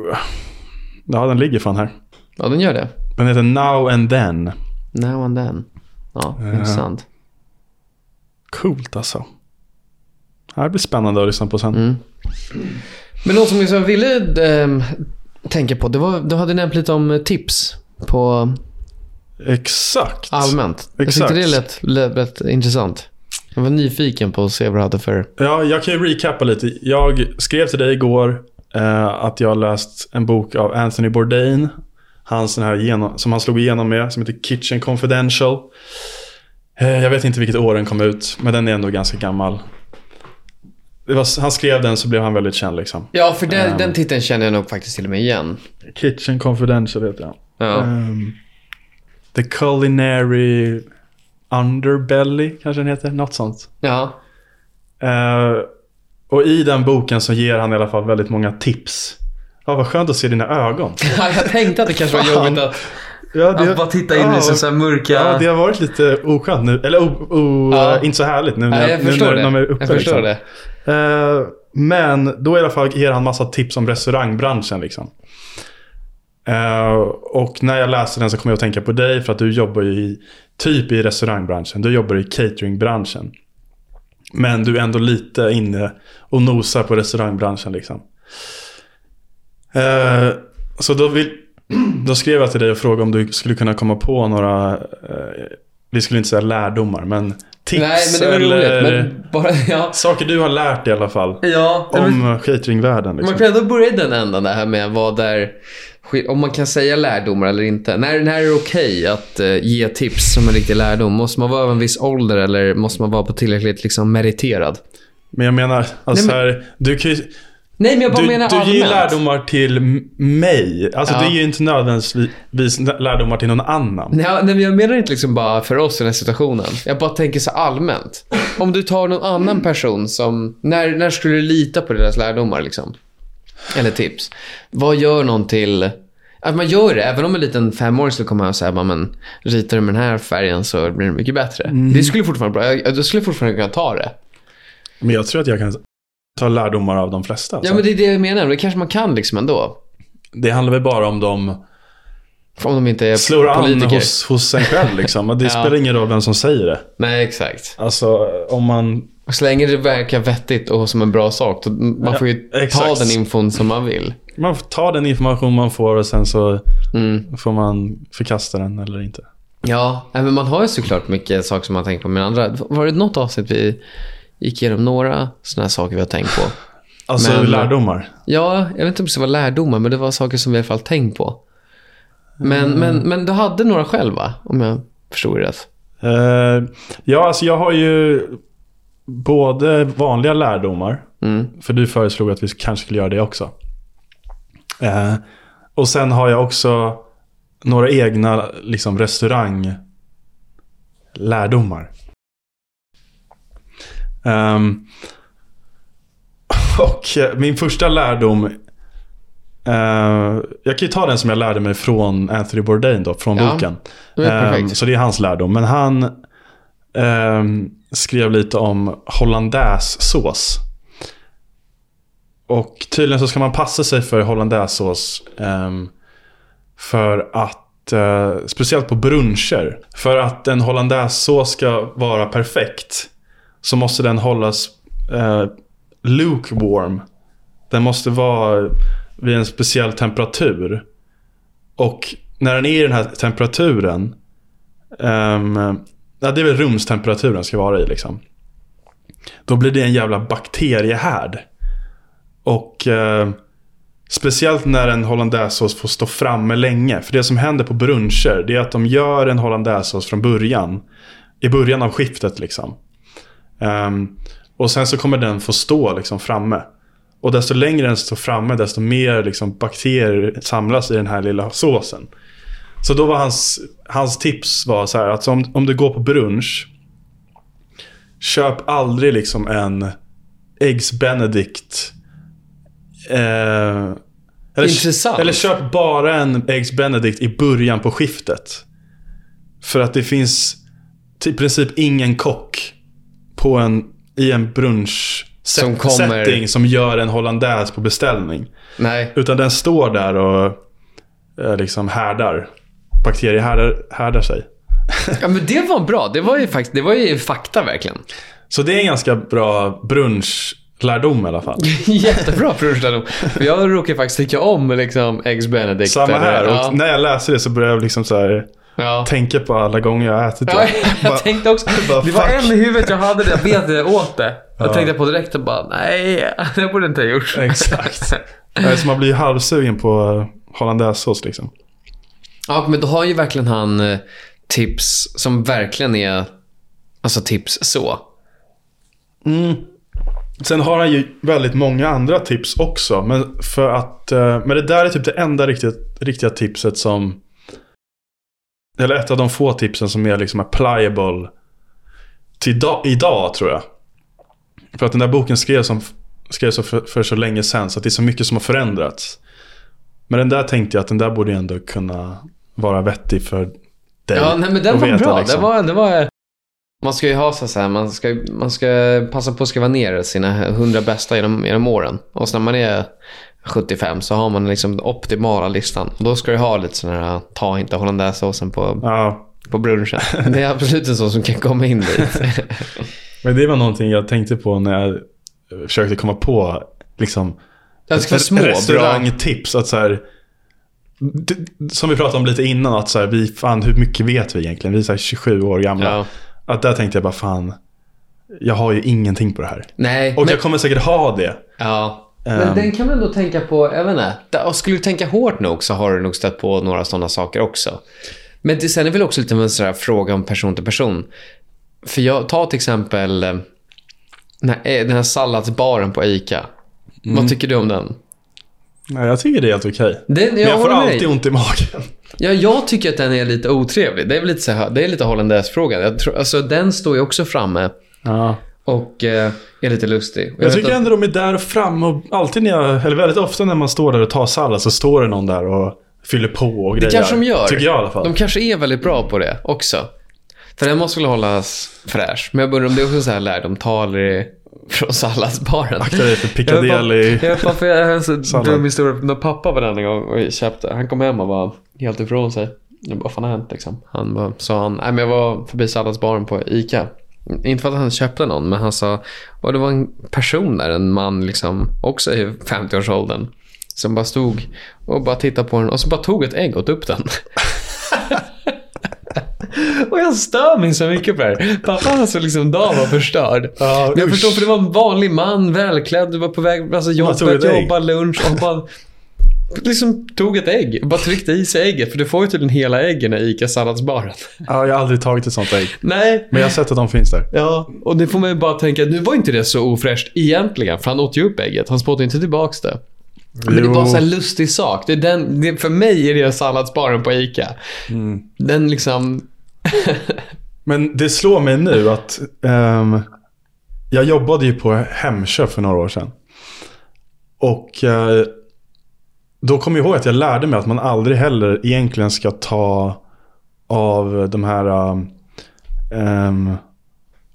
Speaker 2: Ja, den ligger fan här.
Speaker 1: Ja, den gör det.
Speaker 2: Den heter Now and Then.
Speaker 1: Now and then. Ja, intressant.
Speaker 2: Coolt alltså. Det här blir spännande att lyssna på sen.
Speaker 1: Men något som jag så ville ehm, tänka på, det var, du hade nämnt lite om eh, tips på
Speaker 2: Exakt.
Speaker 1: allmänt. Jag tyckte
Speaker 2: Exakt.
Speaker 1: det lät, lät, lät intressant. Jag var nyfiken på att se vad du hade för...
Speaker 2: Ja, jag kan ju recappa lite. Jag skrev till dig igår eh, att jag har läst en bok av Anthony Bourdain. Hans, den här genom, som han slog igenom med, som heter Kitchen Confidential. Eh, jag vet inte vilket år den kom ut, men den är ändå ganska gammal. Det var, han skrev den så blev han väldigt känd. Liksom.
Speaker 1: Ja, för den, den titeln känner jag nog faktiskt till och med igen.
Speaker 2: Kitchen Confidential heter den.
Speaker 1: Ja.
Speaker 2: Ehm, The Culinary Underbelly kanske den heter, något sånt.
Speaker 1: ja.
Speaker 2: Eh, och i den boken så ger han i alla fall väldigt många tips. Ja, vad skönt att se dina ögon.
Speaker 1: jag tänkte att det kanske var
Speaker 2: Fan.
Speaker 1: jobbigt att,
Speaker 2: Ja,
Speaker 1: att bara titta in i så så här mörka...
Speaker 2: Ja, det har varit lite oskönt nu. Eller o, o,
Speaker 1: Ja.
Speaker 2: inte så härligt nu, när-
Speaker 1: Nej, jag
Speaker 2: nu
Speaker 1: förstår
Speaker 2: när
Speaker 1: det.
Speaker 2: de är uppe.
Speaker 1: jag förstår
Speaker 2: liksom.
Speaker 1: det.
Speaker 2: Eh, men då i alla fall ger han massa tips om restaurangbranschen. Liksom. Eh, och när jag läste den så kom jag att tänka på dig för att du jobbar ju i, typ i restaurangbranschen. Du jobbar i cateringbranschen. Men du är ändå lite inne och nosar på restaurangbranschen. Liksom. Eh, så då, vill, då skrev jag till dig och frågade om du skulle kunna komma på några, eh, vi skulle inte säga lärdomar, men tips
Speaker 1: Nej, men det var
Speaker 2: eller
Speaker 1: roligt. Men bara, ja.
Speaker 2: saker du har lärt dig i alla fall.
Speaker 1: Ja, nej, men-
Speaker 2: Om eh, cateringvärlden.
Speaker 1: Man
Speaker 2: Liksom.
Speaker 1: kan ändå börja i den ändan det här med vad där, om man kan säga lärdomar eller inte. När, när är det okej att eh, ge tips som en riktig lärdom? Måste man vara över en viss ålder eller måste man vara på tillräckligt liksom, meriterad?
Speaker 2: Men jag menar, alltså
Speaker 1: Nej,
Speaker 2: här, du kan ju,
Speaker 1: Nej, men jag bara
Speaker 2: Du,
Speaker 1: menar
Speaker 2: du ger ju
Speaker 1: allmänt.
Speaker 2: lärdomar till m- mig. Alltså
Speaker 1: Ja.
Speaker 2: det är ju inte nödvändigtvis lärdomar till någon annan.
Speaker 1: Nej, nej, men jag menar inte liksom bara för oss i den här situationen. Jag bara tänker så allmänt. Om du tar någon annan person som... När, när skulle du lita på deras lärdomar? Liksom? Eller tips? Vad gör någon till... Att man gör det, även om en liten femåring skulle komma och säga bara, men ritar du med den här färgen så blir det mycket bättre.
Speaker 2: Mm.
Speaker 1: Det skulle fortfarande vara bra. Jag, jag skulle fortfarande kunna ta det.
Speaker 2: Men jag tror att jag kan ta lärdomar av de flesta.
Speaker 1: Ja,
Speaker 2: Så
Speaker 1: men det är det jag menar. Det kanske man kan liksom ändå.
Speaker 2: Det handlar väl bara om de
Speaker 1: Om de inte är
Speaker 2: slår an
Speaker 1: politiker.
Speaker 2: hos, hos en själv. Liksom. Och Det
Speaker 1: Ja.
Speaker 2: spelar ingen roll vem som säger det.
Speaker 1: Nej, exakt.
Speaker 2: Alltså om man...
Speaker 1: Och så länge det verkar vettigt och som en bra sak, då man får ju
Speaker 2: Ja,
Speaker 1: ta
Speaker 2: exakt.
Speaker 1: den infon som man vill.
Speaker 2: Man får ta den information man får och sen så
Speaker 1: Mm.
Speaker 2: får man förkasta den eller inte.
Speaker 1: Ja, nej, men man har ju såklart mycket saker som man har tänkt på med andra. Var det något avsnitt vi gick igenom några sådana här saker vi har tänkt på?
Speaker 2: Alltså
Speaker 1: Men-
Speaker 2: lärdomar.
Speaker 1: Ja, jag vet inte om det var lärdomar, men det var saker som vi i alla fall tänkt på. Men,
Speaker 2: Mm.
Speaker 1: men, men du hade några själv, va? Om jag förstod det rätt.
Speaker 2: Eh, ja, alltså jag har ju både vanliga lärdomar.
Speaker 1: Mm.
Speaker 2: För du föreslog att vi kanske skulle göra det också. Eh, och sen har jag också några egna liksom, restauranglärdomar. Ehm, och eh, min första lärdom. eh, jag kan ju ta den som jag lärde mig från Anthony Bourdain då, från
Speaker 1: Ja.
Speaker 2: boken.
Speaker 1: Det var
Speaker 2: Ehm,
Speaker 1: perfekt.
Speaker 2: så det är hans lärdom. Men han ehm, skrev lite om hollandaisesås. Och tydligen så ska man passa sig för hollandaisesås. ehm, för att, eh, speciellt på bruncher. För att en hollandaisesås ska vara perfekt. Så måste den hållas eh, lukewarm. Den måste vara vid en speciell temperatur. Och när den är i den här temperaturen. ehm, ja, det är väl rumstemperaturen den ska vara i liksom. Då blir det en jävla bakteriehärd. Och eh, speciellt när en hollandaisesås får stå framme länge. För det som händer på bruncher det är att de gör en hollandaisesås från början. I början av skiftet liksom. Ehm, och sen så kommer den få stå liksom framme. Och desto längre den står framme, desto mer liksom, bakterier samlas i den här lilla såsen. Så då var hans, hans tips var så här att om, om du går på brunch. Köp aldrig liksom en Eggs Benedict. Eh, eller,
Speaker 1: Intressant.
Speaker 2: Eller köp bara en Eggs Benedict i början på skiftet. För att det finns Typ i princip ingen kock på en, i en brunch
Speaker 1: Som kommer-
Speaker 2: setting som gör en hollandaise på beställning.
Speaker 1: Nej.
Speaker 2: Utan den står där och eh, liksom härdar. Bakterier härdar, härdar sig.
Speaker 1: Ja, men det var bra. Det var ju, fakt- det var ju fakta, verkligen.
Speaker 2: Så det är en ganska bra brunchlärdom i alla fall.
Speaker 1: Mm. Jättebra brorsan. För Jag råkar faktiskt tycka om liksom Eggs Benedict.
Speaker 2: Samma här. Och
Speaker 1: Ja.
Speaker 2: när jag läser det så börjar jag liksom så här,
Speaker 1: Ja.
Speaker 2: tänka på alla gånger jag har ätit det.
Speaker 1: Ja,
Speaker 2: Bara,
Speaker 1: jag tänkte också.
Speaker 2: bara,
Speaker 1: Det var
Speaker 2: fuck.
Speaker 1: en i huvudet jag hade, jag vet att jag åt det. Jag
Speaker 2: Ja.
Speaker 1: tänkte på direkt och bara, nej, det borde jag inte ha gjort.
Speaker 2: Exakt. Eh, Så man blir ju halvsugen på eh, hollandaisesås liksom.
Speaker 1: Ja, men då har ju verkligen han eh, tips som verkligen är alltså tips så.
Speaker 2: Sen har han ju väldigt många andra tips också. Men, för att, eh, men det där är typ det enda riktiga, riktiga tipset som... Eller ett av de få tipsen som är liksom applicable till da, idag tror jag. För att den där boken skrevs, som, skrevs för, för så länge sedan så att det är så mycket som har förändrats. Men den där tänkte jag att den där borde ju ändå kunna vara vettig för dig.
Speaker 1: Ja, nej, men den
Speaker 2: att
Speaker 1: var
Speaker 2: veta,
Speaker 1: bra.
Speaker 2: liksom.
Speaker 1: Det var, det var, man ska ju ha så så här, man ska, man ska passa på att skriva ner sina 100 bästa genom, genom åren. Och sen när man är 75 så har man liksom den optimala listan. Och då ska du ha lite sådana här, ta inte hollandaisesåsen på,
Speaker 2: Ja,
Speaker 1: på brunchen. Det är absolut en sån som kan komma in dit.
Speaker 2: Men det var någonting jag tänkte på när jag försökte komma på liksom,
Speaker 1: Jag ska vara små, bra.
Speaker 2: restaurangtips. Att så här, d- som vi pratade om lite innan, att så här, vi, fan, hur mycket vet vi egentligen? Vi är så här 27 år gamla.
Speaker 1: Ja.
Speaker 2: Att där tänkte jag bara, fan, jag har ju ingenting på det här.
Speaker 1: Nej,
Speaker 2: Och
Speaker 1: men,
Speaker 2: jag kommer säkert ha det.
Speaker 1: ja.
Speaker 2: Ehm.
Speaker 1: men den kan man ändå tänka på, jag vet inte. Där- och Skulle du tänka hårt nog så har du nog stött på några sådana saker också. Men det, sen är det väl också lite en sån här fråga om person till person. För jag, ta till exempel eh, den här, eh, den här salladsbaren på ICA.
Speaker 2: Mm.
Speaker 1: Vad tycker du om den?
Speaker 2: Nej, jag tycker det är helt okej.
Speaker 1: den jag,
Speaker 2: Men jag får
Speaker 1: håller med dig.
Speaker 2: alltid ont i magen.
Speaker 1: Ja, jag tycker att den är lite otrevlig. Det är väl lite, så här, det är lite holländäsfrågan. Jag tror, alltså, den står ju också framme
Speaker 2: Ja.
Speaker 1: och eh, är lite lustig. Och
Speaker 2: Jag,
Speaker 1: vet
Speaker 2: tycker
Speaker 1: att,
Speaker 2: ändå de är där framme och alltid när jag, eller väldigt ofta när man står där och tar sallad så står det någon där och fyller på och
Speaker 1: det
Speaker 2: grejer.
Speaker 1: kanske de gör.
Speaker 2: Tycker jag i alla fall.
Speaker 1: De kanske är väldigt bra på det också. För den måste väl hållas fräsch. Men jag undrar om det är också så här lärdomtal i- från salladsbaren.
Speaker 2: Akta dig för
Speaker 1: Jag vet bara-
Speaker 2: Piccadilly.
Speaker 1: Jag vet bara, för jag har en så
Speaker 2: Sallad.
Speaker 1: dum historia. När pappa var den en gång och köpte. Han kom hem och var helt ifrån sig. Jag bara, vad fan har hänt liksom? Han bara, sa han, nej men jag var förbi salladsbaren på ICA. Inte för att han köpte någon, men han sa, och det var en person där, en man liksom, också i 50-årsåldern. Som bara stod och bara tittade på den och så bara tog ett ägg och åt upp den. och jag stör mig så mycket på det här. Pappa hans liksom dag var förstörd.
Speaker 2: Ja,
Speaker 1: Men jag
Speaker 2: usch.
Speaker 1: förstår för det var en vanlig man, välklädd, du var på väg, alltså
Speaker 2: Man tog
Speaker 1: jobbet,
Speaker 2: ett ägg.
Speaker 1: jobba, lunch och han bara liksom tog ett ägg och bara tryckte i sig ägget. För du får ju tydligen hela äggen i ICA-salladsbaren.
Speaker 2: Ja, jag har aldrig tagit ett sånt ägg.
Speaker 1: Nej.
Speaker 2: Men jag har sett att de finns där.
Speaker 1: Ja, och det får man ju bara tänka, nu var inte det så ofräscht egentligen. För han åt ju upp ägget, han spottade inte tillbaks det. Men det
Speaker 2: Jo.
Speaker 1: var en sån här lustig sak. Det är den, det, för mig är det salladsbaren på ICA.
Speaker 2: Mm.
Speaker 1: Den liksom...
Speaker 2: Men det slår mig nu att ehm, jag jobbade ju på Hemköp för några år sedan. Och eh, då kom jag ihåg att jag lärde mig att man aldrig heller egentligen ska ta av de här um, um,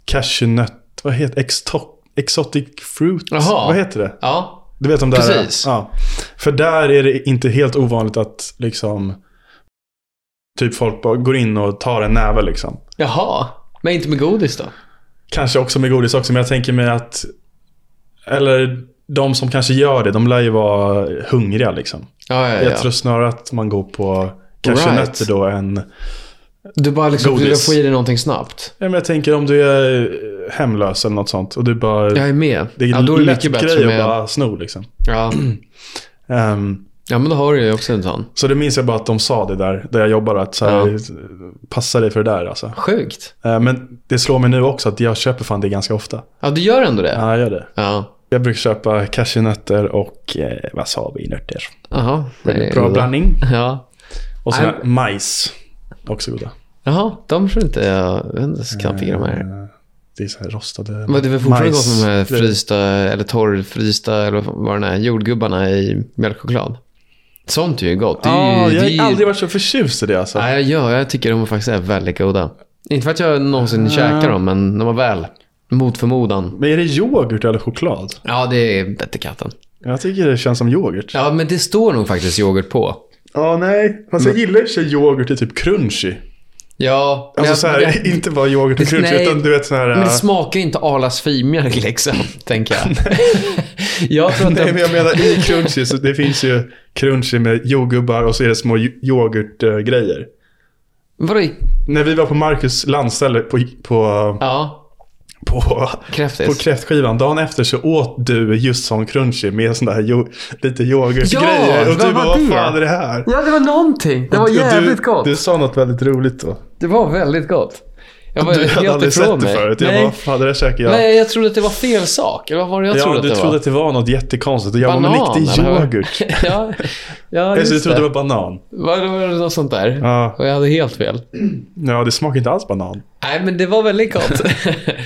Speaker 2: cashewnöt, vad heter exto- Exotic fruit,
Speaker 1: Jaha.
Speaker 2: vad heter det?
Speaker 1: Ja.
Speaker 2: Du vet de där?
Speaker 1: Precis.
Speaker 2: Ja. För där är det inte helt ovanligt att liksom typ folk bara går in och tar en näve liksom.
Speaker 1: Jaha. Men inte med godis då?
Speaker 2: Kanske också med godis också, men jag tänker mig att... Eller de som kanske gör det, de lär ju vara hungriga liksom.
Speaker 1: Ja, ja, ja.
Speaker 2: Jag tror snarare att man går på cashewnötter
Speaker 1: Right.
Speaker 2: då än...
Speaker 1: Du bara liksom
Speaker 2: Godis.
Speaker 1: vill få i dig någonting snabbt.
Speaker 2: Ja, men jag tänker om du är hemlös eller något sånt och du bara...
Speaker 1: Jag är med.
Speaker 2: Det är en
Speaker 1: ja, då är det
Speaker 2: lätt
Speaker 1: mycket bättre
Speaker 2: grej
Speaker 1: med...
Speaker 2: att bara sno liksom.
Speaker 1: Ja.
Speaker 2: Ehm,
Speaker 1: ja, men då har du ju också en sån.
Speaker 2: så det minns jag bara att de sa det där, där jag jobbar, att så här,
Speaker 1: Ja.
Speaker 2: passa dig för det där alltså.
Speaker 1: Sjukt.
Speaker 2: Ehm, men det slår mig nu också att jag köper fan det ganska ofta.
Speaker 1: Ja, du gör ändå det?
Speaker 2: Ja, jag gör det.
Speaker 1: Ja.
Speaker 2: Jag brukar köpa cashewnötter och eh, wasabi-nötter.
Speaker 1: Jaha. Nej,
Speaker 2: Bra
Speaker 1: Eh, goda.
Speaker 2: blandning.
Speaker 1: Ja.
Speaker 2: Och
Speaker 1: Nej, Eh,
Speaker 2: sen majs. Också goda.
Speaker 1: Jaha, de tror inte jag... Jag vet inte, så knappt vilka de är.
Speaker 2: Eh, Det är så här rostade
Speaker 1: Men det är väl fortfarande
Speaker 2: majs.
Speaker 1: gott med de här
Speaker 2: Det-
Speaker 1: frysta, eller torrfrysta, eller vad den är, jordgubbarna i mjölkchoklad. Sånt är ju gott. Det är ju-
Speaker 2: Ja,
Speaker 1: det
Speaker 2: jag
Speaker 1: är ju-
Speaker 2: har aldrig varit så förtjust i det alltså.
Speaker 1: Nej, jag gör. Jag tycker de faktiskt är väldigt goda. Inte för att jag någonsin käkar dem, men de var väl. Mot förmodan.
Speaker 2: Men är det yoghurt eller choklad?
Speaker 1: Ja, det är bättre katten.
Speaker 2: Jag tycker det känns som yoghurt. Ja,
Speaker 1: Ja, men det står nog faktiskt yoghurt på.
Speaker 2: nej. Fast jag gillar i och för sig yoghurt i typ crunchy.
Speaker 1: Ja, men
Speaker 2: Alltså
Speaker 1: jag-
Speaker 2: så här,
Speaker 1: det-
Speaker 2: inte bara yoghurt och
Speaker 1: Det-
Speaker 2: crunchy,
Speaker 1: nej.
Speaker 2: utan du vet sån här...
Speaker 1: men det
Speaker 2: äh,
Speaker 1: smakar ju inte Arlas filmjölk liksom, tänker jag. jag tror att
Speaker 2: Nej,
Speaker 1: de-
Speaker 2: men jag menar i crunchy, så det finns ju crunchy med jordgubbar och så är det små yo- yoghurtgrejer.
Speaker 1: Vadå? i-
Speaker 2: När vi var på Marcus landställe på, på,
Speaker 1: Ja,
Speaker 2: på På
Speaker 1: kräftis.
Speaker 2: kräftskivan, dagen efter så åt du just sån crunchy med sån där jo- lite yoghurtgrejer.
Speaker 1: Ja,
Speaker 2: och du
Speaker 1: vad var
Speaker 2: bara, vad
Speaker 1: det?"
Speaker 2: fan är det här?
Speaker 1: Ja, det var någonting. Det var
Speaker 2: Och du-
Speaker 1: jävligt
Speaker 2: du,
Speaker 1: gott.
Speaker 2: Du sa något väldigt roligt då.
Speaker 1: Det var väldigt gott. Jag var
Speaker 2: Du hade
Speaker 1: helt
Speaker 2: aldrig
Speaker 1: ifrån
Speaker 2: sett
Speaker 1: mig.
Speaker 2: det förut. Jag
Speaker 1: Nej.
Speaker 2: bara, fan det där käkar jag.
Speaker 1: Nej, jag trodde att det var fel sak. Eller vad var det jag
Speaker 2: ja,
Speaker 1: trodde att
Speaker 2: du
Speaker 1: det
Speaker 2: trodde
Speaker 1: var?
Speaker 2: att det var något jättekonstigt. Och jag
Speaker 1: Banan?
Speaker 2: Banan, bara, men riktig
Speaker 1: eller vad?
Speaker 2: yoghurt.
Speaker 1: ja, ja
Speaker 2: Alltså, du
Speaker 1: just det. Det
Speaker 2: trodde det
Speaker 1: var...
Speaker 2: var banan.
Speaker 1: Var, var det något sånt där?
Speaker 2: Ja.
Speaker 1: Och jag hade helt fel.
Speaker 2: ja, det smakar inte alls banan.
Speaker 1: Nej, men det var väldigt gott.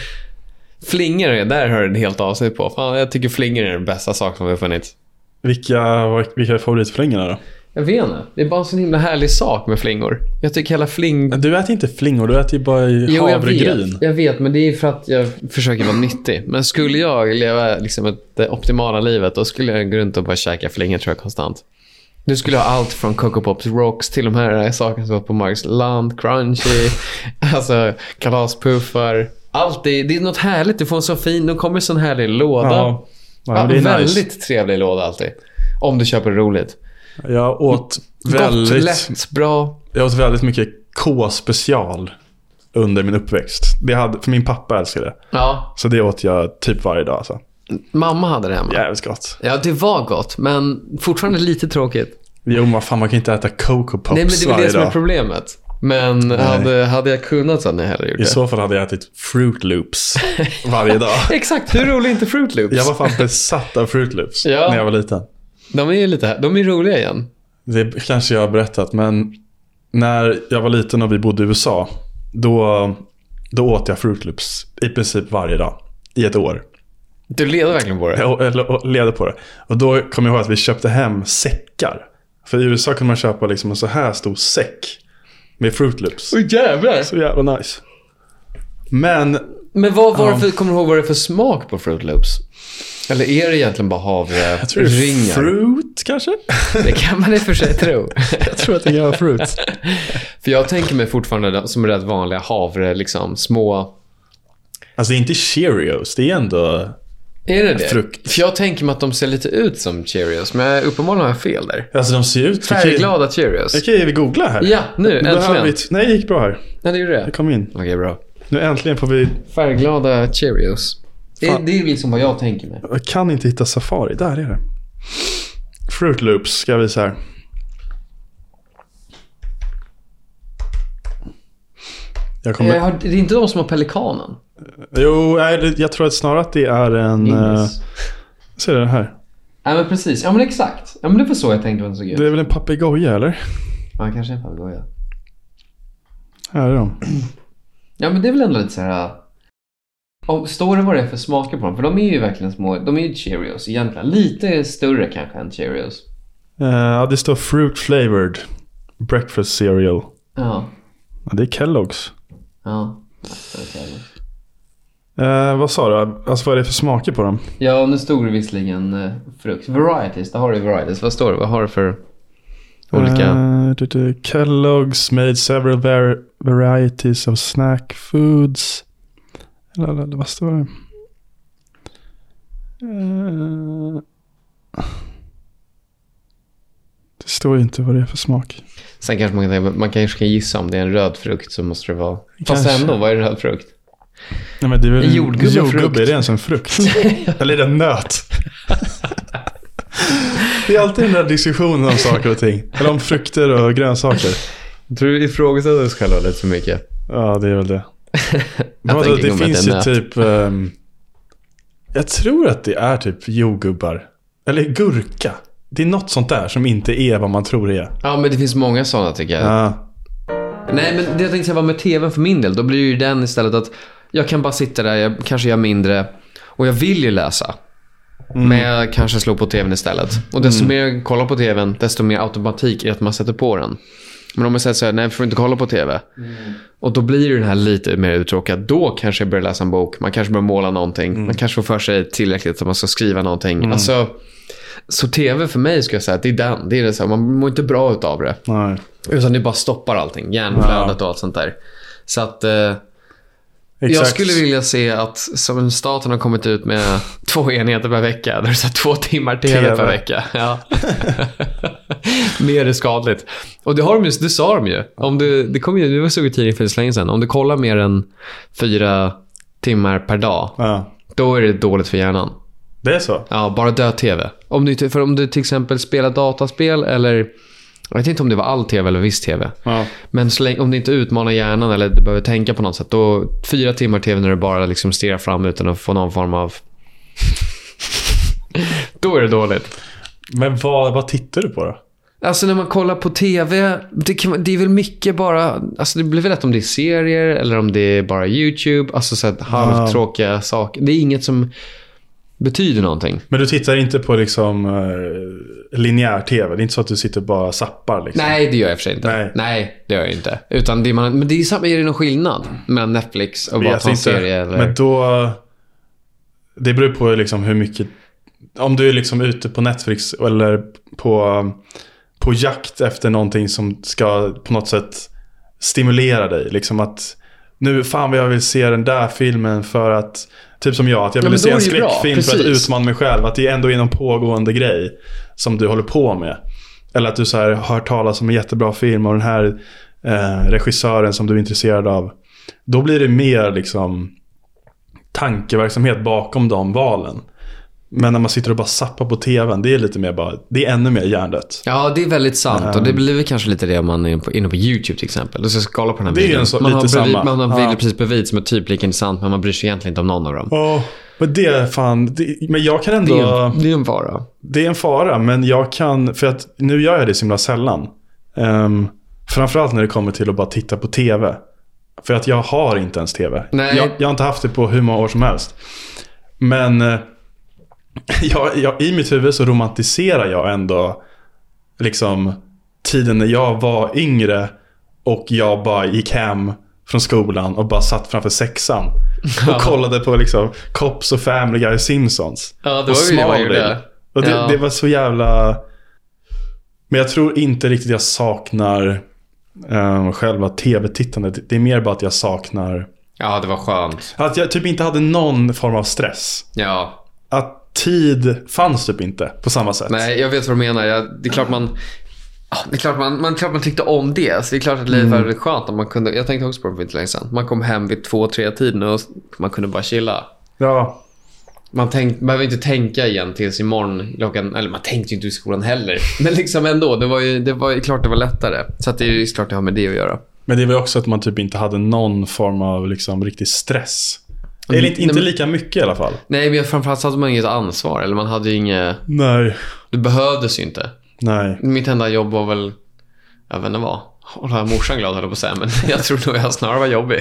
Speaker 1: flingor, är- där hör du en helt avsnitt på. Fan, jag tycker flingor är den bästa sak som har funnits.
Speaker 2: Vilka, vilka är favoritflingorna då?
Speaker 1: Jag vet inte. Det är bara en sån himla härlig sak med flingor. Jag tycker hela fling...
Speaker 2: Du äter inte flingor, du äter ju bara
Speaker 1: Jo, jag
Speaker 2: havregryn.
Speaker 1: vet, jag vet, men det är för att jag försöker vara nyttig. Men skulle jag leva liksom ett, det optimala livet, då skulle jag gå runt och bara käka flingor tror jag konstant. Du skulle ha allt från Coco Pops Rocks till de här sakerna som var på Marks Land, Crunchy, alltså kalaspuffar. Allt det, det är något härligt. Du får en så fin, de kommer i en sån härlig låda.
Speaker 2: Ja.
Speaker 1: Ja,
Speaker 2: Ja, men det är nice.
Speaker 1: väldigt trevlig låda alltid. Om du köper det roligt.
Speaker 2: Jag åt
Speaker 1: Gott,
Speaker 2: väldigt
Speaker 1: lätt, bra.
Speaker 2: Jag åt väldigt mycket K-special under min uppväxt. Det hade, för min pappa älskade det.
Speaker 1: Ja,
Speaker 2: Så det åt jag typ varje dag. Alltså.
Speaker 1: mamma hade det hemma.
Speaker 2: Jävligt gott.
Speaker 1: Ja, det var gott, men fortfarande lite tråkigt.
Speaker 2: Jo, men vad fan man kan inte äta Coco Pops
Speaker 1: Nej, men det är väl
Speaker 2: varje
Speaker 1: det som är
Speaker 2: dag.
Speaker 1: problemet. Men hade, hade jag kunnat så hade jag hellre gjort
Speaker 2: I
Speaker 1: det.
Speaker 2: så fall hade jag ätit Fruit Loops varje dag.
Speaker 1: Exakt, hur rolig är inte Fruit Loops?
Speaker 2: Jag var fan besatt av Fruit Loops
Speaker 1: Ja.
Speaker 2: när jag var liten.
Speaker 1: De är ju lite, de är roliga igen.
Speaker 2: Det kanske jag har berättat, men när jag var liten och vi bodde i USA, då, då åt jag Fruit Loops i princip varje dag i ett år.
Speaker 1: Du leder verkligen på det.
Speaker 2: Jag eller- levde på det. Och då kommer jag ihåg att vi köpte hem säckar. För i USA kunde man köpa liksom en så här stor säck med Fruit Loops.
Speaker 1: Åh jävlar!
Speaker 2: Så jävla nice. Men
Speaker 1: Men vad var det
Speaker 2: Ja.
Speaker 1: för, kommer du ihåg vad det är för smak på Fruit Loops? Eller är det egentligen bara
Speaker 2: jag tror det är
Speaker 1: havringar?
Speaker 2: fruit kanske?
Speaker 1: Det kan man i och för sig tro.
Speaker 2: jag tror att det är fruit.
Speaker 1: För jag tänker mig fortfarande de- som rätt vanliga havre, liksom små...
Speaker 2: Alltså det är inte Cheerios, det är ändå...
Speaker 1: Är det det?
Speaker 2: Frukt.
Speaker 1: För jag tänker mig att de ser lite ut som Cheerios, men jag- uppenbarligen har jag fel där.
Speaker 2: Alltså de ser ut...
Speaker 1: Färgglada Cheerios.
Speaker 2: Okej, vi googlar här.
Speaker 1: Ja, nu
Speaker 2: Då behöver
Speaker 1: äntligen.
Speaker 2: vi ett- Nej, det gick bra här.
Speaker 1: Ja, det gjorde det.
Speaker 2: Kom in.
Speaker 1: Okej, bra.
Speaker 2: Nu äntligen får vi...
Speaker 1: Färgglada Cheerios. Det,
Speaker 2: Fan.
Speaker 1: det är liksom vad jag tänker mig.
Speaker 2: Jag kan inte hitta Safari. Där är det. Fruit Loops ska jag visa här. Jag kommer...
Speaker 1: Jag har, det är inte de som har pelikanen.
Speaker 2: Jo, nej, det- jag tror att snarare att det är en... Uh,
Speaker 1: Ingris.
Speaker 2: ser du den här?
Speaker 1: Ja, men precis. Ja, men exakt. Ja, men det var så jag tänkte att den såg ut.
Speaker 2: Det är väl en papegoja eller?
Speaker 1: Ja, kanske en papegoja.
Speaker 2: Här är de.
Speaker 1: Ja, men det är väl ändå lite så här... äh, Om, står det vad det är för smaker på dem? För de är ju verkligen små. De är ju Cheerios egentligen. Lite större kanske än Cheerios.
Speaker 2: Eh, Ja, det står Fruit Flavored Breakfast Cereal.
Speaker 1: Ja.
Speaker 2: Ja, det är Kellogg's.
Speaker 1: Ja. Okej.
Speaker 2: Eh, vad sa du? Alltså vad är det för smaker på dem?
Speaker 1: Ja, nu stod det visserligen eh, frukt. Varieties, där har du varieties. Vad står det? Vad har du för olika...
Speaker 2: Eh, du, du, Kellogg's made several var- varieties of snack foods. Eller, eller, eller vad står det? Eh, det står ju inte vad det är för smak.
Speaker 1: Sen kanske man kan tänka, man kanske kan gissa om det är en röd frukt så måste det vara... Fast
Speaker 2: Kanske.
Speaker 1: ändå, vad är röd frukt?
Speaker 2: Nej, men det är väl
Speaker 1: En jordgubbe och frukt.
Speaker 2: är det ens en frukt? eller är det en nöt? det är alltid den där diskussionen om saker och ting. Eller om frukter och grönsaker.
Speaker 1: Jag tror du ifrågasätter dig själv lite för mycket.
Speaker 2: Ja, det är väl det.
Speaker 1: Jag
Speaker 2: Men vadå,
Speaker 1: tänker nog
Speaker 2: det
Speaker 1: att det
Speaker 2: finns
Speaker 1: är
Speaker 2: ju
Speaker 1: nöt.
Speaker 2: typ... ehm, jag tror att det är typ jordgubbar. Eller gurka. Det är något sånt där som inte är vad man tror det är. Ah,
Speaker 1: Ja, men det finns många sådana tycker jag.
Speaker 2: Ja.
Speaker 1: Nej, men det jag tänkte säga var med tvn för min del. Då blir ju den istället att jag kan bara sitta där, jag kanske gör mindre och jag vill ju läsa. Men jag kanske slår på tvn istället. Och desto mer jag kollar på tvn, desto mer automatik är att man sätter på den. Men om jag säger så här, nej, vi får inte kolla på tv. Och då blir ju den här lite mer uttråkad. Då kanske jag börjar läsa en bok, man kanske börjar måla någonting. Man kanske får för sig tillräckligt att man ska skriva någonting. Alltså, så tv för mig ska jag säga att det är den. Det är det så här, man mår inte bra utav det.
Speaker 2: Nej.
Speaker 1: Utan det bara stoppar allting. Hjärnflödet och allt sånt där. Så att eh,
Speaker 2: Exakt.
Speaker 1: jag skulle vilja se att som staten har kommit ut med två enheter per vecka. Det är så här två timmar TV,
Speaker 2: TV.
Speaker 1: per vecka. Ja. mer är skadligt. Och det, har de ju, det sa de ju. Om du, det kom ju det var såg i tidningen för inte så länge sedan. Om du kollar mer än fyra timmar per dag,
Speaker 2: Ja.
Speaker 1: då är det dåligt för hjärnan.
Speaker 2: Det är så?
Speaker 1: Ja, bara död tv. Om du, för om du till exempel spelar dataspel eller... Jag vet inte om det var all tv eller viss tv.
Speaker 2: Ja.
Speaker 1: Men så länge, om det inte utmanar hjärnan eller du behöver tänka på något sätt, då fyra timmar tv när du bara liksom stirrar fram utan att få någon form av... då är det dåligt.
Speaker 2: Men vad, vad tittar du på då?
Speaker 1: Alltså när man kollar på tv, det, kan, man- det är väl mycket bara... Alltså det blir väl lätt om det är serier eller om det är bara YouTube. Alltså så här halvtråkiga saker. Det är inget som betyder någonting.
Speaker 2: Men du tittar inte på liksom eh, linjär tv? Det är inte så att du sitter och bara zappar liksom?
Speaker 1: Nej, det gör jag i och för sig inte.
Speaker 2: Nej.
Speaker 1: det gör jag inte. Utan det är man, men det är, samma- är det någon skillnad mellan Netflix och bara
Speaker 2: Vet
Speaker 1: ta en
Speaker 2: inte.
Speaker 1: serie? Eller?
Speaker 2: Men då... Det beror på liksom hur mycket... Om du är liksom ute på Netflix eller på, på jakt efter någonting som ska på något sätt stimulera dig. Liksom att nu fan vad jag vill se den där filmen för att Typ som jag, att jag
Speaker 1: Ja,
Speaker 2: ville
Speaker 1: men
Speaker 2: se
Speaker 1: då
Speaker 2: en
Speaker 1: är det ju bra,
Speaker 2: skräckfilm för att
Speaker 1: precis.
Speaker 2: utmana mig själv. Att det ändå är någon pågående grej som du håller på med. Eller att du så här har hört talas om en jättebra film och den här eh, regissören som du är intresserad av. Då blir det mer liksom tankeverksamhet bakom de valen. Men när man sitter och bara zappar på tvn, det är lite mer bara, det är ännu mer hjärndött.
Speaker 1: Ja, det är väldigt sant. Och
Speaker 2: Ehm.
Speaker 1: det blir väl kanske lite det om man är på- inne på YouTube till exempel. Då ska jag kolla på den här
Speaker 2: Det är ju
Speaker 1: videon.
Speaker 2: en så-
Speaker 1: man, har
Speaker 2: lite
Speaker 1: bredvid,
Speaker 2: samma.
Speaker 1: man har en
Speaker 2: Ja.
Speaker 1: video precis bredvid som är typ lika intressant, men man bryr sig egentligen inte om någon av dem.
Speaker 2: Ja, men det är fan, det, men jag kan ändå...
Speaker 1: Det är, en- det är en vara.
Speaker 2: Det är en fara, men jag kan, för att nu gör jag det så himla sällan. Um, framförallt när det kommer till att bara titta på tv. För att jag har inte ens tv.
Speaker 1: Nej.
Speaker 2: Jag, jag har inte haft det på hur många år som helst. Men eh, jag, jag, i mitt huvud så romantiserar jag ändå liksom tiden när jag var yngre och jag bara gick hem från skolan och bara satt framför sexan. Och kollade på liksom Cops och Family Guy och Simpsons.
Speaker 1: Ja, det
Speaker 2: och
Speaker 1: var ju det man
Speaker 2: Smallville.
Speaker 1: gjorde.
Speaker 2: Och det,
Speaker 1: Ja.
Speaker 2: det var så jävla... Men jag tror inte riktigt jag saknar eh, själva tv-tittandet. Det är mer bara att jag saknar...
Speaker 1: Ja, det var skönt.
Speaker 2: Att jag typ inte hade någon form av stress.
Speaker 1: Ja,
Speaker 2: Att tid fanns typ inte på samma sätt.
Speaker 1: Nej, jag vet vad du menar. Jag, det är klart man... ja, Det är klart man, man, klart man tyckte om det. Så det är klart att livet
Speaker 2: Mm.
Speaker 1: var väldigt skönt. Om man kunde, jag tänkte också på det för inte länge sedan. Man kom hem vid två, tre tiden och man kunde bara chilla.
Speaker 2: Ja,
Speaker 1: Man tänk, behöver inte tänka igen tills imorgon klockan... Eller man tänkte ju inte i skolan heller. Men liksom ändå. Det var ju, det var ju klart det var lättare. Så att det är ju klart det har med det att göra.
Speaker 2: Men det är väl också att man typ inte hade någon form av liksom riktig stress. Eller inte,
Speaker 1: Mm. nej,
Speaker 2: inte
Speaker 1: men-
Speaker 2: lika mycket i alla fall.
Speaker 1: Nej, men framförallt så hade man inget ansvar. Eller man hade ju inget...
Speaker 2: Nej.
Speaker 1: Det behövdes ju inte.
Speaker 2: Nej.
Speaker 1: Mitt enda jobb var väl... Jag vet inte vad. Hålla morsan glad höll jag på att säga, men jag tror nog jag snarare var jobbig.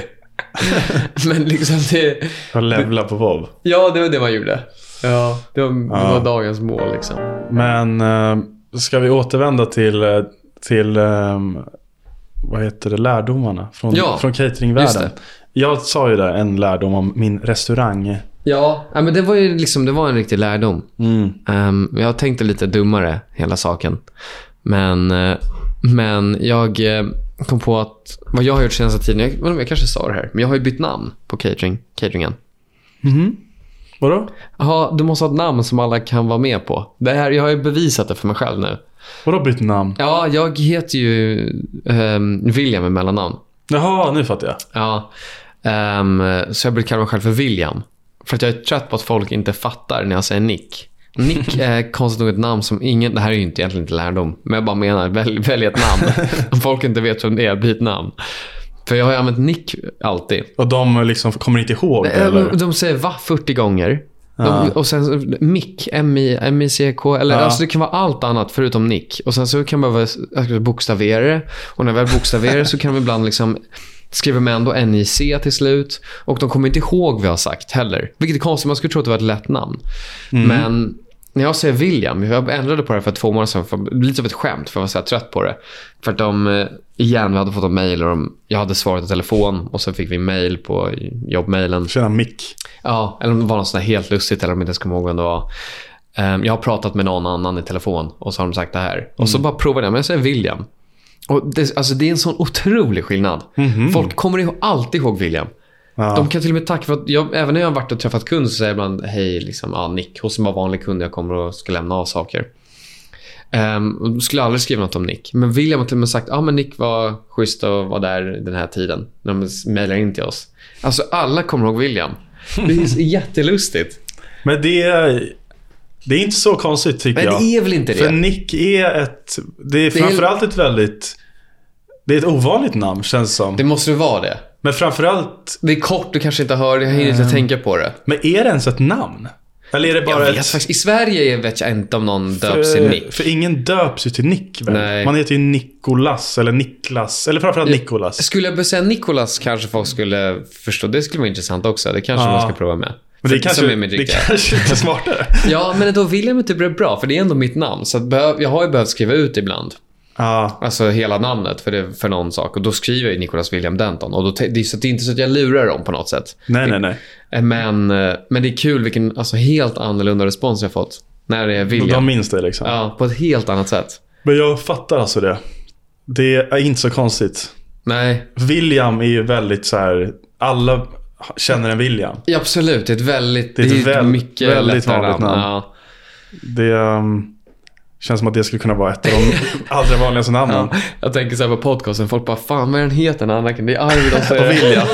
Speaker 1: men liksom det...
Speaker 2: Jag levlar på vov.
Speaker 1: Ja, det var det man gjorde. Ja, det var, det
Speaker 2: Ja.
Speaker 1: var dagens mål liksom.
Speaker 2: Men eh, ska vi återvända till, eh, till ehm, vad heter det, lärdomarna från,
Speaker 1: Ja,
Speaker 2: från
Speaker 1: just
Speaker 2: cateringvärlden.
Speaker 1: det.
Speaker 2: Jag sa ju där en lärdom om min restaurang.
Speaker 1: Ja, ja, men det var ju liksom, det var en riktig lärdom. Ehm, jag tänkte lite dummare, hela saken. Men, eh, men jag eh, kom på att vad jag har gjort senaste tiden, jag, jag, vet inte om jag kanske sa det här, men jag har ju bytt namn på catering, cateringen.
Speaker 2: Mhm. Vadå?
Speaker 1: Jaha, du måste ha ett namn som alla kan vara med på. Det här, jag har ju bevisat det för mig själv nu.
Speaker 2: Vadå bytt namn?
Speaker 1: Ja, jag heter ju ehm, William i mellannamn.
Speaker 2: Jaha, nu fattar jag.
Speaker 1: Ja, ehm, så jag brukar kalla mig själv för William. För att jag är trött på att folk inte fattar när jag säger Nick. Nick är konstigt nog ett namn som ingen... Det här är ju inte egentligen inte lärdom, men jag bara menar, välj, välj ett namn. Om folk inte vet vem det är, byt namn. För jag har ju använt Nick alltid.
Speaker 2: Och de liksom kommer inte ihåg det, eller?
Speaker 1: Eh, De, de säger va 40 gånger. De,
Speaker 2: Ja.
Speaker 1: Och sen Mick, M-I- M-I-C-K. Eller,
Speaker 2: Ja.
Speaker 1: alltså, det kan vara allt annat förutom Nick. Och Sen så kan man behöva alltså, bokstavera det. Och när vi väl bokstaverar det så kan de ibland liksom skriva med ändå N-I-C till slut. Och de kommer inte ihåg vad jag har sagt heller. Vilket är konstigt, man skulle tro att det var ett lätt namn.
Speaker 2: Mm.
Speaker 1: Men när jag säger William, jag ändrade på det här för två månader sedan, för, lite som ett skämt för jag var så här trött på det. För att de, eh, igen, vi hade fått en mail och de, jag hade svarat i telefon och så fick vi mail på jobbmailen.
Speaker 2: Tjena Mick.
Speaker 1: Ja, eller om det var något sånt här helt lustigt eller om jag inte ens kommer ihåg vem det var. Ehm, jag har pratat med någon annan i telefon och så har de sagt det här. Och så bara provade jag, men jag säger William. Och det, alltså, det är en sån otrolig skillnad. Folk kommer ihåg, alltid ihåg William.
Speaker 2: Ja.
Speaker 1: De kan till och med tacka för att jag, även när jag har varit och träffat kund så säger jag ibland hej, liksom, ja, Nick, hos en bara vanlig kund jag kommer och ska lämna av saker. Ehm, och skulle aldrig skriva något om Nick. Men William har till och med sagt ah, men Nick var schysst och var där den här tiden. När de mejlar in till oss. Alltså alla kommer ihåg William. Det är så jättelustigt.
Speaker 2: Men det, det är inte så konstigt tycker
Speaker 1: Men
Speaker 2: jag.
Speaker 1: det är väl inte
Speaker 2: För
Speaker 1: det?
Speaker 2: Nick är ett... Det är
Speaker 1: är-
Speaker 2: framförallt ett väldigt... Det är ett ovanligt namn känns som.
Speaker 1: Det måste ju vara det.
Speaker 2: Men framförallt...
Speaker 1: Det är kort, du kanske inte hör det. Jag hinner inte tänka på det.
Speaker 2: Men är det ens ett namn? Eller är det
Speaker 1: Jag
Speaker 2: Ehm, bara
Speaker 1: vet
Speaker 2: ett...
Speaker 1: faktiskt. I Sverige vet jag inte om någon döps till
Speaker 2: för,
Speaker 1: Nick.
Speaker 2: för ingen döps ju till Nick väl?
Speaker 1: Nej.
Speaker 2: Man heter ju Nikolas eller Niklas. Eller framförallt Nikolas.
Speaker 1: Skulle jag börja säga Nikolas kanske folk skulle förstå. Det skulle vara intressant också. Det kanske
Speaker 2: Ja.
Speaker 1: man ska prova med.
Speaker 2: Men det
Speaker 1: För-
Speaker 2: kanske,
Speaker 1: som är mitt
Speaker 2: det
Speaker 1: riktiga.
Speaker 2: kanske inte är smartare.
Speaker 1: Ja, men då William är inte bra, bra, för typ det är ändå mitt namn. Så att behö- jag har ju behövt skriva ut ibland.
Speaker 2: ja.
Speaker 1: Alltså hela namnet för, det, för någon sak. Och då skriver jag ju Nicholas William Denton. Och då te- det, är- så att det är inte så att jag lurar dem på något sätt.
Speaker 2: Nej, nej, nej.
Speaker 1: Eh, Men, eh, men det är kul vilken alltså, helt annorlunda respons jag fått. När det är
Speaker 2: De-
Speaker 1: William.
Speaker 2: De minns det liksom.
Speaker 1: Ja, på ett helt annat sätt.
Speaker 2: Men jag fattar alltså det. Det är inte så konstigt.
Speaker 1: Nej,
Speaker 2: William är ju väldigt så här... Alla känner en William.
Speaker 1: ja, absolut. Det är ett väldigt,
Speaker 2: Det är ett väl-
Speaker 1: mycket
Speaker 2: väldigt
Speaker 1: lättare
Speaker 2: vanligt namn.
Speaker 1: Ja.
Speaker 2: Det ehm, Känns som att det skulle kunna vara ett av de allra vanligaste namnen.
Speaker 1: Ja, jag tänker så här på podcasten, folk bara fan vad är den heter den Anakin? Det är Arvid alltså.
Speaker 2: Och Vilja.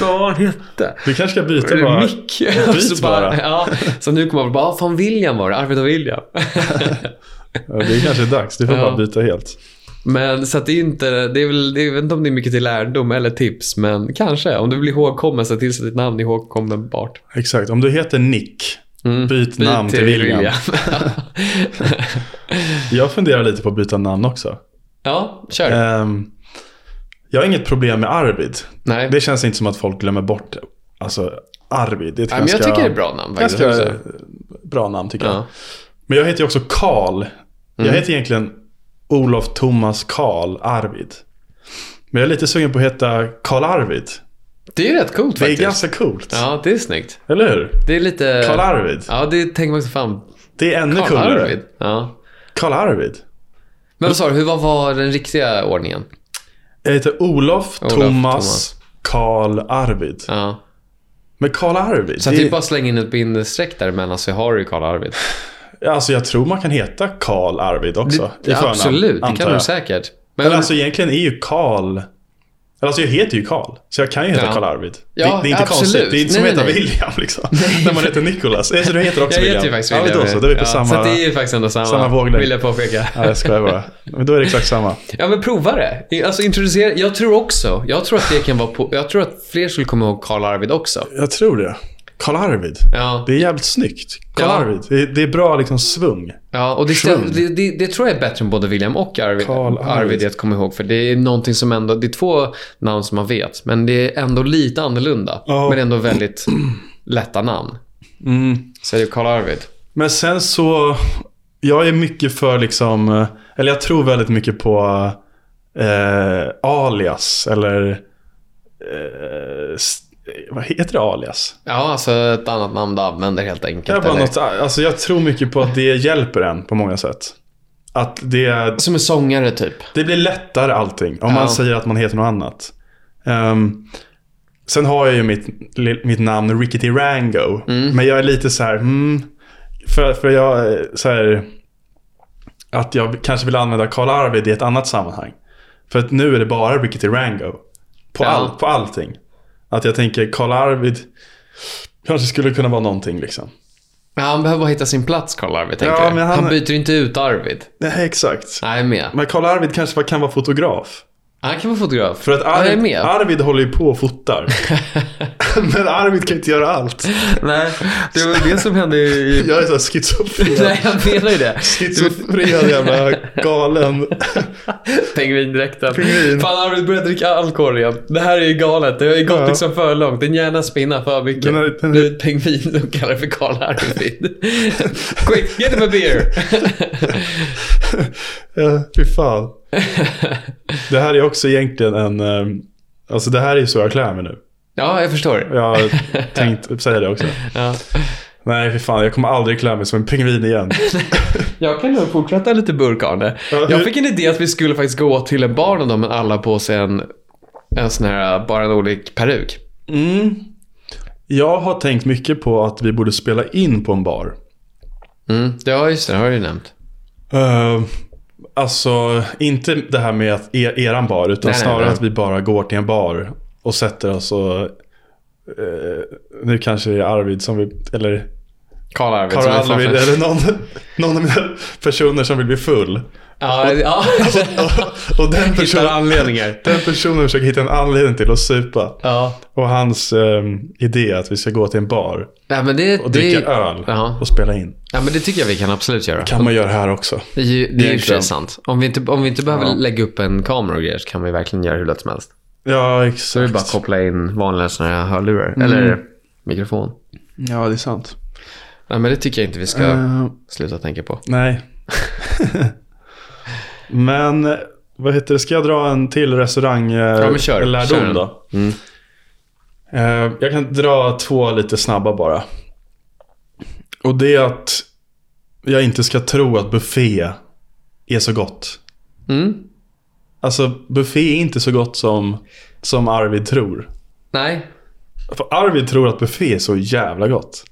Speaker 1: Vad var han hette?
Speaker 2: Vi kanske ska
Speaker 1: Är
Speaker 2: byta
Speaker 1: det
Speaker 2: bara.
Speaker 1: Mick?
Speaker 2: Byt
Speaker 1: Så bara,
Speaker 2: bara.
Speaker 1: ja. Så nu kommer man bara, ah, fan William var det, Arvid och William.
Speaker 2: Ja, Det kanske är dags. Du får
Speaker 1: Ja.
Speaker 2: bara byta helt.
Speaker 1: Men så att det är inte, det är väl, det är, jag vet inte om det är mycket till lärdom eller tips, men kanske. Om du blir ihågkommen, så tillsätt ditt namn ihågkommenbart.
Speaker 2: Exakt. Om du heter Nick,
Speaker 1: Mm.
Speaker 2: byt, namn till William. Jag funderar lite på att byta namn också.
Speaker 1: ja, kör.
Speaker 2: Ehm, jag har inget problem med Arvid.
Speaker 1: Nej.
Speaker 2: Det känns inte som att folk glömmer bort alltså, Arvid. Det är ett
Speaker 1: Nej, men
Speaker 2: ganska,
Speaker 1: jag tycker det är bra namn faktiskt.
Speaker 2: ganska
Speaker 1: också.
Speaker 2: bra namn tycker jag.
Speaker 1: Ja. Mm.
Speaker 2: Men jag heter ju också Karl. Jag heter egentligen Olof Thomas Karl Arvid. Men jag är lite sugen på att heta Karl Arvid.
Speaker 1: Det är rätt coolt
Speaker 2: Det är
Speaker 1: faktiskt.
Speaker 2: ganska coolt.
Speaker 1: Ja, det är snyggt.
Speaker 2: Eller hur?
Speaker 1: Det är lite...
Speaker 2: Karl Arvid.
Speaker 1: Ja, det tänker man sig fan.
Speaker 2: Det är ännu
Speaker 1: Karl
Speaker 2: coolare.
Speaker 1: Arvid. Ja.
Speaker 2: Karl Arvid.
Speaker 1: Men vad sa du, hur vad var den riktiga ordningen?
Speaker 2: Jag heter Olof,
Speaker 1: Olof,
Speaker 2: Thomas
Speaker 1: Thomas.
Speaker 2: Karl Arvid.
Speaker 1: Ja.
Speaker 2: Men Karl Arvid.
Speaker 1: Så att
Speaker 2: det-
Speaker 1: typ bara släng in ett bindestreck däremellan så har du ju Karl Arvid.
Speaker 2: Ja, Alltså jag tror man kan heta Karl Arvid också. i förnamn,
Speaker 1: Absolut, det
Speaker 2: antar
Speaker 1: kan du
Speaker 2: jag.
Speaker 1: säkert. Men
Speaker 2: Eller alltså egentligen är ju Karl... Eller alltså jag heter ju Karl. Så jag kan ju heta
Speaker 1: Ja.
Speaker 2: Karl Arvid.
Speaker 1: Ja,
Speaker 2: det, det är inte
Speaker 1: absolut.
Speaker 2: konstigt. Det är inte som
Speaker 1: Nej,
Speaker 2: att heta
Speaker 1: nej, nej.
Speaker 2: William liksom. När man heter Nicholas. Eh, Så du heter också
Speaker 1: jag
Speaker 2: William?
Speaker 1: heter ju faktiskt
Speaker 2: Ja,
Speaker 1: William.
Speaker 2: men då så. Då är vi på
Speaker 1: Ja,
Speaker 2: samma...
Speaker 1: Så att det är ju faktiskt ändå samma,
Speaker 2: samma våglängd.
Speaker 1: vill jag påpeka.
Speaker 2: Nej, jag skojar bara. Men då är det exakt samma.
Speaker 1: Ja, men prova det. Alltså introducera. Jag tror också, jag tror att det kan vara på, jag tror att fler skulle komma ihåg Karl Arvid också.
Speaker 2: Jag tror det. Karl Arvid.
Speaker 1: Ja,
Speaker 2: Det är jävligt snyggt. Karl
Speaker 1: Ja.
Speaker 2: Arvid. Det är, det är bra liksom svung.
Speaker 1: ja och det,
Speaker 2: Schön.
Speaker 1: det, det, det tror jag är bättre än både William och Arvid,
Speaker 2: Karl
Speaker 1: Arvid.
Speaker 2: Arvid.
Speaker 1: att komma ihåg. För det är någonting som ändå, det är två namn som man vet, men det är ändå lite annorlunda.
Speaker 2: Ja.
Speaker 1: Men ändå väldigt lätta namn. Så det är ju Karl Arvid.
Speaker 2: Men sen så, jag är mycket för liksom, eh, eller jag tror väldigt mycket på eh, alias eller eh, s- eh, vad heter det alias?
Speaker 1: Ja, alltså ett annat namn du använder helt
Speaker 2: Det är
Speaker 1: enkelt.
Speaker 2: bara
Speaker 1: eller?
Speaker 2: något, alltså jag tror mycket på att det hjälper en på många sätt. Att det,
Speaker 1: Som en sångare typ.
Speaker 2: det blir lättare allting om
Speaker 1: Ja.
Speaker 2: man säger att man heter något annat. Ehm, sen har jag ju mitt, li- mitt namn Rickety Rango.
Speaker 1: Mm.
Speaker 2: Men jag är lite så här, hmm, för, för jag eh, så här, att jag kanske vill använda Karl Arvid i ett annat sammanhang. För att nu är det bara Rickety Rango. På,
Speaker 1: Ja.
Speaker 2: all, på allting. Att jag tänker Karl Arvid kanske skulle kunna vara någonting liksom.
Speaker 1: Ja, han behöver bara hitta sin plats, Karl Arvid, tänker
Speaker 2: Ja,
Speaker 1: jag.
Speaker 2: men
Speaker 1: han...
Speaker 2: han-
Speaker 1: byter inte ut Arvid.
Speaker 2: Nej, exakt.
Speaker 1: Nej, jag är med.
Speaker 2: Men Karl Arvid kanske kan vara fotograf.
Speaker 1: Han kan vara fotograf.
Speaker 2: För att
Speaker 1: Ja, jag är
Speaker 2: Arvid,
Speaker 1: med.
Speaker 2: Arvid håller ju på och fotar. Men Arvid kan inte göra allt.
Speaker 1: Nej, det var det som hände i...
Speaker 2: Jag är såhär schizofren.
Speaker 1: Nej, jag menar ju det.
Speaker 2: Schizofren jävla galen.
Speaker 1: Pingvindräkten.
Speaker 2: Pingvin.
Speaker 1: Fan, Arvid börjar dricka alkohol igen. Det här är ju galet. Det har ju gått
Speaker 2: Ja.
Speaker 1: liksom för långt. Din hjärna spinnar för mycket.
Speaker 2: Den här- den-
Speaker 1: Nu är det ett pingvin som kallar för Karl Arvid. Quick, get him a beer!
Speaker 2: Ja, Fy fan. Det här är också egentligen en... eh, Alltså det här är ju så jag klär mig nu.
Speaker 1: ja, jag förstår.
Speaker 2: Jag har tänkt säga det också.
Speaker 1: Ja.
Speaker 2: Nej, för fan. Jag kommer aldrig klä mig som en pingvin igen.
Speaker 1: Jag kan nog fortsätta lite burk, Arne.
Speaker 2: Ja, hur-
Speaker 1: Jag fick en idé att vi skulle faktiskt gå till en bar någon dag, men alla på sig en, en sån här, eh, bara en olik peruk.
Speaker 2: Mm. Jag har tänkt mycket på att vi borde spela in på en bar.
Speaker 1: Mm. Ja, just det. Det har du ju nämnt.
Speaker 2: Uh, alltså, inte det här med att er, eran bar, utan
Speaker 1: Nej, nej,
Speaker 2: snarare
Speaker 1: nej.
Speaker 2: att vi bara går till en bar och sätter oss och... eh, nu kanske det är Arvid som vill, eller
Speaker 1: Karl Arvid.
Speaker 2: Karl
Speaker 1: som är
Speaker 2: Arvid,
Speaker 1: framför-
Speaker 2: eller någon, någon av mina personer som vill bli full.
Speaker 1: Ja, ja.
Speaker 2: Och, och den,
Speaker 1: Hittar
Speaker 2: personen,
Speaker 1: anledningar.
Speaker 2: den personen försöker hitta en anledning till att supa.
Speaker 1: Ja.
Speaker 2: Och hans ehm, idé att vi ska gå till en bar
Speaker 1: Nej, men det,
Speaker 2: och
Speaker 1: det,
Speaker 2: dricka öl
Speaker 1: Ja.
Speaker 2: och spela in.
Speaker 1: ja, men det tycker jag vi kan absolut göra.
Speaker 2: kan man göra här också.
Speaker 1: Det är ju det är ju i och för sig
Speaker 2: Egentligen.
Speaker 1: sant. Om vi inte, om vi inte behöver
Speaker 2: Ja.
Speaker 1: lägga upp en kamera och grejer så kan vi verkligen göra hur lätt som helst.
Speaker 2: Ja,
Speaker 1: Så vi
Speaker 2: exakt.
Speaker 1: bara koppla in vanliga såna här hörlurar.
Speaker 2: Mm.
Speaker 1: Eller mikrofon.
Speaker 2: Ja, det är sant.
Speaker 1: Nej, men det tycker jag inte vi ska
Speaker 2: Eh,
Speaker 1: sluta tänka på.
Speaker 2: Nej. men eh, vad heter det? Ska jag dra en till restaurang eh,
Speaker 1: Ja, men kör.
Speaker 2: lärdom
Speaker 1: Kör den.
Speaker 2: då?
Speaker 1: Mm.
Speaker 2: Eh, jag kan dra två lite snabba bara. Och det är att jag inte ska tro att buffé är så gott.
Speaker 1: Mm.
Speaker 2: Alltså buffé är inte så gott som, som Arvid tror.
Speaker 1: Nej.
Speaker 2: För Arvid tror att buffé är så jävla gott.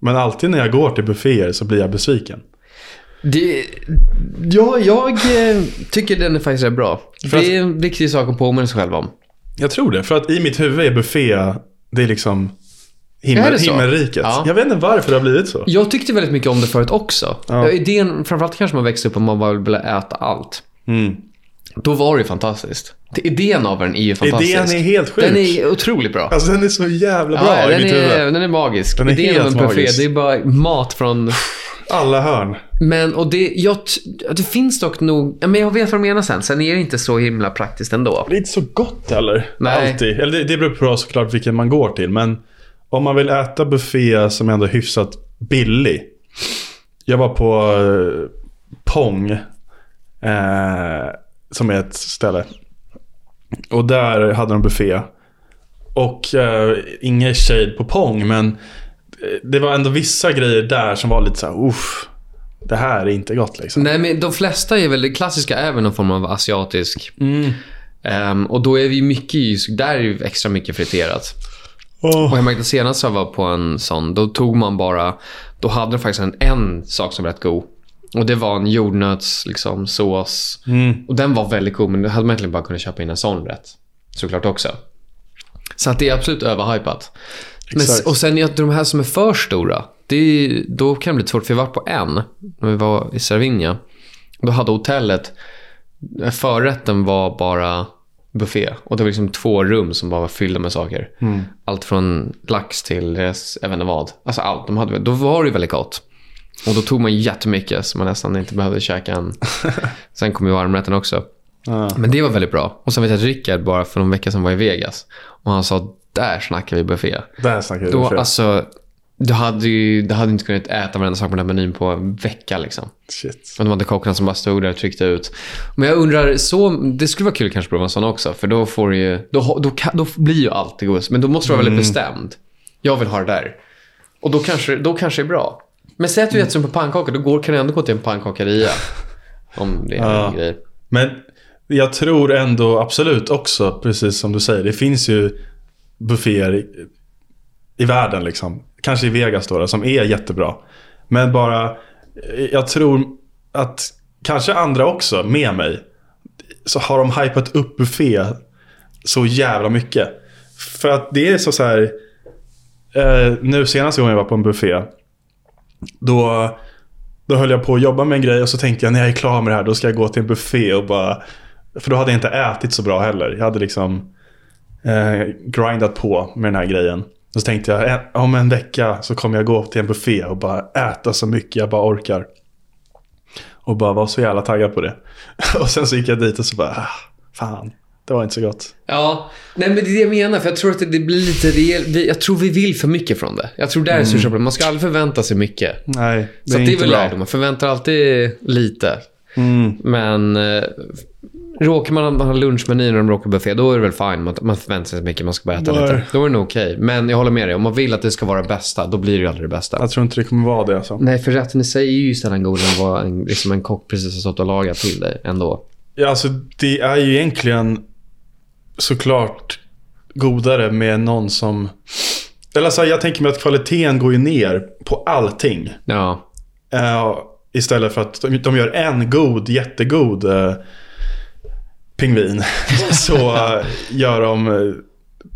Speaker 2: Men alltid när jag går till bufféer så blir jag besviken.
Speaker 1: Det, ja, jag eh, tycker den är faktiskt rätt bra.
Speaker 2: För att-
Speaker 1: Det är en viktig sak att påminna sig själv om.
Speaker 2: Jag tror det, för att i mitt huvud är buffé, det är liksom himmel,
Speaker 1: Är det så?
Speaker 2: himmelriket.
Speaker 1: Ja.
Speaker 2: Jag vet inte varför det har blivit så.
Speaker 1: Jag tyckte väldigt mycket om det förut också.
Speaker 2: Ja.
Speaker 1: Idén, framförallt kanske man växte upp och man bara ville äta allt.
Speaker 2: Mm.
Speaker 1: Då var det ju fantastiskt. Idén av den är ju fantastisk.
Speaker 2: Idén är helt sjuk.
Speaker 1: Den är otroligt bra.
Speaker 2: Alltså den är så jävla bra
Speaker 1: ja,
Speaker 2: i
Speaker 1: den,
Speaker 2: mitt huvud.
Speaker 1: är, den är magisk.
Speaker 2: Den är
Speaker 1: Idén av en
Speaker 2: helt
Speaker 1: buffé,
Speaker 2: magisk.
Speaker 1: det är bara mat från...
Speaker 2: Alla hörn.
Speaker 1: Men, och det, jag, t- det finns dock nog... Ja, men jag vet vad du menar sen. Sen är det inte så himla praktiskt ändå.
Speaker 2: Det är inte så gott heller.
Speaker 1: Nej.
Speaker 2: Alltid. Eller det, det beror på såklart vilken man går till. Men om man vill äta buffé som ändå är hyfsat billig. Jag var på eh, Pong. Eh, som är ett ställe. Och där hade de buffé. Och eh, ingen shade på Pong men eh, det var ändå vissa grejer där som var lite så här, uff. Det här är inte gott liksom.
Speaker 1: Nej, men de flesta är väl... Det klassiska är väl någon form av asiatisk.
Speaker 2: Mm.
Speaker 1: Ehm, och då är vi mycket i... Där är ju extra mycket friterat.
Speaker 2: Åh.
Speaker 1: Och jag märkte senast jag var på en sån, då tog man bara... Då hade de faktiskt en, en sak som var rätt god. Och det var en jordnöts, liksom, sås. Och den var väldigt god, men då hade man egentligen bara kunnat köpa in en sån rätt. Såklart också. Så att det är absolut överhypat. Men, s-
Speaker 2: Exakt.
Speaker 1: och sen är de här som är för stora, det är, då kan det bli svårt. För vi var på en, när vi var i Cervinia. Då hade hotellet, förrätten var bara buffé. Och det var liksom två rum som bara var fyllda med saker. Allt från lax till, deras- jag vet inte vad. Alltså allt. De hade, då var det ju väldigt gott. Och då tog man jättemycket så man nästan inte behövde käka en. Sen kom ju varmrätten också.
Speaker 2: Ja.
Speaker 1: Men det var väldigt bra. Och sen vet jag att Rickard bara för någon vecka sedan var i Vegas. Och han sa, där snackar vi buffé.
Speaker 2: Där snackar vi
Speaker 1: Då,
Speaker 2: buffé.
Speaker 1: alltså, du hade ju du hade inte kunnat äta varenda sak på den här menyn på en vecka. Liksom.
Speaker 2: Shit.
Speaker 1: Och de hade kockarna som bara stod där och tryckte ut. Men jag undrar, så, det skulle vara kul kanske att prova en sån också. För då, får du ju, då, ha- då, ka- då blir ju allt det godis. Men då måste du vara väldigt
Speaker 2: Mm.
Speaker 1: bestämd. Jag vill ha det där. Och då kanske, då kanske det är bra. Men säg att du äter som på pannkaka, då går, kan du ändå gå till en pannkakaria. om det är
Speaker 2: Ja.
Speaker 1: en grej.
Speaker 2: Men jag tror ändå absolut också, precis som du säger, det finns ju bufféer i, i världen. liksom. Kanske i Vegas då, då, som är jättebra. Men bara, eh, jag tror att kanske andra också, med mig, så har de hypat upp buffé så jävla mycket. För att det är så, så här, eh, nu senaste gången jag var på en buffé, då då höll jag på att jobba med en grej och så tänkte jag när jag är klar med det här då ska jag gå till en buffé och bara... För då hade jag inte ätit så bra heller. Jag hade liksom eh, grindat på med den här grejen. Och så tänkte jag "Eh, om en vecka så kommer jag gå till en buffé och bara äta så mycket jag bara orkar. Och bara var så jävla taggad på det. och sen så gick jag dit och så bara, ah, fan, det var inte så gott.
Speaker 1: Ja, nej men det är det jag menar. För jag tror att det, det blir lite rejält. vi- Jag tror vi vill för mycket från det. Jag tror där är största problemet. Man ska aldrig förvänta sig mycket.
Speaker 2: Nej, Mm. det
Speaker 1: Så
Speaker 2: är
Speaker 1: att det är
Speaker 2: inte
Speaker 1: väl
Speaker 2: bra.
Speaker 1: lärdom. Man förväntar alltid lite.
Speaker 2: Mm,
Speaker 1: Men eh, råkar man ha lunchmeny när de råkar buffé, då är det väl fine. Man, man förväntar sig inte mycket, man ska bara äta
Speaker 2: Nej.
Speaker 1: lite. Då är det nog okej. Men jag håller med dig. Om man vill att det ska vara det bästa, då blir det ju aldrig det bästa.
Speaker 2: jag tror inte det kommer vara det alltså.
Speaker 1: Nej, för rätten i sig är ju sällan god än vad en, liksom en kock precis har stått och lagat till dig ändå.
Speaker 2: Ja, alltså det är ju egentligen såklart godare med någon som... Eller så här, jag tänker mig att kvaliteten går ju ner på allting.
Speaker 1: Ja.
Speaker 2: Eh, istället för att de, de gör en god, jättegod eh, pingvin. så eh, gör de eh,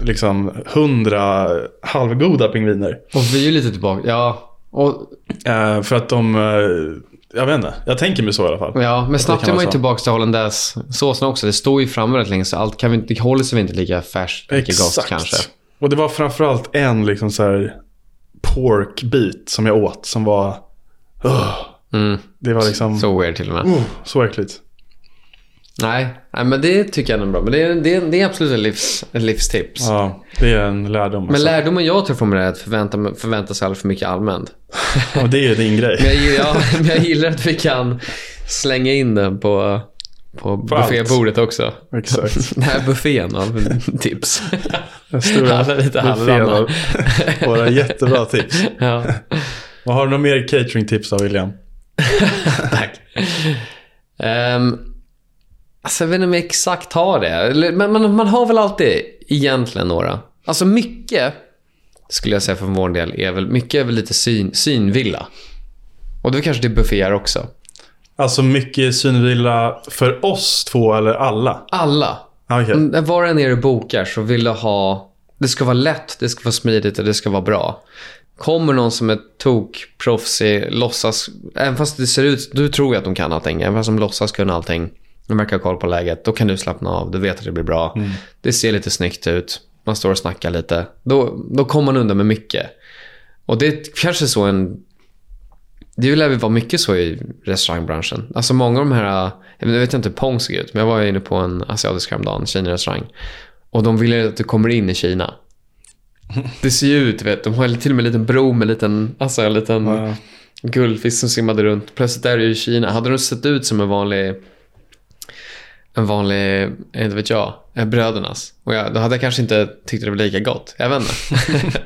Speaker 2: liksom hundra halvgoda pingviner.
Speaker 1: Och vi är ju lite tillbaka. Ja. Och,
Speaker 2: Eh, för att de... eh, jag vet inte. Jag tänker mig så i alla fall.
Speaker 1: ja, men snabbt
Speaker 2: kan
Speaker 1: är
Speaker 2: vara
Speaker 1: man ju
Speaker 2: så.
Speaker 1: tillbaka till hollandaisesåsen också. Det står ju framme rätt länge, så allt kan vi, inte- det håller sig väl inte lika färskt, lika gott kanske.
Speaker 2: Och det var framförallt en liksom så här porkbit som jag åt som var... Ugh,
Speaker 1: Mm.
Speaker 2: det var liksom... Så,
Speaker 1: Så weird till och med.
Speaker 2: uh, så äckligt.
Speaker 1: Nej, nej, men det tycker jag ändå är bra. Men det är, det är, det är absolut ett livs, ett livstips.
Speaker 2: Ja, det är en lärdom.
Speaker 1: Men
Speaker 2: alltså.
Speaker 1: lärdomen jag tar från det är att förvänta, förvänta sig alldeles för mycket allmänt.
Speaker 2: Ja, det är ju din
Speaker 1: Men jag,
Speaker 2: grej.
Speaker 1: gillar- ja, men jag gillar att vi kan slänga in den på, på
Speaker 2: allt.
Speaker 1: buffébordet också.
Speaker 2: Exakt.
Speaker 1: Den här buffén av tips.
Speaker 2: Den stora
Speaker 1: Alla lite
Speaker 2: buffén
Speaker 1: halvarna.
Speaker 2: av Våra jättebra tips.
Speaker 1: ja,
Speaker 2: Vad har du några mer cateringtips då, William?
Speaker 1: tack. Um, alltså, jag vet inte om jag exakt har det. Eller- Men man, man har väl alltid egentligen några. Alltså mycket, skulle jag säga för vår del, är väl, mycket är väl lite syn, synvilla. Och det är kanske det bufféer också.
Speaker 2: Alltså mycket synvilla för oss två eller alla?
Speaker 1: Alla.
Speaker 2: Ah, Okej.
Speaker 1: Mm, Var en är du bokar så vill du ha... Det ska vara lätt, det ska vara smidigt och det ska vara bra. Kommer någon som är tokproffsig, låtsas... Även fast det ser ut... Du tror ju att de kan allting. Även fast de låtsas kunna allting. De verkar ha koll på läget. Då kan du slappna av. Du vet att det blir bra. Det ser lite snyggt ut. Man står och snackar lite. Då, då kommer man undan med mycket. Och det är kanske så en det lär väl vara mycket så i restaurangbranschen. Alltså många av de här, jag vet- jag vet inte hur Pong såg ut, men jag var ju inne på en asiatisk häromdagen, en Kina-restaurang. Och de vill ju att du kommer in i Kina. Det ser ju ut, vet, de har till och med en liten bro med en liten, alltså en liten
Speaker 2: Ja.
Speaker 1: guldfisk som simmade runt. Plötsligt där är ju Kina. Hade de sett ut som en vanlig, en vanlig, eh, inte vet jag, eh, Brödernas. Och jag, då hade jag kanske inte tyckt det var lika gott. Jag vet inte.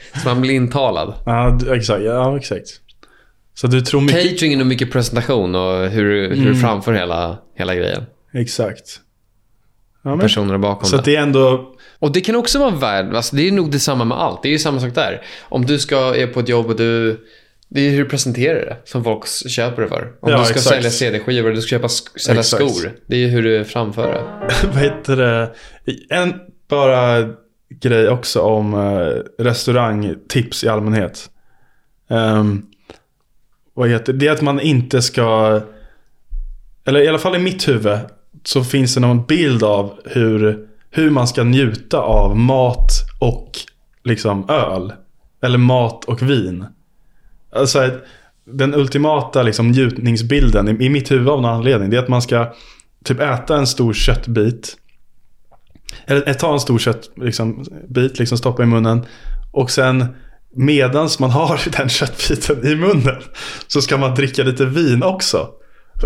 Speaker 1: Så man blir intalad.
Speaker 2: Ja, d- exakt. Ja, exakt. Så du tror mycket... Mm.
Speaker 1: Cateringen och mycket presentation och hur, hur du framför hela, hela grejen.
Speaker 2: Exakt. Ja, men.
Speaker 1: Personerna bakom
Speaker 2: Så
Speaker 1: den.
Speaker 2: att det är ändå...
Speaker 1: Och det kan också vara en värld. Alltså det är nog detsamma med allt. Det är ju samma sak där. Om du ska är på ett jobb och du... Det är ju hur du presenterar det som folk s- köper det för. Om
Speaker 2: Ja,
Speaker 1: du ska
Speaker 2: exakt.
Speaker 1: sälja CD-skivor och du ska köpa sk- sälja
Speaker 2: Exakt.
Speaker 1: skor. Det är ju hur du framför det.
Speaker 2: Vad heter det? En bara grej också om eh, restaurangtips i allmänhet. Ehm, vad heter det? Det är att man inte ska... Eller i alla fall i mitt huvud så finns det någon bild av hur, hur man ska njuta av mat och liksom öl. Eller mat och vin. Alltså, att den ultimata liksom, njutningsbilden i, i mitt huvud av någon anledning det är att man ska typ äta en stor köttbit. Eller eh, ta en stor köttbit, liksom, bit, liksom, stoppa i munnen. Och sen medans man har den köttbiten i munnen så ska man dricka lite vin också.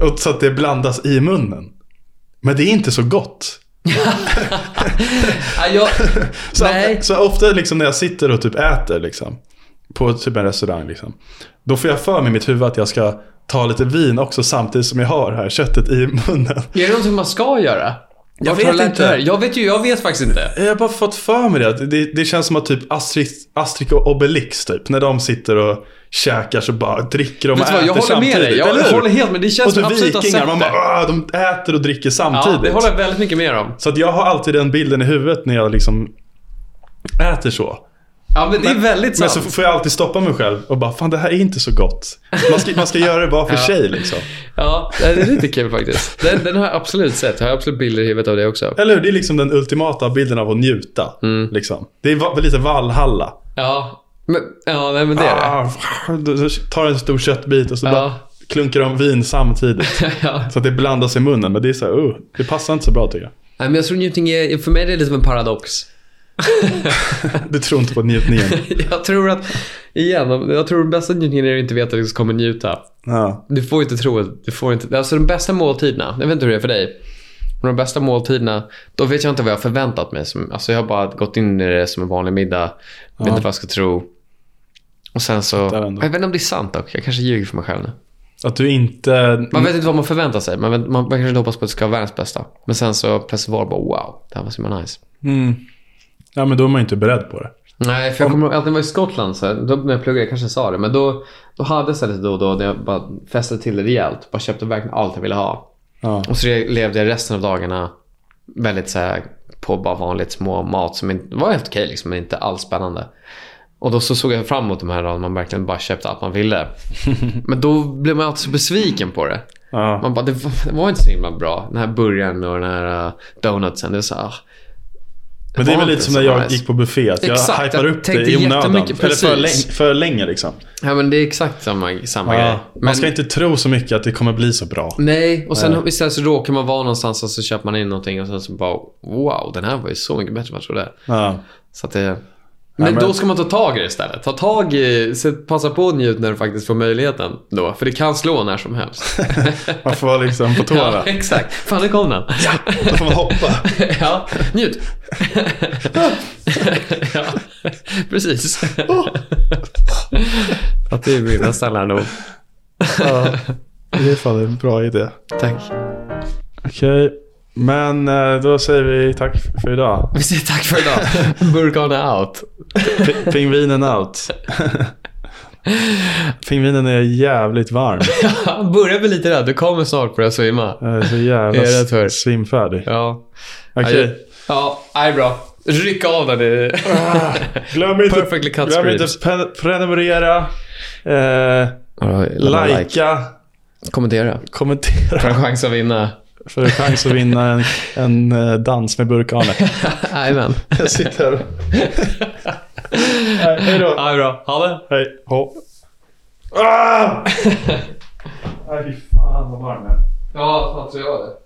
Speaker 2: Och Så att det blandas i munnen. Men det är inte så gott.
Speaker 1: Ah, jag...
Speaker 2: Så,
Speaker 1: Nej.
Speaker 2: så ofta liksom när jag sitter och typ äter liksom, på typ en restaurang. Liksom, då får jag för mig i mitt huvud att jag ska ta lite vin också samtidigt som jag har det här köttet i munnen.
Speaker 1: Är det något man ska göra? Jag
Speaker 2: vet inte.
Speaker 1: Jag vet ju, jag vet faktiskt inte.
Speaker 2: Jag har bara fått för mig det. att Det, det känns som att typ Astrid, Astrid och Obelix typ. När de sitter och käkar så bara dricker de och
Speaker 1: Vet du vad,
Speaker 2: äter
Speaker 1: jag håller
Speaker 2: samtidigt.
Speaker 1: med dig. Jag
Speaker 2: eller hur?
Speaker 1: håller helt med. Det
Speaker 2: och
Speaker 1: känns som
Speaker 2: så
Speaker 1: jag absolut har sett
Speaker 2: vikingar,
Speaker 1: det.
Speaker 2: man bara "Ah, de äter och dricker
Speaker 1: ja,
Speaker 2: samtidigt.
Speaker 1: det håller jag väldigt mycket med om.
Speaker 2: Så att jag har alltid den bilden i huvudet när jag liksom äter så.
Speaker 1: Ja, men det är väldigt
Speaker 2: Men
Speaker 1: sant.
Speaker 2: så får jag alltid stoppa mig själv och bara fan det här är inte så gott. Man ska, man ska göra det var för sig liksom.
Speaker 1: Ja, det är lite kul faktiskt. Den, den har jag absolut sett. Jag har absolut bilder i huvudet av det också.
Speaker 2: Eller hur? Det är liksom den ultimata bilden av att njuta.
Speaker 1: Mm.
Speaker 2: Liksom. Det är va- lite Valhalla.
Speaker 1: Ja, men, ja nej, men det är det.
Speaker 2: Ah, du tar en stor köttbit och så
Speaker 1: Ja.
Speaker 2: bara klunkar de vin samtidigt.
Speaker 1: Ja.
Speaker 2: Så att det blandas i munnen. Men det är så här, uh, det passar inte så bra tycker jag.
Speaker 1: Nej, men jag tror njutning är, för mig är det lite som en paradox.
Speaker 2: Du tror inte på njutningen.
Speaker 1: Jag tror att, igen, jag tror den bästa njutningen är att inte veta att du kommer njuta.
Speaker 2: Ja.
Speaker 1: Du får inte tro att, du får inte, alltså de bästa måltiderna, jag vet inte hur det är för dig. Men de bästa måltiderna, då vet jag inte vad jag har förväntat mig. Som, alltså jag har bara gått in i det som en vanlig middag. Vet inte vad jag ska tro. Och sen så,
Speaker 2: Fattar
Speaker 1: jag
Speaker 2: ändå.
Speaker 1: vet inte om det är sant dock. Jag kanske ljuger för mig själv nu.
Speaker 2: Att du inte...
Speaker 1: Man vet inte vad man förväntar sig. Man, vet, man, man kanske inte hoppas på att det ska vara världens bästa. Men sen så plötsligt var det bara wow, det här var så himla nice.
Speaker 2: Mm. Ja men då är man ju inte beredd på det.
Speaker 1: Nej, för jag kommer ihåg att när jag var i Skottland, så här, då, när jag pluggade, jag kanske sa det, men då, då hade jag så här lite då och då där jag bara festade till det rejält. Bara köpte verkligen allt jag ville ha.
Speaker 2: Ja.
Speaker 1: Och så levde jag resten av dagarna väldigt så här, på bara vanligt små mat som inte, var helt okej, liksom, men inte alls spännande. Och då så såg jag fram emot de här dagarna man verkligen bara köpte allt man ville. Men då blev man alltid så besviken på det.
Speaker 2: Ja.
Speaker 1: Man bara, det var, det var inte så himla bra. Den här burgaren och den här uh, donutsen. Det är så här, ah.
Speaker 2: Men det är
Speaker 1: var
Speaker 2: väl lite
Speaker 1: inte
Speaker 2: som
Speaker 1: så
Speaker 2: när jag
Speaker 1: nice.
Speaker 2: gick på buffé. Att jag
Speaker 1: Exakt,
Speaker 2: hypar
Speaker 1: jag
Speaker 2: upp det
Speaker 1: tänkte
Speaker 2: i onödan.
Speaker 1: jättemycket,
Speaker 2: Eller för länge,
Speaker 1: precis.
Speaker 2: för länge liksom.
Speaker 1: Ja, men det är exakt samma, samma
Speaker 2: Ja.
Speaker 1: grej. Men,
Speaker 2: Man ska inte tro så mycket att det kommer bli så bra.
Speaker 1: Nej, och sen istället så råkar man vara någonstans och så köper man in någonting och sen så bara wow, den här var ju så mycket bättre än vad jag trodde.
Speaker 2: Ja.
Speaker 1: Så att det... Men,
Speaker 2: men-
Speaker 1: då ska man ta tag i det istället. Ta tag i, se- passa på att njuta när du faktiskt får möjligheten då. För det kan slå när som helst.
Speaker 2: Man får vara liksom på
Speaker 1: ja,
Speaker 2: tårna.
Speaker 1: exakt. Fan, nu kom den.
Speaker 2: Då får man hoppa.
Speaker 1: ja, njut. ja, precis. att det är min nästan lärdom.
Speaker 2: Ja. Det är fan en bra idé.
Speaker 1: Tack.
Speaker 2: Okej, men eh, då säger vi tack f- för idag.
Speaker 1: Vi säger tack för idag. Burgarna out.
Speaker 2: P- Pingvinen out. Pingvinen är jävligt varm.
Speaker 1: Han börjar bli lite rädd. Du kommer snart börja svimma.
Speaker 2: Jag är så
Speaker 1: Är det
Speaker 2: jävla
Speaker 1: för?
Speaker 2: svimfärdig.
Speaker 1: Ja.
Speaker 2: Okej,
Speaker 1: Adjö. Ja, nej bra. Ryck av den. i-
Speaker 2: glöm inte,
Speaker 1: Perfectly cut
Speaker 2: glöm inte
Speaker 1: screams.
Speaker 2: pre- prenumerera, eh,
Speaker 1: Lämna like.
Speaker 2: likea,
Speaker 1: Kommentera. För
Speaker 2: kommentera.
Speaker 1: en chans att vinna.
Speaker 2: För en chans att vinna en, en eh, dans med burkane.
Speaker 1: Jajamän.
Speaker 2: Jag sitter här och... Nej, Hej då.
Speaker 1: Ja, bra. Ha det.
Speaker 2: Hej. Hå. Ah! Nej, fy fan vad varm jag är.
Speaker 1: Ja, fan tror jag det.